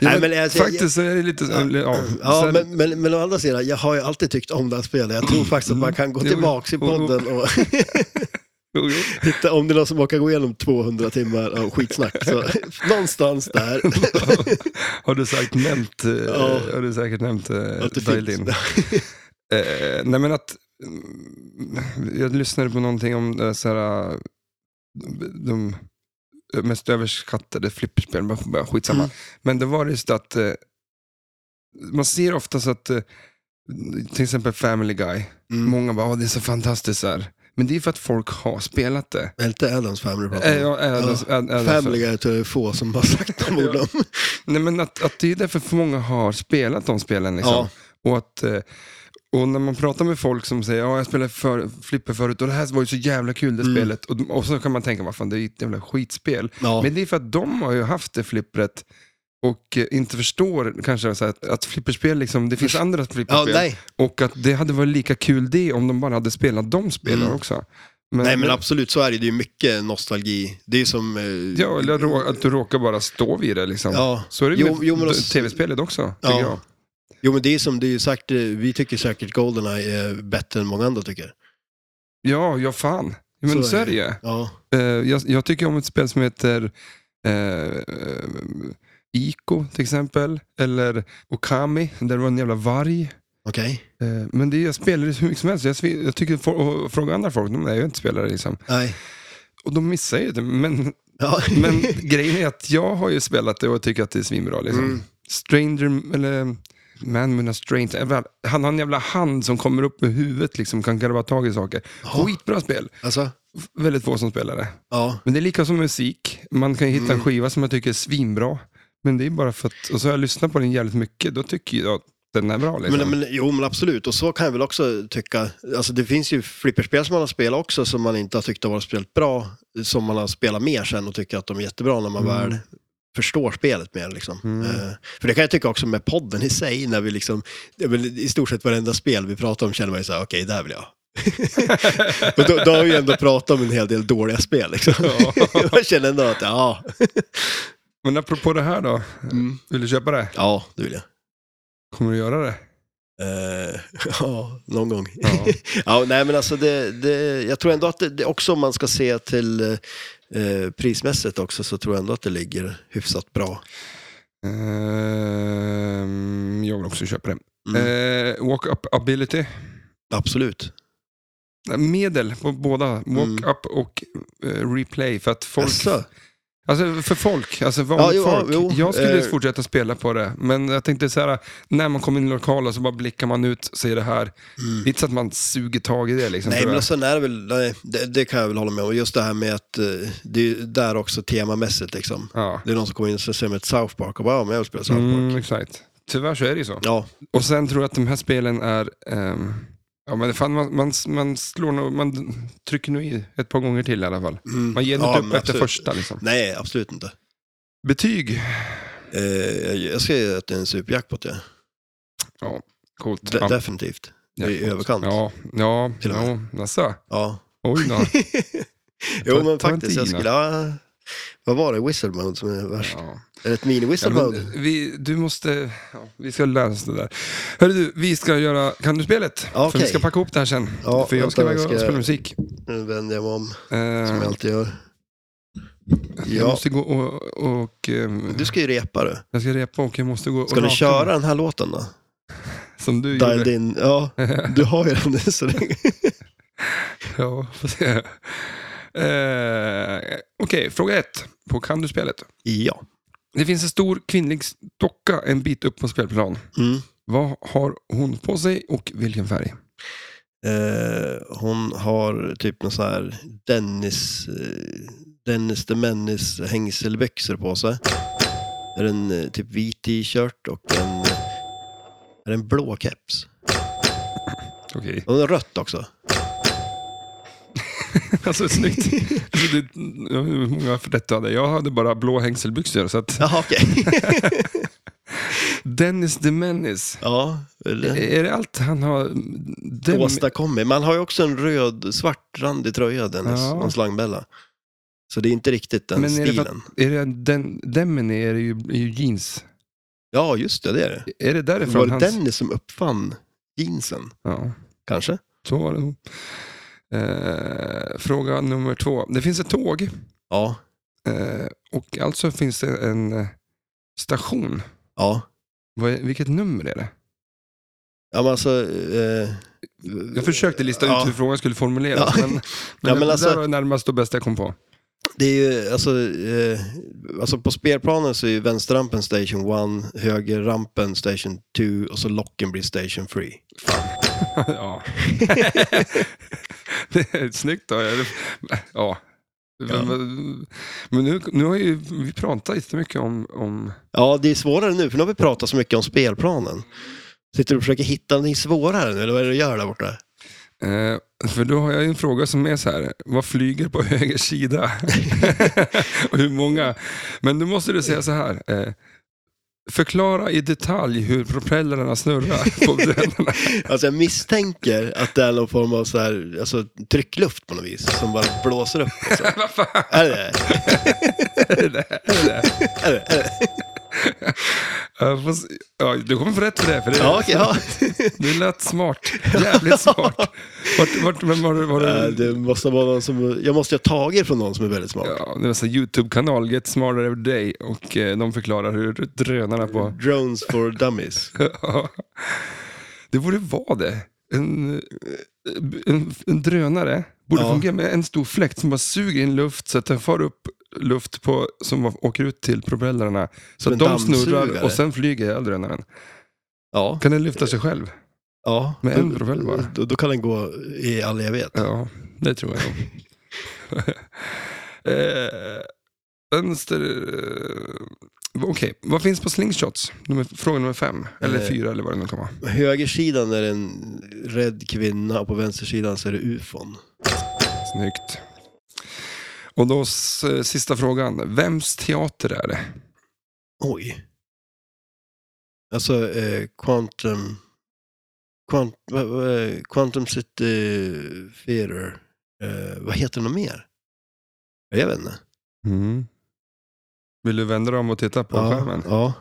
Speaker 1: Ja,
Speaker 2: Nej,
Speaker 1: men
Speaker 2: men alltså,
Speaker 1: Faktiskt så är det lite...
Speaker 2: Ja.
Speaker 1: eller, Ja,
Speaker 2: Ja,
Speaker 1: sen-
Speaker 2: men, men, men å andra sidan, jag har ju alltid tyckt om det här spelet. Jag tror faktiskt att man kan gå
Speaker 1: Jo,
Speaker 2: tillbaka i
Speaker 1: jo, jo.
Speaker 2: podden och
Speaker 1: Jo, jo.
Speaker 2: hitta, om det är någon som orkar gå igenom 200 timmar av skitsnack, så någonstans där.
Speaker 1: Har du sagt nämnt, eh,
Speaker 2: Ja.
Speaker 1: har du säkert nämnt eh,
Speaker 2: Att det
Speaker 1: Dahlin?
Speaker 2: finns.
Speaker 1: Eh, nej men att, mm, jag lyssnade på någonting om eh, så här, eh, de mest överskattade flipperspel, men bara skitsamma.
Speaker 2: Mm.
Speaker 1: Men det var just att, eh, man ser ofta så att, eh, till exempel Family Guy,
Speaker 2: Mm.
Speaker 1: många bara, "Åh, det är så fantastiskt så här. Men det är för att folk har spelat det.
Speaker 2: Är det inte Adams Family pratar
Speaker 1: Äh,
Speaker 2: om?
Speaker 1: ja, äh,
Speaker 2: Ja. Family Guy tror jag det är få som har sagt de orden.
Speaker 1: Nej, men att, att det är därför för många har spelat de spelen. Liksom.
Speaker 2: Ja.
Speaker 1: Och, att, eh, och när man pratar med folk som säger ja jag spelade för, flipper förut och det här var ju så jävla kul det
Speaker 2: Mm.
Speaker 1: spelet. Och, de- och så kan man tänka, vad fan det är ju ett jävla skitspel.
Speaker 2: Ja.
Speaker 1: Men det är för att de har ju haft det flippret och eh, inte förstår kanske så här, att, att flipperspel, liksom, det finns andra
Speaker 2: Ja,
Speaker 1: flipperspel.
Speaker 2: nej.
Speaker 1: och att det hade varit lika kul det om de bara hade spelat de spelen
Speaker 2: Mm.
Speaker 1: också.
Speaker 2: nej, men absolut så är det. Det är ju mycket nostalgi. Det är ju som... eh,
Speaker 1: Ja, eller rå- att du råkar bara stå vid det liksom.
Speaker 2: ja.
Speaker 1: Så är det
Speaker 2: Jo-
Speaker 1: med
Speaker 2: jo, men
Speaker 1: d-
Speaker 2: alltså-
Speaker 1: tv-spelet också,
Speaker 2: Ja.
Speaker 1: tycker jag.
Speaker 2: Jo, men det är som det är ju sagt, eh, vi tycker säkert Goldeneye är bättre än många andra tycker.
Speaker 1: Ja, ja fan. Men så,
Speaker 2: Så
Speaker 1: är
Speaker 2: är
Speaker 1: det ju.
Speaker 2: Ja.
Speaker 1: Eh, jag, jag tycker om ett spel som heter eh, eh, Ico till exempel. Eller Okami, där det var en jävla varg.
Speaker 2: Okej.
Speaker 1: Eh, men det är, jag spelar det hur mycket som helst. Jag, svi- jag tycker, for, och fråga andra folk, de är ju inte spelare liksom.
Speaker 2: Nej.
Speaker 1: Och de missar ju det. Men,
Speaker 2: Ja.
Speaker 1: men grejen är att jag har ju spelat det och tycker att det är svinbra. Liksom.
Speaker 2: Mm.
Speaker 1: Stranger, eller Man with a Stranger. Jävla- Han har en jävla hand som kommer upp med huvudet liksom, kan garva tag i saker.
Speaker 2: Ja.
Speaker 1: Skitbra spel.
Speaker 2: Alltså,
Speaker 1: F- Väldigt få som spelar det.
Speaker 2: ja.
Speaker 1: Men det är lika som musik. Man kan ju hitta en
Speaker 2: Mm.
Speaker 1: skiva som jag tycker är svinbra. Men det är bara för att, och så har jag lyssnat på den jävligt mycket, då tycker jag att den är bra. Liksom.
Speaker 2: Men, men, jo, men absolut. Och så kan jag väl också tycka. Alltså, det finns ju flipperspel som man har spelat också som man inte har tyckt har varit speciellt bra. Som man har spelat mer sen och tycker att de är jättebra när man
Speaker 1: Mm.
Speaker 2: väl förstår spelet mer. Liksom.
Speaker 1: Mm.
Speaker 2: Eh, för det kan jag tycka också med podden i sig. När vi liksom, det är väl I stort sett varenda spel vi pratar om känner man ju så här, okej, där vill jag. och då, då har vi ju ändå pratat om en hel del dåliga spel. Liksom.
Speaker 1: Ja.
Speaker 2: jag känner ändå att, ja,
Speaker 1: men apropå det här då,
Speaker 2: Mm.
Speaker 1: vill du köpa det?
Speaker 2: ja, det vill jag.
Speaker 1: Kommer du göra det?
Speaker 2: Eh, ja, någon gång.
Speaker 1: Ja.
Speaker 2: Ja, nej men alltså det, det, jag tror ändå att det, det också om man ska se till eh, prismässigt också så tror jag ändå att det ligger hyfsat bra.
Speaker 1: Ehm, jag vill också köpa det.
Speaker 2: Mm.
Speaker 1: Eh, Walk-up ability.
Speaker 2: Absolut.
Speaker 1: Medel på båda,
Speaker 2: Mm.
Speaker 1: walk-up och eh, replay. För att folk,
Speaker 2: Jaså?
Speaker 1: Alltså för folk, alltså vanligt
Speaker 2: Ja, jo,
Speaker 1: folk.
Speaker 2: jo,
Speaker 1: jag skulle
Speaker 2: eh.
Speaker 1: fortsätta spela på det, men jag tänkte så här, när man kommer in i lokalen så bara blickar man ut och ser det här. Det är inte så att man suger tag i det liksom.
Speaker 2: Mm. Nej,
Speaker 1: tror
Speaker 2: men
Speaker 1: jag.
Speaker 2: och sen är det väl, nej, det, det kan jag väl hålla med om. Och Just det här med att eh, det är ju där också temamässigt liksom.
Speaker 1: ja.
Speaker 2: Det är någon som kommer in och ser med ett South Park och bara, ja men jag vill spela South Park.
Speaker 1: Mm, exakt. Tyvärr så är det ju så.
Speaker 2: Ja,
Speaker 1: Och sen tror jag att de här spelen är... ehm, ja, men fan, man, man, man slår nog, man trycker nog i ett par gånger till i alla fall.
Speaker 2: mm.
Speaker 1: Man ger
Speaker 2: ja,
Speaker 1: inte
Speaker 2: men
Speaker 1: upp efter
Speaker 2: absolut.
Speaker 1: första liksom.
Speaker 2: Nej, absolut inte.
Speaker 1: Betyg.
Speaker 2: Eh, jag, jag ska säga att det är en superjackpot, ja.
Speaker 1: Ja. Coolt.
Speaker 2: De-
Speaker 1: Ja.
Speaker 2: Definitivt. Det är i
Speaker 1: Ja.
Speaker 2: överkant. Ja.
Speaker 1: Ja, ja,
Speaker 2: Till och
Speaker 1: ja, jaså. Oj då.
Speaker 2: jo,
Speaker 1: Tarantino.
Speaker 2: men faktiskt. Jag skulle... Ja, vad var det? Whistle mode som är värst?
Speaker 1: Ja.
Speaker 2: Eller ett mini-whistle
Speaker 1: Ja, men
Speaker 2: mode?
Speaker 1: vi, du måste, ja, vi ska lära oss det där. Hörru du, vi ska göra Kan du-spelet.
Speaker 2: Ja,
Speaker 1: För vi
Speaker 2: okej.
Speaker 1: ska packa ihop det här sen.
Speaker 2: Ja,
Speaker 1: för jag
Speaker 2: vänta,
Speaker 1: ska iväg
Speaker 2: jag
Speaker 1: och
Speaker 2: ska-
Speaker 1: spela musik.
Speaker 2: Nu vänder jag mig om,
Speaker 1: Eh,
Speaker 2: som jag alltid gör.
Speaker 1: Jag
Speaker 2: Ja,
Speaker 1: måste gå och, och ehm,
Speaker 2: du ska ju repa du.
Speaker 1: jag ska repa och jag måste gå och
Speaker 2: Ska ni
Speaker 1: raka
Speaker 2: köra
Speaker 1: mig,
Speaker 2: den här låten då?
Speaker 1: Som du gjorde.
Speaker 2: Dialed in. Ja, du har ju den. Så det...
Speaker 1: Ja, får se. Eh, Okej, fråga ett på Kan du-spelet.
Speaker 2: Ja.
Speaker 1: Det finns en stor kvinnlig docka en bit upp på spelplan.
Speaker 2: Mm.
Speaker 1: Vad har hon på sig och vilken färg?
Speaker 2: Eh, hon har typ någon sån här Dennis, eh, Dennis the Menace hängselbyxor på sig. Är det en eh, typ vit t-shirt och en, är det en blå keps.
Speaker 1: Okej.
Speaker 2: Hon har rött också.
Speaker 1: Alltså snyggt. Alltså, det, jag vet inte hur många för detta hade. Jag Jag hade bara blå hängselbyxor. Så att
Speaker 2: Jaha, okej.
Speaker 1: Dennis the Menace.
Speaker 2: ja, eller?
Speaker 1: Är det allt han har? Dem...
Speaker 2: Åstadkommit. Man har ju också en röd, svartrandig tröja, Dennis.
Speaker 1: Ja.
Speaker 2: Någon slangbella. Så det är inte riktigt den
Speaker 1: Men är det för
Speaker 2: stilen.
Speaker 1: att- Är det den, Demmen är det ju, är ju jeans.
Speaker 2: Ja, just det, det är det.
Speaker 1: Är det därifrån
Speaker 2: Var det
Speaker 1: hans...
Speaker 2: Dennis som uppfann jeansen?
Speaker 1: Ja,
Speaker 2: Kanske?
Speaker 1: så var det nog. Eh, fråga nummer två. Det finns ett tåg
Speaker 2: Ja.
Speaker 1: eh, och alltså finns det en eh, station.
Speaker 2: Ja.
Speaker 1: Vad är, vilket nummer är det?
Speaker 2: Ja, men alltså... Eh,
Speaker 1: Jag försökte lista
Speaker 2: ja,
Speaker 1: ut hur frågan skulle formuleras,
Speaker 2: Ja.
Speaker 1: men, men,
Speaker 2: men
Speaker 1: det
Speaker 2: alltså-
Speaker 1: där var närmast och bästa jag kom på.
Speaker 2: Det är ju, alltså, eh, alltså på spelplanen så är ju vänsterrampen station 1, högerrampen station 2 och så locken blir station 3.
Speaker 1: ja. det är snyggt. Då. Ja.
Speaker 2: Ja.
Speaker 1: Men nu, nu har ju vi pratat jättemycket om, om...
Speaker 2: Ja, det är svårare nu, för nu har vi pratat så mycket om spelplanen. Sitter du och försöker hitta någonting svårare nu, eller vad är det du gör där borta?
Speaker 1: Eh, för då har jag ju en fråga som är så här, vad flyger på höger sida? och hur många? Men nu måste du säga så här, eh, förklara i detalj hur propellrarna snurrar på bröderna.
Speaker 2: Alltså jag misstänker att det är någon form av så här, alltså, tryckluft på något vis, som bara blåser upp. Alltså.
Speaker 1: vad fan
Speaker 2: Är det det?
Speaker 1: är det där? Är det där?
Speaker 2: Är det? Är det?
Speaker 1: Eh, fast, ja, du kommer få rätt för det, för det är
Speaker 2: Ja, okej. ja.
Speaker 1: Det lät smart. Jävligt smart. Vart, vart, vem var det? Var
Speaker 2: Eh,
Speaker 1: det,
Speaker 2: Det måste vara någon som, jag måste ju ha tagit från någon som är väldigt smart.
Speaker 1: ja, det var så här YouTube-kanal, Get Smarter Every Day, och eh, de förklarar hur drönarna på...
Speaker 2: Drones for dummies.
Speaker 1: det borde vara det. En, eh, en, en drönare borde
Speaker 2: Ja.
Speaker 1: fungera med en stor fläkt som bara suger in luft så att den far upp luft på, som åker ut till propellrarna. Så
Speaker 2: Som
Speaker 1: att
Speaker 2: en
Speaker 1: de snurrar
Speaker 2: dammsugare.
Speaker 1: och sen flyger ihjäl drönaren.
Speaker 2: Ja.
Speaker 1: Kan den lyfta sig själv?
Speaker 2: ja.
Speaker 1: Med en propell bara.
Speaker 2: Då, då kan den gå i all evighet.
Speaker 1: Ja, det tror jag nog. eh, vänster... eh, Okej, vad finns på slingshots? Nummer, fråga nummer fem, eller
Speaker 2: Eh.
Speaker 1: fyra eller vad det nu kan vara.
Speaker 2: På högersidan är det en rädd kvinna och på vänstersidan så är det ufon.
Speaker 1: Snyggt. Och då s- eh, sista frågan, vems teater är det?
Speaker 2: Oj. Alltså, eh, Quantum... Quant, vad- vad är- quantum City Theater. Eh, vad heter det något mer? Jag vet inte.
Speaker 1: Vill du vända dig om och titta på skärmen?
Speaker 2: Mm. ja.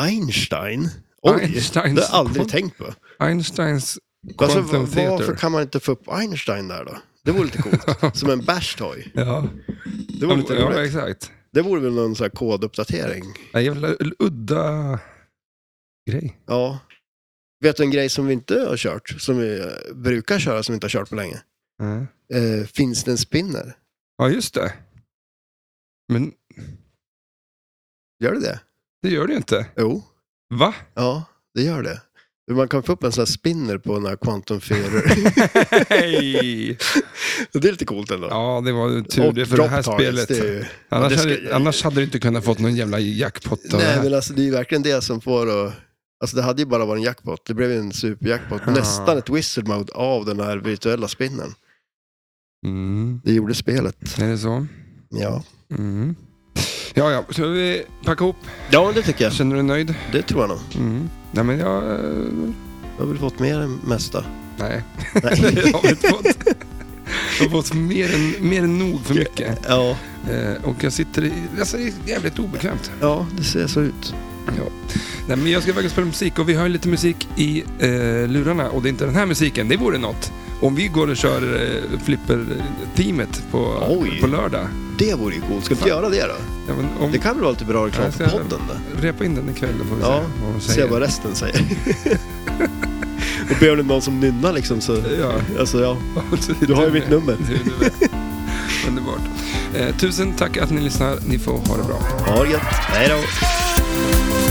Speaker 2: Einstein? Oj,
Speaker 1: Einsteins-
Speaker 2: det har jag aldrig tänkt på.
Speaker 1: Einsteins
Speaker 2: Alltså,
Speaker 1: Quantum
Speaker 2: va- varför
Speaker 1: Theater.
Speaker 2: kan man inte få upp Einstein där då? Det vore lite coolt. Som en bash-toy.
Speaker 1: Ja,
Speaker 2: Det vore lite
Speaker 1: ja
Speaker 2: roligt.
Speaker 1: exakt.
Speaker 2: Det vore väl någon sån här koduppdatering.
Speaker 1: En jävla udda grej.
Speaker 2: Ja. Vet du en grej som vi inte har kört? Som vi eh, brukar köra som vi inte har kört på länge?
Speaker 1: Ja.
Speaker 2: Eh, finns det en spinner?
Speaker 1: Ja, just det. Men
Speaker 2: Gör det det?
Speaker 1: det gör det ju inte.
Speaker 2: Jo.
Speaker 1: Va?
Speaker 2: Ja, det gör det. Man kan få upp en sån här spinner på den här Quantum Theater.
Speaker 1: Hej!
Speaker 2: det är lite coolt ändå.
Speaker 1: Ja, det var ju tur det för det
Speaker 2: drop
Speaker 1: här
Speaker 2: targets,
Speaker 1: spelet.
Speaker 2: det är ju-
Speaker 1: annars,
Speaker 2: det ska-
Speaker 1: hade, annars hade du inte kunnat fått någon jävla jackpot av det
Speaker 2: Nej,
Speaker 1: här.
Speaker 2: men alltså det är ju verkligen det som får att... Alltså det hade ju bara varit en jackpot. Det blev ju en superjackpot.
Speaker 1: Ja.
Speaker 2: Nästan ett wizard mode av den här virtuella spinnen.
Speaker 1: Mm.
Speaker 2: Det gjorde spelet.
Speaker 1: Är det så?
Speaker 2: Ja.
Speaker 1: Mm. Ja, ja. Ska vi packa ihop?
Speaker 2: Ja, det tycker jag.
Speaker 1: Känner du dig nöjd?
Speaker 2: Det tror jag nog.
Speaker 1: Mm. Nej, men jag... eh,
Speaker 2: Jag har väl fått med det mesta.
Speaker 1: Nej.
Speaker 2: Nej.
Speaker 1: Jag har inte fått... Jag har fått mer än, mer än nog för mycket.
Speaker 2: ja,
Speaker 1: Eh, och jag sitter i... Alltså, det är jävligt obekvämt.
Speaker 2: ja, det ser så ut.
Speaker 1: Nej, men jag ska iväg och spela musik och vi har ju lite musik i eh, lurarna och det är inte den här musiken, det vore något. Om vi går och kör eh, flipper-teamet på,
Speaker 2: Oj.
Speaker 1: på lördag.
Speaker 2: Det vore ju coolt. Ska vi inte göra det då?
Speaker 1: Ja, men om,
Speaker 2: Det kan väl vara lite bra
Speaker 1: Ja,
Speaker 2: reklam
Speaker 1: jag
Speaker 2: för
Speaker 1: ska-
Speaker 2: podden? Då.
Speaker 1: Repa in den ikväll, då får vi
Speaker 2: Ja,
Speaker 1: se vad de
Speaker 2: Se
Speaker 1: säger.
Speaker 2: vad resten säger. Och ber du någon som nynnar liksom så...
Speaker 1: Ja.
Speaker 2: Alltså ja,
Speaker 1: Du
Speaker 2: du har ju mitt nummer.
Speaker 1: Du, du vet. Underbart. Eh, tusen tack att ni lyssnar. Ni får ha det bra.
Speaker 2: Ha det gött. Hej då.